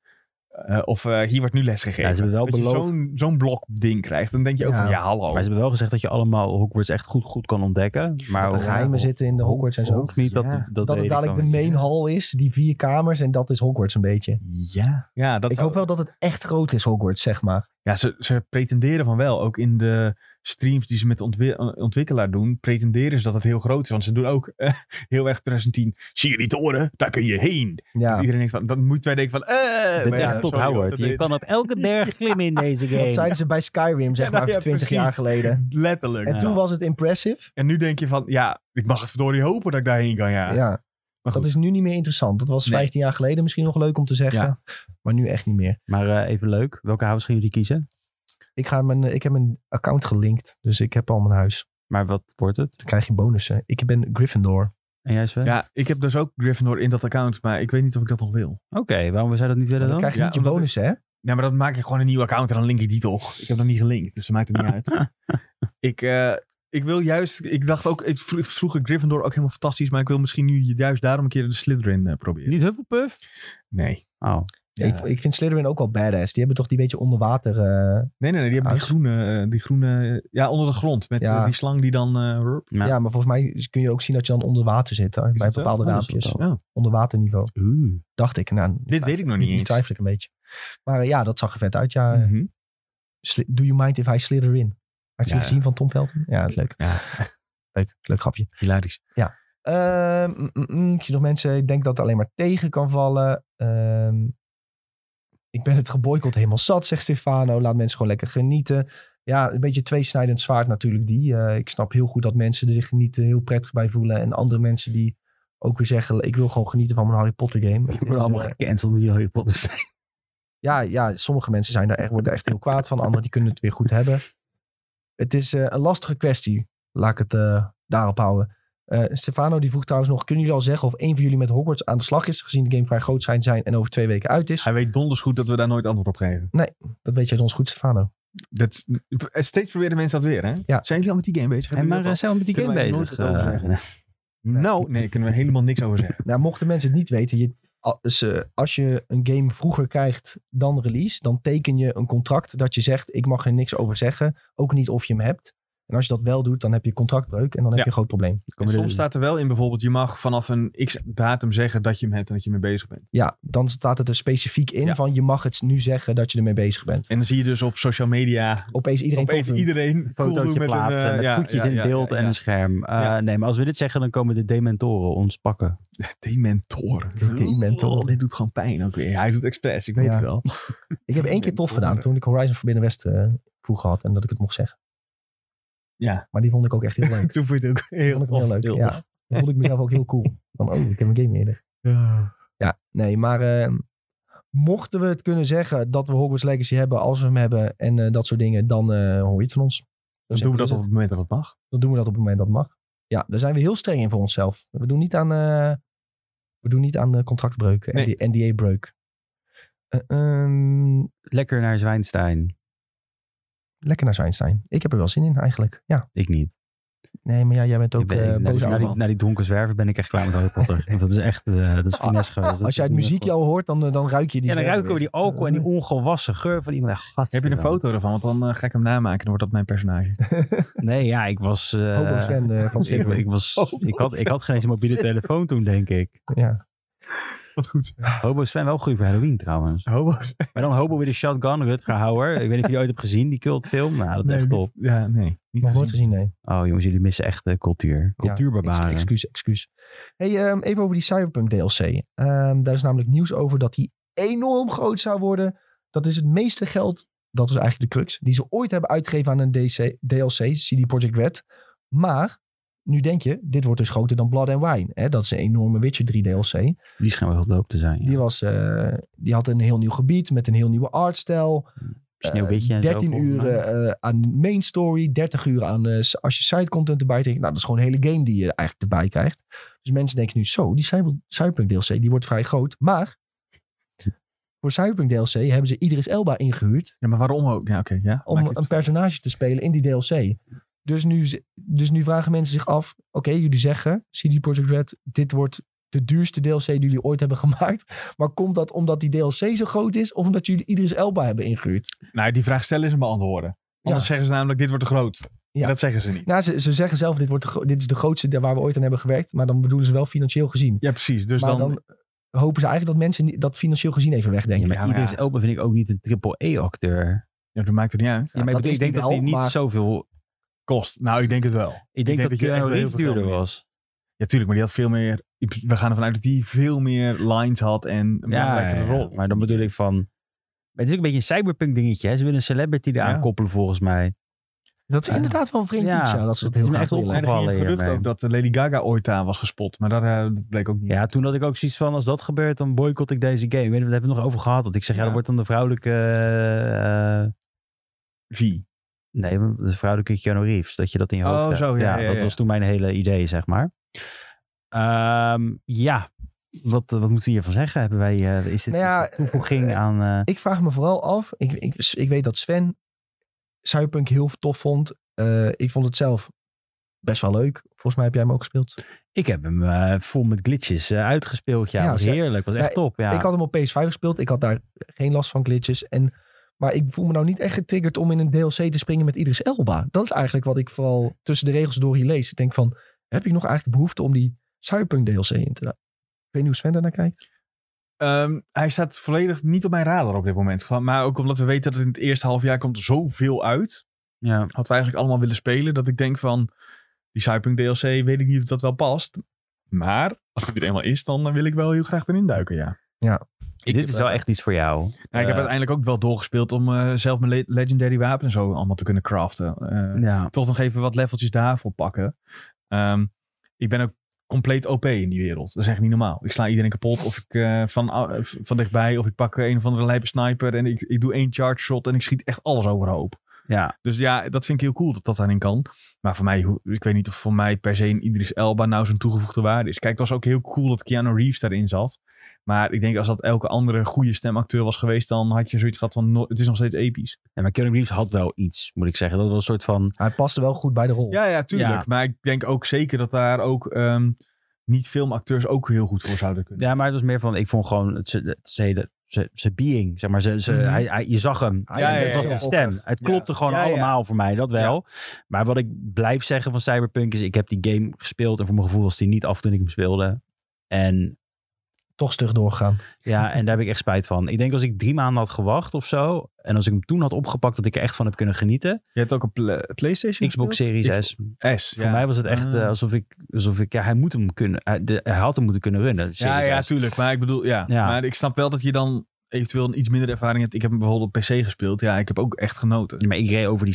B: Eh, of eh, hier wordt nu lesgegeven.
C: Ja, ze hebben wel
B: dat je
C: beloofd-
B: zo'n zo'n blok ding krijgt, dan denk je ook
A: Ja.
B: van, ja, hallo.
C: Maar ze hebben wel gezegd dat je allemaal Hogwarts echt goed, goed kan ontdekken. Maar
A: Dat
C: ook-
A: er geheimen zitten in de Hogwarts en zo.
C: oh, Ook niet dat,
B: Ja.
C: dat,
A: dat
C: weet
A: het
C: ik
A: dadelijk de
C: dan weer.
A: main hall is, die vier kamers. En dat is Hogwarts een beetje.
B: Ja, ja dat
A: ik hoop wel dat het echt groot is, Hogwarts, zeg maar.
B: Ja, ze, ze pretenderen van wel. Ook in de streams die ze met de ontwi- eh, ontwikkelaar doen, pretenderen ze dat het heel groot is. Want ze doen ook eh, heel erg 2010. Zie je die toren? Daar kun je heen.
A: Ja,
B: Iedereen denkt van, dan moeten wij denken van, eh.
C: Dit
B: maar
C: is
B: ja,
C: echt Todd
B: sorry, hoor,
C: Howard.
B: dat
C: Je
B: weet-
C: kan op elke berg klimmen in deze
A: dat
C: game.
A: zeiden ze bij Skyrim, zeg
B: Ja, nou
A: maar,
B: ja,
A: 20
B: precies.
A: jaar geleden.
B: Letterlijk.
A: En
B: Ja.
A: toen was het impressive.
B: En nu denk je van, ja, ik mag het verdorie hopen dat ik daarheen kan. Ja.
A: Ja,
B: maar goed.
A: dat is nu niet meer interessant. Dat was
B: Nee.
A: 15 jaar geleden misschien nog leuk om te zeggen.
B: Ja.
A: Maar nu echt niet meer.
C: Maar eh, even leuk, welke house gaan jullie kiezen?
A: Ik, ga mijn, ik heb mijn account gelinkt, dus ik heb al mijn huis.
C: Maar wat wordt het?
A: Dan krijg je bonussen. Ik ben Gryffindor.
C: En jij Sven?
B: ja, ik heb dus ook Gryffindor in dat account, maar ik weet niet of ik dat nog wil.
C: Oké, waarom zou je dat niet willen
A: Dan
C: dan?
A: krijg je
B: Ja,
A: niet je
B: omdat
A: bonussen, hè?
B: Ja, maar dan maak ik gewoon een nieuw account en dan link ik die toch. Ik heb dat niet gelinkt, dus dat maakt het niet uit. ik, eh, ik wil juist, ik dacht ook, ik vro- vroeger Gryffindor ook helemaal fantastisch, maar ik wil misschien nu juist daarom een keer de Slytherin eh, proberen.
C: Niet Hufflepuff?
B: Nee.
C: Oh,
B: Ja.
A: Ik, ik vind Slytherin ook wel badass. Die hebben toch die beetje onder water... eh,
B: Nee, nee, nee, die hebben die
A: Huis.
B: groene, eh, die groene, eh, ja, onder de grond. Met
A: Ja.
B: eh, die slang die dan, eh, rup.
C: Ja.
A: ja. maar volgens mij kun je ook zien dat je dan onder water zit. hoor,
B: Is
A: bij
B: dat zo?
A: bepaalde
B: Oh, dat is
A: raampjes.
C: wel-
B: oh.
A: Onder waterniveau. Dacht ik. Nou,
B: Dit weet ik nog niet
A: Nu
B: eens.
A: twijfel ik een beetje. Maar eh, ja, dat zag er vet uit. Ja.
B: Mhm.
A: Sli- Do you mind if I slither in? Had je
B: Ja,
A: het gezien van Tom Velten? Ja, dat is leuk.
B: Ja,
A: Leuk, leuk grapje.
B: hilarisch.
A: Ehm, mm, mm, mm, ik zie nog mensen, ik denk dat het alleen maar tegen kan vallen. Ehm, Ik ben het geboycott helemaal zat, zegt Stefano. Laat mensen gewoon lekker genieten. Ja, een beetje tweesnijdend zwaard natuurlijk die. Eh, ik snap heel goed dat mensen er zich niet eh, heel prettig bij voelen. En andere mensen die ook weer zeggen, ik wil gewoon genieten van mijn Harry Potter game. Eh,
C: Ik word allemaal gecanceld met die Harry Potter film.
A: ja, ja, sommige mensen zijn daar echt, worden er echt heel kwaad van. Anderen die kunnen het weer goed hebben. Het is eh, een lastige kwestie. Laat ik het eh, daarop houden. Eh, Stefano die vroeg trouwens nog, kunnen jullie al zeggen of één van jullie met Hogwarts aan de slag is, gezien de game vrij groot zijn, zijn en over twee weken uit is?
B: Hij weet donders goed dat we daar nooit antwoord op geven.
A: Dat weet jij ons goed, Stefano.
B: Dat, eh, steeds proberen mensen dat weer, hè?
A: Ja.
B: Zijn jullie al met die game bezig?
C: En
B: Hebben jullie
C: maar eh,
B: dat
C: zijn we met die game
B: Kunnen wij nooit
C: bezig?
B: het over zeggen.
C: eh,
B: al? Nou, nee, kunnen we helemaal niks over zeggen.
A: Nou, mochten mensen het niet weten, je, als, eh, als je een game vroeger krijgt dan release, dan teken je een contract dat je zegt, ik mag er niks over zeggen, ook niet of je hem hebt. En als je dat wel doet, dan heb je contractbreuk en dan heb
B: Ja.
A: je een groot probleem.
B: En soms staat er wel in bijvoorbeeld, je mag vanaf een x-datum zeggen dat je hem hebt en dat je mee bezig bent.
A: Ja, dan staat het er specifiek in
B: Ja.
A: van je mag het nu zeggen dat je ermee bezig bent.
B: En dan zie je dus op social media
A: Opeens iedereen
B: opeens
A: tot
B: iedereen
C: een
B: cool doen
C: fotootje
B: met
C: plaatsen
B: een, eh,
C: met
B: ja,
C: voetjes
B: ja,
C: in
B: ja,
C: beeld
B: ja,
C: en
B: ja.
C: een scherm. Eh,
B: Ja.
C: Nee, maar als we dit zeggen, dan komen de dementoren ons pakken.
B: Dementoren.
A: De dementoren.
B: Oh, dit doet gewoon pijn ook weer. Hij doet expres, ik weet
A: Ja.
B: het wel.
A: Ik heb één keer tof gedaan toen ik Horizon Forbidden West eh, vroeg had en dat ik het mocht zeggen.
B: Ja.
A: Maar die vond ik ook echt heel leuk.
B: Toen vond je het ook
A: Die
B: heel,
A: vond ik heel
B: tof,
A: leuk.
B: heel
A: ja.
B: tof.
A: Dan vond ik mezelf ook heel cool. Van, oh, ik heb een game eerder.
B: Ja. Dus
A: Ja, nee, maar eh, mochten we het kunnen zeggen dat we Hogwarts Legacy hebben als we hem hebben en eh, dat soort dingen, dan eh, hoor je het van ons. Dus
B: Dan doen we dat op
A: op...
B: het moment dat het mag.
A: dan doen we dat op het moment dat het mag. Ja, daar zijn we heel streng in voor onszelf. We doen niet aan, eh, we doen niet aan eh, contractbreuken en
B: Nee.
A: die NDA-breuk. Eh, ehm,
C: Lekker naar Zwijnstein.
A: lekker naar Zwijnstein. Ik heb er wel zin in eigenlijk. Ja,
C: Ik niet.
A: nee, maar ja, jij bent ook
C: Ik ben- ik-
A: eh,
C: naar,
A: boos
C: die, naar, die,
A: allemaal.
C: naar die dronken zwerven ben ik echt klaar met Harry Potter. Want dat is echt, eh, dat is
B: Ah,
C: finesse geweest. Dat
A: Als jij
C: is
A: het
C: niet
A: muziek
C: echt-
A: jou hoort, dan, eh, dan ruik je die
C: Ja, dan
A: zwerver
C: ruiken we
A: weer.
C: die alcohol en die ongewassen geur van iemand. Ja,
B: Heb je een
C: gadverdamme.
B: foto ervan? Want dan eh, ga ik hem namaken. Dan wordt dat mijn personage.
C: Nee, ja, ik was... eh,
A: Hobo Sven, eh, van
C: ik,
A: Zwickau.
C: ik was
B: Hobo
C: ik, had, ik had geen eens een mobiele telefoon toen, denk ik.
A: Ja.
B: Wat goed.
C: Hobo Sven, wel goed voor Halloween trouwens.
B: Hobo's.
C: Maar dan Hobo with a Shotgun, Rutger Hauer. Ik weet niet of je die ooit hebt gezien, die cultfilm. Nou, dat is
B: Nee,
C: echt
B: niet-
C: top.
B: Ja, nee. Niet
A: Nog nooit
B: gezien.
A: gezien, nee.
C: Oh jongens, jullie missen echt eh, cultuur.
A: Ja,
C: Cultuurbarbaren.
A: Excuus, excuus. Hey, ehm, even over die Cyberpunk DLC. Ehm, daar is namelijk nieuws over dat die enorm groot zou worden. Dat is het meeste geld, dat is eigenlijk de crux, die ze ooit hebben uitgegeven aan een DC, DLC, CD Projekt Red. Maar nu denk je, dit wordt dus groter dan Blood and Wine. Hè? Dat is een enorme Witcher 3 DLC.
C: die schijnen wel heel doop te zijn.
A: Die,
C: Ja.
A: was, eh, die had een heel nieuw gebied met een heel nieuwe artstijl.
C: Sneeuwwitje en zo.
A: 13
C: volgens
A: uur
C: mij.
A: eh, aan main story, 30 uur aan eh, s- als je side content erbij trekt. Nou, dat is gewoon een hele game die je eigenlijk erbij krijgt. Dus mensen denken nu zo, die Cyber- Cyberpunk DLC, die wordt vrij groot. Maar voor Cyberpunk DLC hebben ze Idris Elba ingehuurd
B: Ja, maar waarom ook? Ja, oké. ja.
A: om
B: Maakt het
A: een personage te spelen in die DLC. Dus nu, z- dus nu vragen mensen zich af, oké, jullie zeggen, CD Projekt Red, dit wordt de duurste DLC die jullie ooit hebben gemaakt. Maar komt dat omdat die DLC zo groot is of omdat jullie Idris Elba hebben ingehuurd?
B: Nou, die vraag stellen is een beantwoorden. Anders
A: Ja.
B: zeggen ze namelijk, dit wordt te groot.
A: Ja.
B: En dat zeggen ze niet.
A: Nou, ze, ze zeggen zelf, dit, wordt de gro- dit is de grootste daar waar we ooit aan hebben gewerkt. Maar dan bedoelen ze wel financieel gezien.
B: Ja, precies. Dus
A: maar
B: dan...
A: dan, hopen ze eigenlijk dat mensen niet- dat financieel gezien even
C: Ja,
A: wegdenken.
C: maar
B: Ja, maar
C: Idris
B: ja.
C: Elba vind ik ook niet een triple-E-acteur.
B: Ja, dat maakt het niet uit.
C: Ja, maar
A: dat
C: ik, bedoel,
A: is
C: ik denk
A: die
C: dat hij
A: wel,
C: niet
A: maar-
C: zoveel...
B: Kost. Nou, ik denk het wel.
C: Ik denk,
B: denk
C: dat
B: dat je echt
C: Keanu
B: wel heel veel
C: Reeves duurder
B: geld mee-
C: was.
B: Ja, tuurlijk. Maar die had veel meer... We gaan ervan uit dat die veel meer lines had en een
C: Ja,
B: belangrijkere rol.
C: Maar dan bedoel ik van... Maar het is ook een beetje een cyberpunk dingetje. Hè? Ze willen een celebrity eraan
B: Ja.
C: koppelen volgens mij.
A: dat is
C: Ja.
A: inderdaad wel een vreemd
C: Ja,
A: iets. Ja, dat ze
C: dat
A: het
C: is
A: heel
C: me
A: graag
C: echt
A: willen.
B: Ja, er ging
C: Vallen
B: een gerucht
C: hiermee.
B: ook dat eh, Lady Gaga ooit aan was gespot. Maar daar, eh, dat bleek ook niet.
C: Ja, toen had ik ook zoiets van, als dat gebeurt, dan boycott ik deze game. Ik Weet niet, daar hebben we het nog over gehad. Dat ik zeg, ja,
B: Ja.
C: dat wordt dan de vrouwelijke... eh,
B: V.
C: Nee, want de vrouwelijke Keanu Reeves, dat je dat in je
B: Oh,
C: hoofd hebt.
B: zo, ja, ja,
C: dat
B: ja.
C: was toen mijn hele idee, zeg maar. Ehm, ja, wat, wat moeten we hiervan zeggen? Hebben wij, eh, is dit
A: Nou ja,
C: is dit toevoeging
A: eh,
C: aan... eh,
A: Ik vraag me vooral af. Ik, ik, ik weet dat Sven Cyberpunk heel tof vond. Eh, ik vond het zelf best wel leuk. Volgens mij heb jij hem ook gespeeld.
C: ik heb hem eh, vol met glitches eh, uitgespeeld. Ja,
A: Ja,
C: was
A: ze-
C: heerlijk. Was echt
A: Nee,
C: top, ja.
A: Ik had hem op PS5 gespeeld. Ik had daar geen last van glitches. En, maar ik voel me nou niet echt getriggerd om in een DLC te springen met Idris Elba. Dat is eigenlijk wat ik vooral tussen de regels door hier lees. Ik denk van, heb ik nog eigenlijk behoefte om die Cyberpunk DLC in te doen? Ik weet niet hoe Sven daar naar kijkt.
B: Ehm, hij staat volledig niet op mijn radar op dit moment. Gewoon- Maar ook omdat we weten dat het in het eerste half jaar komt zoveel uit.
C: ja.
B: Had we eigenlijk allemaal willen spelen. Dat ik denk van, die Cyberpunk DLC weet ik niet of dat wel past. Maar als het er eenmaal is, dan eh, wil ik wel heel graag erin duiken, ja. Eh.
A: Ja.
B: Ik eh,
C: Dit is wel echt iets voor jou. Eh,
B: Ja, ik heb uiteindelijk ook wel doorgespeeld om eh, zelf mijn le- legendary wapen en zo allemaal te kunnen craften. Eh,
C: ja.
B: Toch nog even wat leveltjes daarvoor pakken. Ehm, ik ben ook compleet OP in die wereld. Dat is echt niet normaal. Ik sla iedereen kapot of ik eh, van, au- eh, van dichtbij of ik pak een of andere lijpe sniper en ik, ik doe één charge shot en ik schiet echt alles overhoop.
C: ja.
B: Dus ja, dat vind ik heel cool dat dat daarin kan. Maar voor mij, hoe- ik weet niet of voor mij per se een Idris Elba nou zo'n toegevoegde waarde is. Kijk, het was ook heel cool dat Keanu Reeves daarin zat. Maar ik denk als dat elke andere goede stemacteur was geweest, dan had je zoiets gehad van, no- het is nog steeds episch.
C: Ja, maar Keanu Reeves had wel iets, moet ik zeggen. Dat was een soort van...
A: Hij paste wel goed bij de rol.
B: Ja, ja, tuurlijk.
C: Ja.
B: Maar ik denk ook zeker dat daar ook ehm, niet-filmacteurs ook heel goed voor zouden kunnen.
C: Ja, maar het was meer van... Ik vond gewoon het, ze- het- ze hele... ze- Zijn being, zeg maar. Ze, ze,
A: Mhm.
C: hij, hij- je zag hem.
A: Hij
B: Ja,
A: is
B: ja,
C: het
A: heel
C: was een
B: ja.
C: stem. Het klopte gewoon
B: Ja, ja.
C: allemaal voor mij, dat wel. Maar wat ik blijf zeggen van Cyberpunk is... Ik heb die game gespeeld en voor mijn gevoel was die niet af toen ik hem speelde. En
A: Toch stug doorgegaan.
C: Ja, en daar heb ik echt spijt van. Ik denk als ik drie maanden had gewacht of zo. En als ik hem toen had opgepakt, dat ik er echt van heb kunnen genieten.
B: Je hebt ook een pla- PlayStation
C: Xbox
B: gespeeld?
C: Series S.
B: S.
C: Voor
B: ja.
C: mij was het echt
B: Ah.
C: eh, alsof ik, alsof ik, ja, hij moet hem kunnen, hij, de- hij had hem moeten kunnen runnen.
B: Ja,
C: Series
B: ja,
C: S.
B: tuurlijk. Maar ik bedoel, ja.
C: Ja.
B: Maar ik snap wel dat je dan eventueel een iets minder ervaring hebt. Ik heb hem bijvoorbeeld op PC gespeeld. Ja, ik heb ook echt genoten.
C: Ja, maar ik reed over die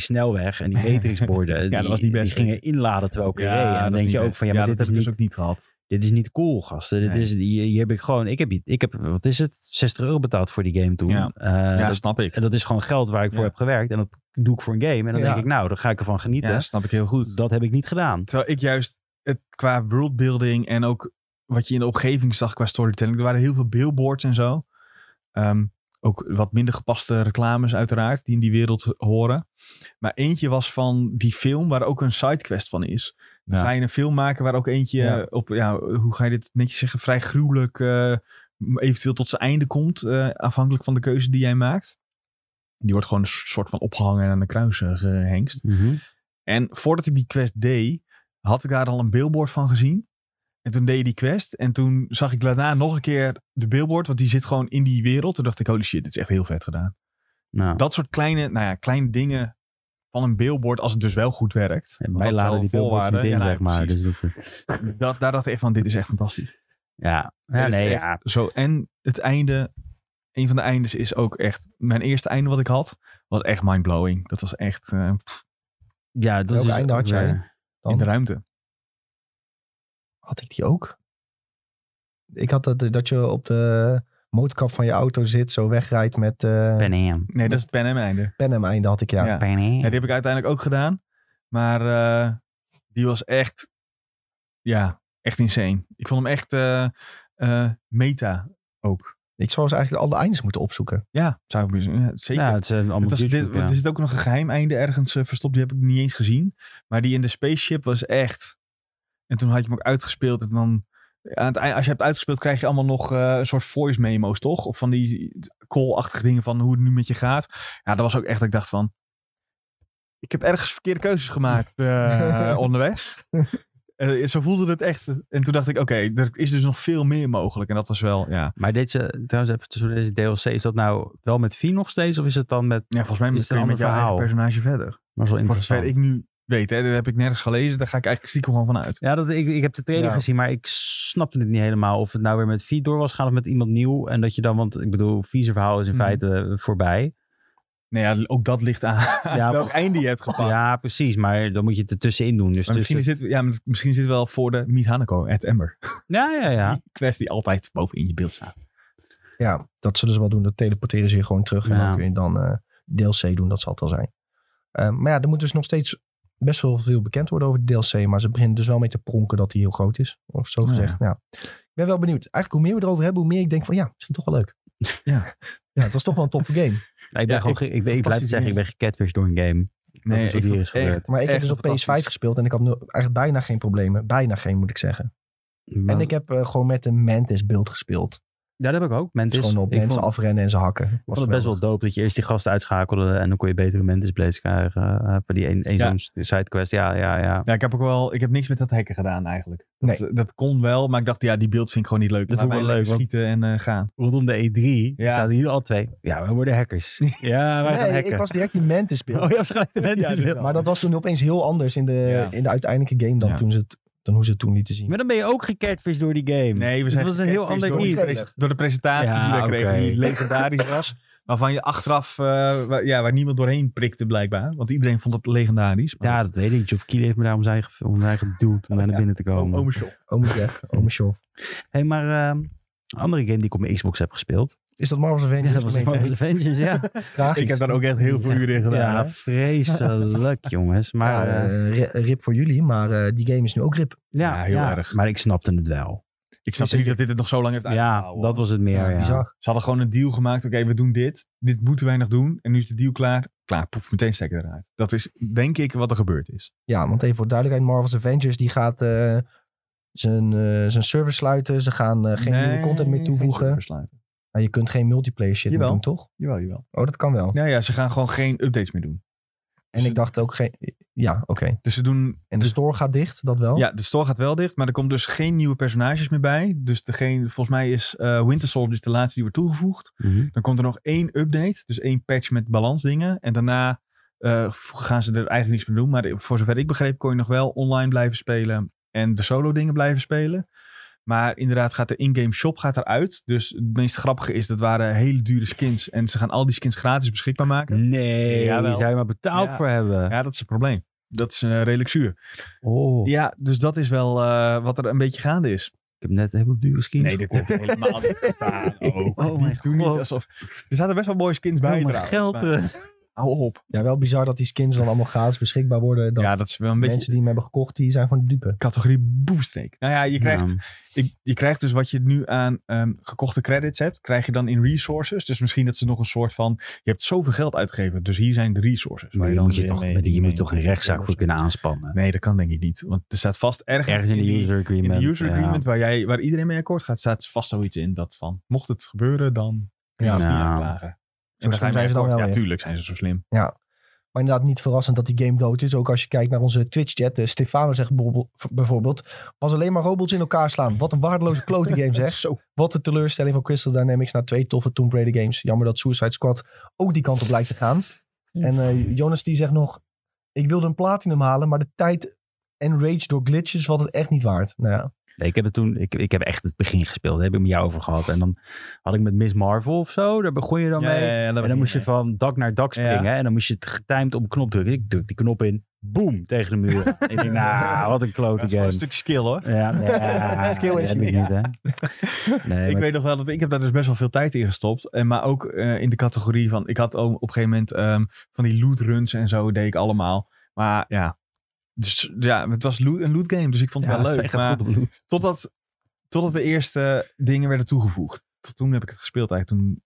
C: snelweg en die matrixborden.
B: dat
C: die-
B: was niet best,
C: Die gingen inladen terwijl ik er reed. En
B: dat
C: dan
B: is
C: denk
B: niet
C: je ook
B: best.
C: van, ja, maar dit,
B: dat
C: is
B: heb ik
C: niet,
B: dus ook niet gehad.
C: dit is niet cool, gasten. Dit
B: Nee.
C: is, hier, hier heb ik gewoon, ik heb, ik heb, wat is het? 60 euro betaald voor die game toen.
B: Ja.
C: Eh,
B: ja,
C: dat,
B: snap ik.
C: en dat is gewoon geld waar ik voor
B: Ja.
C: heb gewerkt. En dat doe ik voor een game. En dan
A: Ja.
C: denk ik, nou, dan ga ik ervan genieten.
B: Ja, dat snap ik heel goed.
C: Dat heb ik niet gedaan.
B: Terwijl ik juist het, qua worldbuilding en ook wat je in de omgeving zag qua storytelling. Er waren heel veel billboards en zo. Ehm, ook wat minder gepaste reclames uiteraard, die in die wereld horen. Maar eentje was van die film waar ook een sidequest van is. Dan
C: Ja.
B: Ga je een film maken waar ook eentje
A: Ja.
B: eh, op, ja, hoe ga je dit netjes zeggen, vrij gruwelijk eh, eventueel tot zijn einde komt. eh, afhankelijk van de keuze die jij maakt. Die wordt gewoon een soort van opgehangen en aan de kruis eh, gehengst. En voordat ik die quest deed, had ik daar al een billboard van gezien. En toen deed je die quest. En toen zag ik daarna nog een keer de billboard. Want die zit gewoon in die wereld. Toen dacht ik, holy shit, dit is echt heel vet gedaan.
C: Nou.
B: Dat soort kleine, nou ja, kleine dingen van een billboard, als het dus wel goed werkt.
C: En
B: Want dat
C: wij
B: is
C: laden
B: wel
C: die billboards niet
B: voorwaarde.
C: in,
B: Ja, nou,
C: zeg maar.
B: precies.
C: Dus dat,
B: dat, daar dacht ik echt van, dit is echt fantastisch.
C: ja. ja,
B: Dit is
C: nee,
B: echt
C: ja.
B: Zo, en het einde, een van de eindes is ook echt, mijn eerste einde wat ik had, was echt mindblowing. Dat was echt eh,
C: ja dat
A: Welk
C: is
A: einde
C: ook
A: had jij?
C: weer-
A: Dan
B: in de ruimte.
A: had ik die ook. Ik had dat, dat je op de motorkap van je auto zit, zo wegrijdt met eh
C: Pan Am.
B: Nee, dat is het pen en einde.
A: pen en einde had ik ja.
B: Ja.
C: Pan Am.
B: Ja, die heb ik uiteindelijk ook gedaan. Maar eh, die was echt, ja, echt insane. Ik vond hem echt eh, eh, meta ook.
A: Ik zou eens eigenlijk alle eindes moeten opzoeken.
B: Ja, zou ik bezien. Ja, zeker.
C: Ja, het zijn allemaal
B: Het was,
C: YouTube,
B: dit,
C: ja.
B: Er zit ook nog een geheim einde ergens eh, verstopt. Die heb ik niet eens gezien. Maar die in de spaceship was echt... En toen had je hem ook uitgespeeld. En dan... Aan het eind, als je hebt uitgespeeld krijg je allemaal nog eh, een soort voice memo's, toch? Of van die call-achtige dingen van hoe het nu met je gaat. Ja, dat was ook echt dat ik dacht van... Ik heb ergens verkeerde keuzes gemaakt eh, onderweg. Eh, zo voelde het echt. En toen dacht ik, oké, er is dus nog veel meer mogelijk. En dat was wel, ja.
C: Maar deze, trouwens even tussen deze DLC, is dat nou wel met V nog steeds? Of is het dan met...
B: ja volgens mij
C: Is het
B: kun
C: een
B: je
C: ander
B: met jouw eigen
C: verhaal?
B: personage verder.
C: Maar zo
B: Voor zover
C: interessant.
B: ik nu weet, hè, dat heb ik nergens gelezen. Daar ga ik eigenlijk stiekem gewoon van uit.
C: Ja, dat, ik, ik heb de trailer
B: Ja.
C: gezien, maar ik snapte het niet helemaal. Of het nou weer met V door was gaan of met iemand nieuw. En dat je dan, want ik bedoel, V's verhaal is in
B: Mhm.
C: feite eh, voorbij.
B: Nee, ja, ook dat ligt aan, aan
C: Ja,
B: welk einde je hebt gepakt.
C: Ja, precies. Maar dan moet je het ertussenin doen. Dus
B: Maar misschien,
C: tussen-
B: zit, ja, maar misschien zit wel voor de Meet Hanako at Ember.
C: Ja, ja, ja.
B: Die quest die altijd bovenin je beeld staat.
A: Ja, dat zullen ze wel doen. Dat teleporteren ze je gewoon terug. En
C: Ja.
A: dan kun je dan eh, DLC doen, dat zal het wel zijn. Eh, maar ja, er moet dus nog steeds best wel veel bekend worden over de DLC. Maar ze beginnen dus wel mee te pronken dat die heel groot is. Of zo
B: Ja.
A: gezegd. Ja. Ik ben wel benieuwd. Eigenlijk hoe meer we erover hebben, hoe meer ik denk van ja, misschien toch wel leuk.
B: Ja.
A: ja het was toch wel een toffe game.
C: Nou, Ik ben
B: Ja,
C: gewoon,
B: ik-
C: ge- ik, ik, ik blijf het zeggen, ik ben gecatfished door een game. Nee, is wat hier
B: vond
C: is
B: het echt-
C: gebeurd.
A: Maar ik heb
B: Echt
A: dus op PS5
C: E
B: fantastisch.
A: gespeeld en ik had nu echt bijna geen problemen. Bijna geen, moet ik zeggen. En
C: Maar-
A: ik heb eh, gewoon met een Mantis beeld gespeeld.
C: Ja, dat heb ik ook. Mantis.
A: Dus gewoon op
C: ik
A: mensen
C: vond,
A: afrennen en ze hakken.
C: ik
A: Was
C: vond het best wel
A: geweldig.
C: dope dat je eerst die gasten uitschakelde en dan kon je betere Mantis blades krijgen. eh, voor die een, een
B: Ja.
C: zo'n sidequest. Ja, ja, ja.
B: Ja, ik heb ook wel, ik heb niks met dat hacken gedaan eigenlijk. Dat, dat kon wel, maar ik dacht, ja, die beeld vind ik gewoon niet leuk.
C: Dat
B: Laat
C: vond ik
B: mij
C: wel
B: lekker
C: leuk,
B: Schieten en eh, gaan.
C: Rondom de E3
B: Ja.
C: zaten hier al twee. Ja, we worden hackers. Ja, wij gaan
A: Nee, ik
C: hacken.
A: was direct die Mantis beeld.
C: Oh, je hebt gelijk de Mantis
B: Ja, dat
C: beeld.
B: wel.
A: Maar dat was toen opeens heel anders in de,
B: Ja.
A: in de uiteindelijke game dan
B: Ja.
A: toen ze het dan hoe ze het toen lieten zien.
C: Maar dan ben je ook gecatfished door die game.
B: Nee, we zijn
C: Dat was een heel
B: gecatfished
C: ander
B: door-
A: niet.
B: door, de presentatie
C: Ja,
B: die wij kregen,
C: oké.
B: die legendarisch was. Waarvan je achteraf, eh, waar, ja, waar niemand doorheen prikte blijkbaar. Want iedereen vond het legendarisch. Maar
C: Ja, dat weet ik. Geoff Keighley heeft me daar om zijn eigen, om zijn eigen doel om daar naar
B: ja.
C: binnen te
B: Ome-
C: komen.
B: ome Sjoerd.
A: Oh, moet weg. Oh, mijn show.
C: hey, maar ehm, een andere game die ik op mijn Xbox heb gespeeld.
A: Is dat Marvel's Avengers?
C: Ja, dat was
A: Meen-
C: Marvel Vengeance, ja.
A: Tragisch.
B: Ik heb daar ook echt heel veel
C: Ja.
B: uren in gedaan.
C: Ja,
B: hè.
C: vreselijk, jongens. Maar
A: Ja,
C: eh,
A: eh, ri- rip voor jullie, maar eh, die game is nu ook rip.
C: ja,
B: ja, heel
C: ja,
B: erg.
C: Maar ik snapte het wel.
B: Ik snap niet dat dit het nog zo lang heeft
C: Ja,
B: uitgehouden.
C: dat was het meer. Ja,
A: Bizar.
B: Ze hadden gewoon een deal gemaakt. Oké, we doen dit. Dit moeten wij nog doen. En nu is de deal klaar. Klaar, poef, meteen stekker eruit. Dat is denk ik wat er gebeurd is.
A: Ja, want even voor duidelijkheid, Marvel's Avengers die gaat eh, zijn, eh, zijn server sluiten. Ze gaan eh, geen nieuwe content meer
B: geen
A: toevoegen.
B: servers sluiten.
A: Nou, je kunt geen multiplayer shit meer
B: Jawel.
A: doen, toch?
B: Jawel, jawel.
A: Oh, dat kan wel.
B: Nou ja, ze gaan gewoon geen updates meer doen.
A: En ik dacht ook geen... Ja, oké.
B: Dus ze doen...
A: En de store gaat dicht, dat wel.
B: Ja, de store gaat wel dicht, maar er komt dus geen nieuwe personages meer bij. Dus degene, volgens mij is eh, Winter Soldier is de laatste die wordt toegevoegd.
C: Mhm.
B: Dan komt er nog één update, dus één patch met balansdingen. En daarna eh, v- gaan ze er eigenlijk niks meer doen. Maar voor zover ik begreep kon je nog wel online blijven spelen en de solo dingen blijven spelen. Maar inderdaad gaat de in-game shop gaat eruit. Dus het meest grappige is, dat waren hele dure skins. En ze gaan al die skins gratis beschikbaar maken.
C: Nee, daar
B: Jawel.
C: zou je maar betaald
B: Ja.
C: voor hebben.
B: Ja, dat is een probleem. Dat is eh, redelijk zuur.
C: Oh,
B: Ja, dus dat is wel eh, wat er een beetje gaande is.
C: ik heb net heel duur skins
B: Nee, dit heb
C: gekocht.
B: je helemaal niet gedaan. ook.
C: Oh mijn
B: Doe niet
C: god.
B: alsof... Er zaten best wel mooie skins bij
C: Oh, mijn
B: trouwens,
C: geld.
B: maar
C: eh.
B: Hou op.
A: Ja, wel bizar dat die skins dan allemaal gratis beschikbaar worden. Dat
B: ja, dat is wel een
A: mensen
B: beetje
A: die hem hebben gekocht, die zijn gewoon de dupe.
B: categorie boefsteek. Nou ja, je krijgt,
C: Ja.
B: ik- je krijgt dus wat je nu aan ehm, gekochte credits hebt, krijg je dan in resources. Dus misschien dat ze nog een soort van, je hebt zoveel geld uitgegeven, dus hier zijn de resources.
C: Maar
B: Waar
C: je
B: dan
C: moet, je
B: weer
C: toch,
B: mee-
C: maar die- je
B: mee-
C: moet toch een rechtszaak voor kunnen aanspannen.
B: Nee, dat kan denk ik niet. Want er staat vast ergens,
C: Ergens in de
B: die-
C: user
B: in
C: agreement.
B: de user
C: ja.
B: agreement waar, jij, waar iedereen mee akkoord gaat, staat vast zoiets in dat van, mocht het gebeuren, dan ja,
C: Nou.
B: niet aanklagen. En dan
A: slim
B: ga je
A: zijn
B: mee
A: ze dan
B: akkoord.
A: wel
B: Ja,
A: weer.
B: tuurlijk zijn ze zo slim.
A: Maar inderdaad niet verrassend dat die game dood is. Ook als je kijkt naar onze Twitch-chat. eh, Stefano zegt bijvoorbeeld- bijvoorbeeld... was alleen maar robots in elkaar slaan. Wat een waardeloze klote game zeg.
B: Zo.
A: Wat een teleurstelling van Crystal Dynamics... na twee toffe Tomb Raider games. Jammer dat Suicide Squad ook die kant op lijkt te gaan. En eh, Jonas die zegt nog... Ik wilde een platinum halen, maar de tijd... En rage door glitches wat het echt niet waard. Nou ja,
C: Nee, ik heb het toen, ik, ik heb echt het begin gespeeld. Daar heb ik met jou over gehad. En dan had ik met Miss Marvel of zo, daar begon je dan mee.
B: dat
C: en dan moest je van dak naar dak
B: Ja.
C: springen. En dan moest je het getimed op een knop drukken. Dus ik druk die knop in. Boom, tegen de muur. ik denk, nou, wat een
B: Dat
C: klote
B: is wel
C: game.
B: een stuk skill hoor.
C: Ja, nee,
A: Skill
C: dat
A: is
C: heb ik
B: niet,
C: niet, hè. Nee,
B: ik
C: maar-
B: weet nog wel dat ik heb daar dus best wel veel tijd in gestopt. En, maar ook eh, in de categorie van, ik had ook op een gegeven moment ehm, van die loot runs en zo deed ik allemaal. Maar ja, dus, ja het was loot, een loot game, dus ik vond het
C: ja,
B: wel
C: het
B: leuk.
C: is echt
B: Maar
C: goed op bloed.
B: totdat, totdat de eerste dingen werden toegevoegd. Tot toen heb ik het gespeeld eigenlijk. Toen...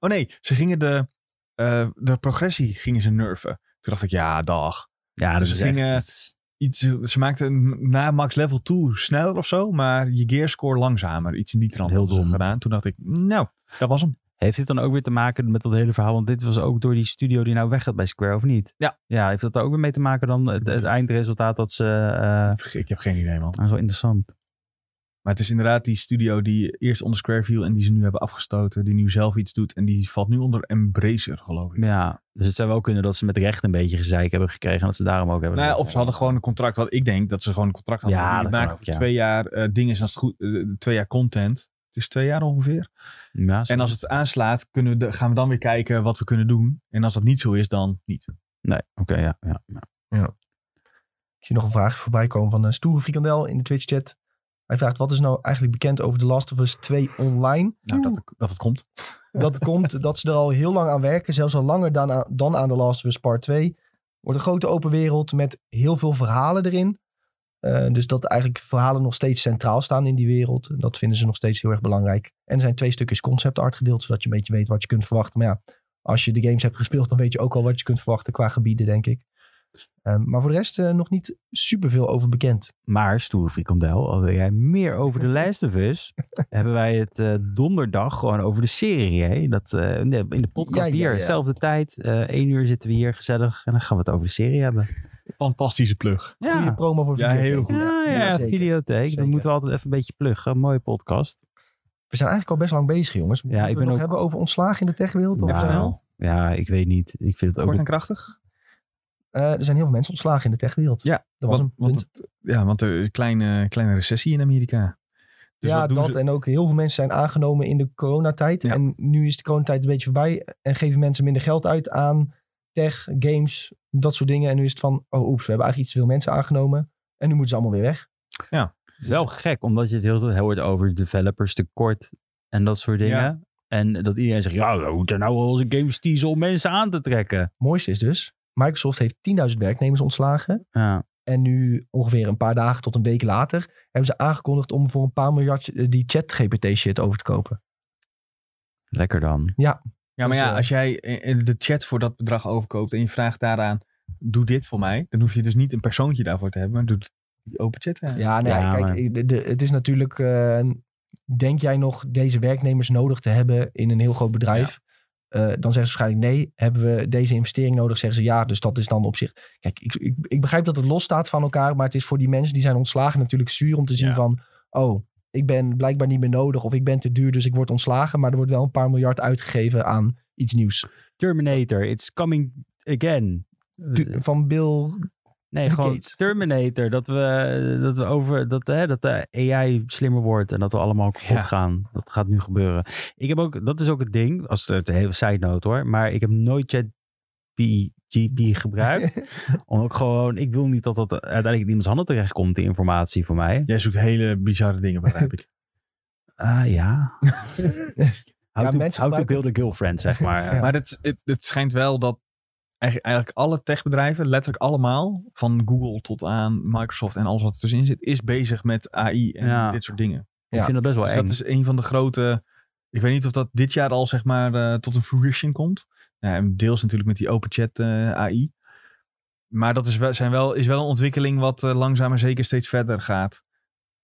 B: Oh nee, ze gingen de, eh, de progressie gingen ze nerven. Toen dacht ik, ja dag.
C: Ja, dat
B: ze
C: is echt...
B: gingen-
C: het is-
B: Iets, ze maakten na max level toe sneller of zo, maar je gearscore langzamer. Iets in die trant
C: Heel
B: hadden ze
C: dom.
B: gedaan. Toen dacht ik, nou, dat was hem.
C: Heeft dit dan ook weer te maken met dat hele verhaal? Want dit was ook door die studio die nou weg gaat bij Square, of niet?
B: Ja.
C: Ja, heeft dat daar ook weer mee te maken dan? Het, het eindresultaat dat ze... eh,
B: Ik heb geen idee, man.
C: nou, zo interessant.
B: Maar het is inderdaad die studio die eerst onder Square viel en die ze nu hebben afgestoten, die nu zelf iets doet en die valt nu onder Embracer, geloof ik.
C: Ja, dus het zou wel kunnen dat ze met recht een beetje gezeik hebben gekregen. En dat ze daarom ook hebben...
B: Nou ja, of ze hadden gewoon een contract, wat ik denk dat ze gewoon een contract hadden.
C: Ja,
B: die
C: dat
B: maken
C: kan ook,
B: voor
C: ja.
B: twee jaar eh, dingen, is als het goed, eh, twee jaar content. Het is twee jaar ongeveer.
C: Ja, zo.
B: En als het aanslaat, kunnen we de- gaan we dan weer kijken wat we kunnen doen. En als dat niet zo is, dan niet.
C: Nee, oké, ja, ja, ja.
A: Ik zie nog een vraag voorbij komen van eh, Stoere Frikandel in de Twitch-chat. Hij vraagt, wat is nou eigenlijk bekend over The Last of Us 2 online?
B: Nou, dat, dat het komt.
A: Dat komt dat ze er al heel lang aan werken, zelfs al langer dan aan, dan aan The Last of Us Part 2. Wordt een grote open wereld met heel veel verhalen erin. Eh, dus dat eigenlijk verhalen nog steeds centraal staan in die wereld. En Dat vinden ze nog steeds heel erg belangrijk. En er zijn twee stukjes concept art gedeeld, zodat je een beetje weet wat je kunt verwachten. Maar ja, als je de games hebt gespeeld, dan weet je ook al wat je kunt verwachten qua gebieden, denk ik. Eh, maar voor de rest eh, nog niet superveel over bekend.
C: Maar, stoere frikandel, al wil jij meer over de lijst of Us, hebben wij het eh, donderdag gewoon over de serie. Hè? Dat, eh, in de- in de podcast
A: Ja, ja,
C: hier,
A: ja.
C: zelfde tijd, eh één uur zitten we hier gezellig en dan gaan we het over de serie hebben.
B: Fantastische plug.
C: Ja,
A: Goede promo voor
B: Ja,
A: videotheek.
B: heel goed.
C: ja, ja,
A: Jazeker.
C: videotheek.
A: Zeker.
C: Dan moeten we altijd even een beetje pluggen. Mooie podcast.
A: We zijn eigenlijk al best lang bezig, jongens. Moeten
C: ik
A: we
C: ben
A: het nog
C: ook-
A: hebben over ontslagen in de techwereld? Of eh?
C: Nou,
A: snel?
C: ja, ik weet niet. Ik vind het ook...
B: Kort en krachtig.
A: Eh, er zijn heel veel mensen ontslagen in de techwereld.
B: Ja,
A: dat was een
B: want, want
A: punt.
B: het- ja, want er is een kleine, kleine recessie in Amerika. Dus
A: ja,
B: wat doen
A: dat
B: ze?
A: en ook heel veel mensen zijn aangenomen in de coronatijd.
B: Ja.
A: En nu is de coronatijd een beetje voorbij en geven mensen minder geld uit aan tech, games, dat soort dingen. En nu is het van, oh oeps, we hebben eigenlijk iets te veel mensen aangenomen en nu moeten ze allemaal weer weg. Dus
C: Wel gek, omdat je het heel veel hoort over developers tekort en dat soort dingen.
B: Ja.
C: En dat iedereen zegt, ja, we moeten nou onze games teasen om mensen aan te trekken.
A: mooiste is dus, Microsoft heeft 10.000 werknemers ontslagen.
C: Ja.
A: En nu ongeveer een paar dagen tot een week later hebben ze aangekondigd om voor een paar miljard eh, die chat GPT shit over te kopen.
C: Lekker dan.
B: Ja, maar
A: Dus,
B: ja,
A: eh,
B: als jij eh, eh, de chat voor dat bedrag overkoopt en je vraagt daaraan, doe dit voor mij, dan hoef je dus niet een persoontje daarvoor te hebben, maar doe die open chat. aan.
A: Ja, nee,
C: Ja,
A: kijk,
C: maar-
A: eh, de- de- het is natuurlijk, eh, denk jij nog deze werknemers nodig te hebben in een heel groot bedrijf? Eh, dan zeggen ze waarschijnlijk nee. Hebben we deze investering nodig? Zeggen ze ja. Dus dat is dan op zich. Kijk, ik, ik, ik begrijp dat het los staat van elkaar. Maar het is voor die mensen die zijn ontslagen natuurlijk zuur om te zien
B: Ja.
A: van. Oh, ik ben blijkbaar niet meer nodig. Of ik ben te duur, dus ik word ontslagen. Maar er wordt wel een paar miljard uitgegeven aan iets nieuws.
C: Terminator, it's coming again.
A: Tu- Van Bill.
C: Nee,
A: Bill
C: gewoon
A: Gates.
C: Terminator. Dat we, dat we over dat, hè, dat de AI slimmer wordt en dat we allemaal kapot
B: Ja.
C: gaan. Dat gaat nu gebeuren. Ik heb ook, dat is ook het ding, als het een hele side note hoor. Maar ik heb nooit chat GP gebruikt. omdat ik gewoon, ik wil niet dat dat uiteindelijk in iemands handen terechtkomt, die informatie voor mij.
B: Jij zoekt hele bizarre dingen, begrijp ik.
C: Ah ja. How,
A: Ja,
C: to,
A: mensen
C: how to
A: gebruiken-
C: build a girlfriend, zeg maar.
A: Ja.
B: Maar het, het, het schijnt wel dat eigenlijk, eigenlijk alle techbedrijven, letterlijk allemaal, van Google tot aan Microsoft en alles wat er tussenin zit, is bezig met AI en
C: Ja.
B: dit soort dingen.
C: Ik
A: Ja.
C: vind dat best wel
B: Dus
C: eng.
B: dat is een van de grote, ik weet niet of dat dit jaar al zeg maar eh, tot een fruition komt. Nou, en deels natuurlijk met die open chat eh, AI. Maar dat is wel, zijn wel, is wel een ontwikkeling wat eh, langzaam maar zeker steeds verder gaat,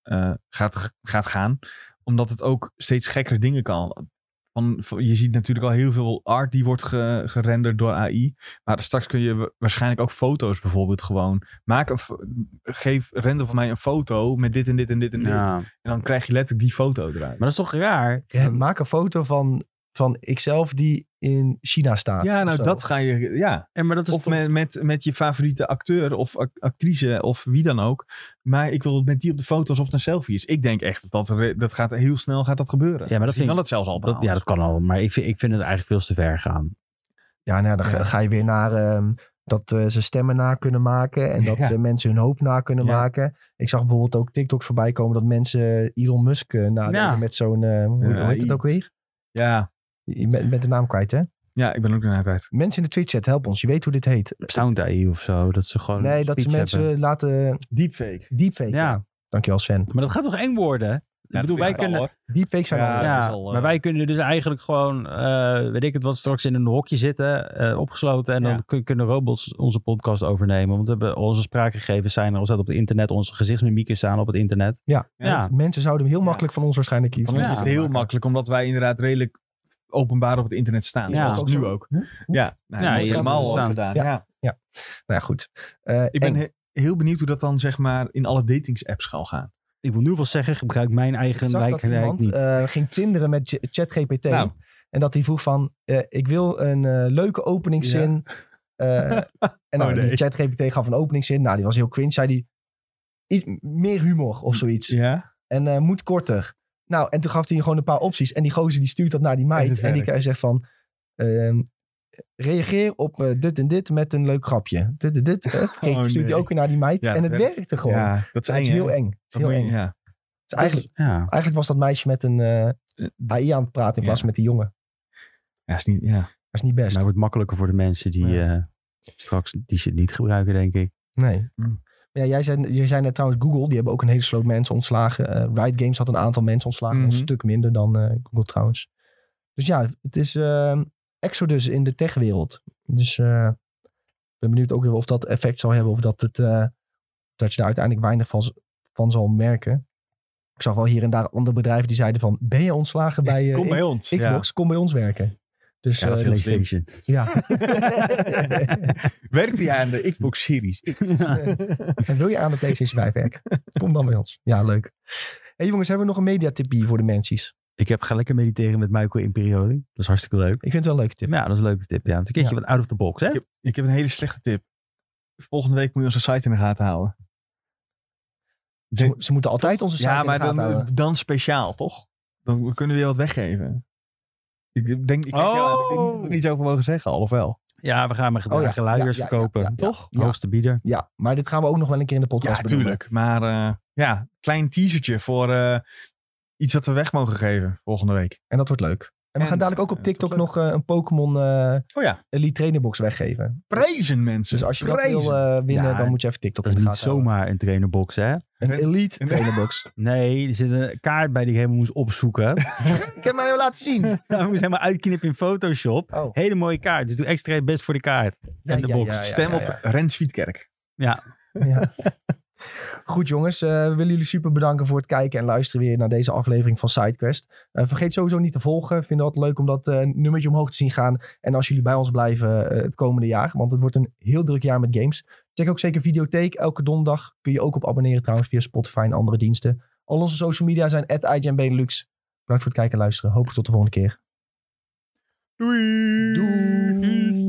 B: eh, gaat, gaat gaan. Omdat het ook steeds gekkere dingen kan. Van, van- je ziet natuurlijk al heel veel art die wordt ge- gerenderd door AI. Maar straks kun je wa- waarschijnlijk ook foto's bijvoorbeeld gewoon. Maak een, fo- geef, render van mij een foto met dit en dit en dit en dit.
C: ja.
B: En dan krijg je letterlijk die foto eruit.
C: Maar dat is toch raar?
A: Maak een foto van, van ikzelf die in China staat.
B: ja,
A: of
B: nou
A: zo.
B: dat ga je. Ja.
C: En maar dat is
B: Of
C: toch-
B: met, met, met je favoriete acteur of ac- actrice of wie dan ook. Maar ik wil met die op de foto alsof het een selfie is. Ik denk echt dat dat, dat gaat heel snel gaat dat gebeuren.
C: Ja, maar dat
B: Misschien
C: vind
B: kan
C: ik-
B: dat zelfs al.
C: dat, ja, dat kan al. Maar ik vind, ik vind het eigenlijk veel te ver gaan.
A: Ja, nou, ja, dan
B: Ja.
A: ga- ga je weer naar ehm, dat eh, ze stemmen na kunnen maken en dat
B: Ja.
A: eh, mensen hun hoop na kunnen
B: Ja.
A: maken. Ik zag bijvoorbeeld ook TikToks voorbij komen dat mensen Elon Musk eh, nadenken
C: Ja.
A: met zo'n, eh, hoe,
B: Ja,
A: hoe heet
B: I-
A: het ook weer?
B: ja.
A: Je bent, bent de naam kwijt, hè?
B: ja, ik ben ook daarna kwijt.
A: Mensen in de Twitch-chat, help ons. Je weet hoe dit heet.
C: Sound AI of zo. Dat ze
B: Oh,
C: gewoon.
A: Nee, dat ze
C: speech
A: mensen
C: hebben.
A: laten
B: Deepfake.
A: deepfake.
C: Ja.
A: Ja. Dankjewel Sven.
C: Maar dat gaat toch eng worden? ik bedoel, wij kunnen.
A: Deepfake zijn
B: Ja,
A: al-
C: ja,
B: dat is al, eh,
C: maar wij kunnen dus eigenlijk gewoon, eh, weet ik het wat, straks in een hokje zitten, eh, opgesloten. En
B: Ja.
C: dan kun- kunnen robots onze podcast overnemen. Want we hebben onze spraakgegevens zijn er al staat op het internet. Onze gezichtsmimieken staan op het internet.
A: Ja.
B: Ja,
C: ja.
A: Want Mensen zouden heel
B: Ja.
A: makkelijk van ons waarschijnlijk iets
B: Van ons
A: aan
B: is het heel
A: maken.
B: makkelijk, omdat wij inderdaad redelijk openbaar op het internet staan.
C: Ja.
B: Ja,
A: Ook
B: zoals
A: zo.
B: nu ook.
A: Hm?
B: Ja, nou,
C: Ja,
B: dat is
C: je-
B: helemaal
C: staan.
B: al gedaan.
A: Ja.
B: ja.
A: Nou ja, goed. Eh,
B: Ik ben
A: en-
B: he- heel benieuwd hoe dat dan zeg maar in alle datingsapps gaan gaan.
C: Ik wil nu wel zeggen, gebruik mijn eigen
A: Ik zag dat
C: lijkgelijk
A: iemand
C: niet.
A: eh, ging tinderen met Ch- ChatGPT.
B: Nou.
A: En dat hij vroeg van, eh, ik wil een eh, leuke openingszin. Eh, en nou,
B: Oh, nee.
A: die ChatGPT gaf een openingszin. Nou, die was heel cringe. Zei die, iets meer humor of zoiets.
B: Nou, Ja.
A: En eh, moet korter. Nou, en toen gaf hij gewoon een paar opties. En die gozer die stuurt dat naar die
B: En
A: meid.
B: het
A: En, die
B: werkt.
A: hij zegt van, ehm, reageer op eh, dit en dit met een leuk grapje. Dit en dit. eh, vergeet,
B: Oh,
A: stuurt hij
B: nee.
A: ook weer naar die meid.
B: Ja,
A: en het
B: dat-
A: werkte gewoon.
B: ja, dat is
A: Het is
B: eng, hè?
A: heel eng. Het is
B: Dat
A: heel
B: moet je-
A: eng.
B: Ja.
A: Het is eigenlijk,
C: Ja.
A: eigenlijk was dat meisje met een eh, AI aan het praten in
B: Ja.
A: plaats van met die jongen.
B: Ja, is niet, ja.
A: Dat is niet best.
C: Maar het wordt makkelijker voor de mensen die eh, straks die shit niet gebruiken, denk ik.
A: Nee.
B: Mm.
A: Hm. Ja, jij zei, je zei net trouwens Google, die hebben ook een hele sloot mensen ontslagen. Eh Riot Games had een aantal mensen ontslagen,
B: Mhm.
A: een stuk minder dan eh, Google trouwens. Dus ja, het is eh, exodus in de techwereld. Dus eh, ik ben benieuwd ook weer of dat effect zal hebben of dat, het, eh, dat je daar uiteindelijk weinig van, z- van zal merken. Ik zag wel hier en daar andere bedrijven die zeiden van, ben je ontslagen bij eh,
B: Kom bij ons.
A: Xbox? Kom bij ons werken. Dus
B: Ja, dat is
A: eh,
B: heel slim.
C: PlayStation.
A: ja.
B: Werkt hij aan de Xbox Series?
A: En wil je aan de PlayStation 5 werken? Kom dan bij ons. Ja, leuk. hey, jongens, hebben we nog een mediatip hier voor de mensies?
C: Ik heb ga lekker mediteren met Michael Imperioli. Dat is hartstikke leuk.
A: Ik vind het wel een leuke tip.
C: Ja, dat is een leuke tip. Ja, het is een keertje wat out of the box, hè?
B: ik, heb, ik heb een hele slechte tip. volgende week moet je onze site in de gaten houden. Ik
A: Ze,
B: denk-
A: mo- ze moeten altijd onze site
B: ja,
A: in
B: maar
A: de gaten
B: dan,
A: houden.
B: dan speciaal, toch? Dan we kunnen we weer wat weggeven. Ik denk, ik, kijk jou aan, ik denk niet dat we
C: Oh.
B: er iets over mogen zeggen, al of wel.
C: Ja, we gaan maar
A: Oh ja,
C: gedragen luiers
A: ja, ja,
C: verkopen.
A: ja, ja,
B: Toch?
A: Ja,
C: Hoogste bieder.
A: ja, maar dit gaan we ook nog wel een keer in de podcast
B: Ja,
A: benoemen.
B: tuurlijk. Maar eh, ja, klein teasertje voor eh, iets wat we weg mogen geven volgende week.
A: En dat wordt leuk. En we
B: En,
A: gaan dadelijk ook
B: eh,
A: op TikTok
B: dat wordt
A: nog eh, een Pokémon eh,
B: Oh ja,
A: Elite Trainerbox weggeven.
B: prijzen mensen.
A: Dus als je dat
B: prijzen.
A: wil eh, winnen,
C: Ja,
A: dan moet je even TikTok
C: Dat is
A: in de
C: niet
A: gaten houden.
C: zomaar een trainerbox, hè?
A: Een Elite Trainerbox.
C: Nee, er zit een kaart bij die ik helemaal moest opzoeken.
A: Ik heb mij hem laten zien.
C: Ja, we moest helemaal uitknippen in Photoshop.
A: Oh.
C: Hele mooie kaart. Dus doe extra je best voor de kaart.
A: Ja,
C: en de
A: ja,
C: box.
A: ja, ja,
B: Stem
A: ja,
B: op
A: ja.
B: Rens Vietkerk.
A: Ja. Goed jongens, eh, we willen jullie super bedanken voor het kijken en luisteren weer naar deze aflevering van SideQuest. Eh, vergeet sowieso niet te volgen. Vinden we het leuk om dat eh, nummertje omhoog te zien gaan. En als jullie bij ons blijven eh, het komende jaar, want het wordt een heel druk jaar met games. Check ook zeker Videotheek. Elke donderdag kun je ook op abonneren trouwens via Spotify en andere diensten. Al onze social media zijn at Benelux. Bedankt voor het kijken en luisteren. Hopelijk tot de volgende keer.
B: Doei!
A: Doei.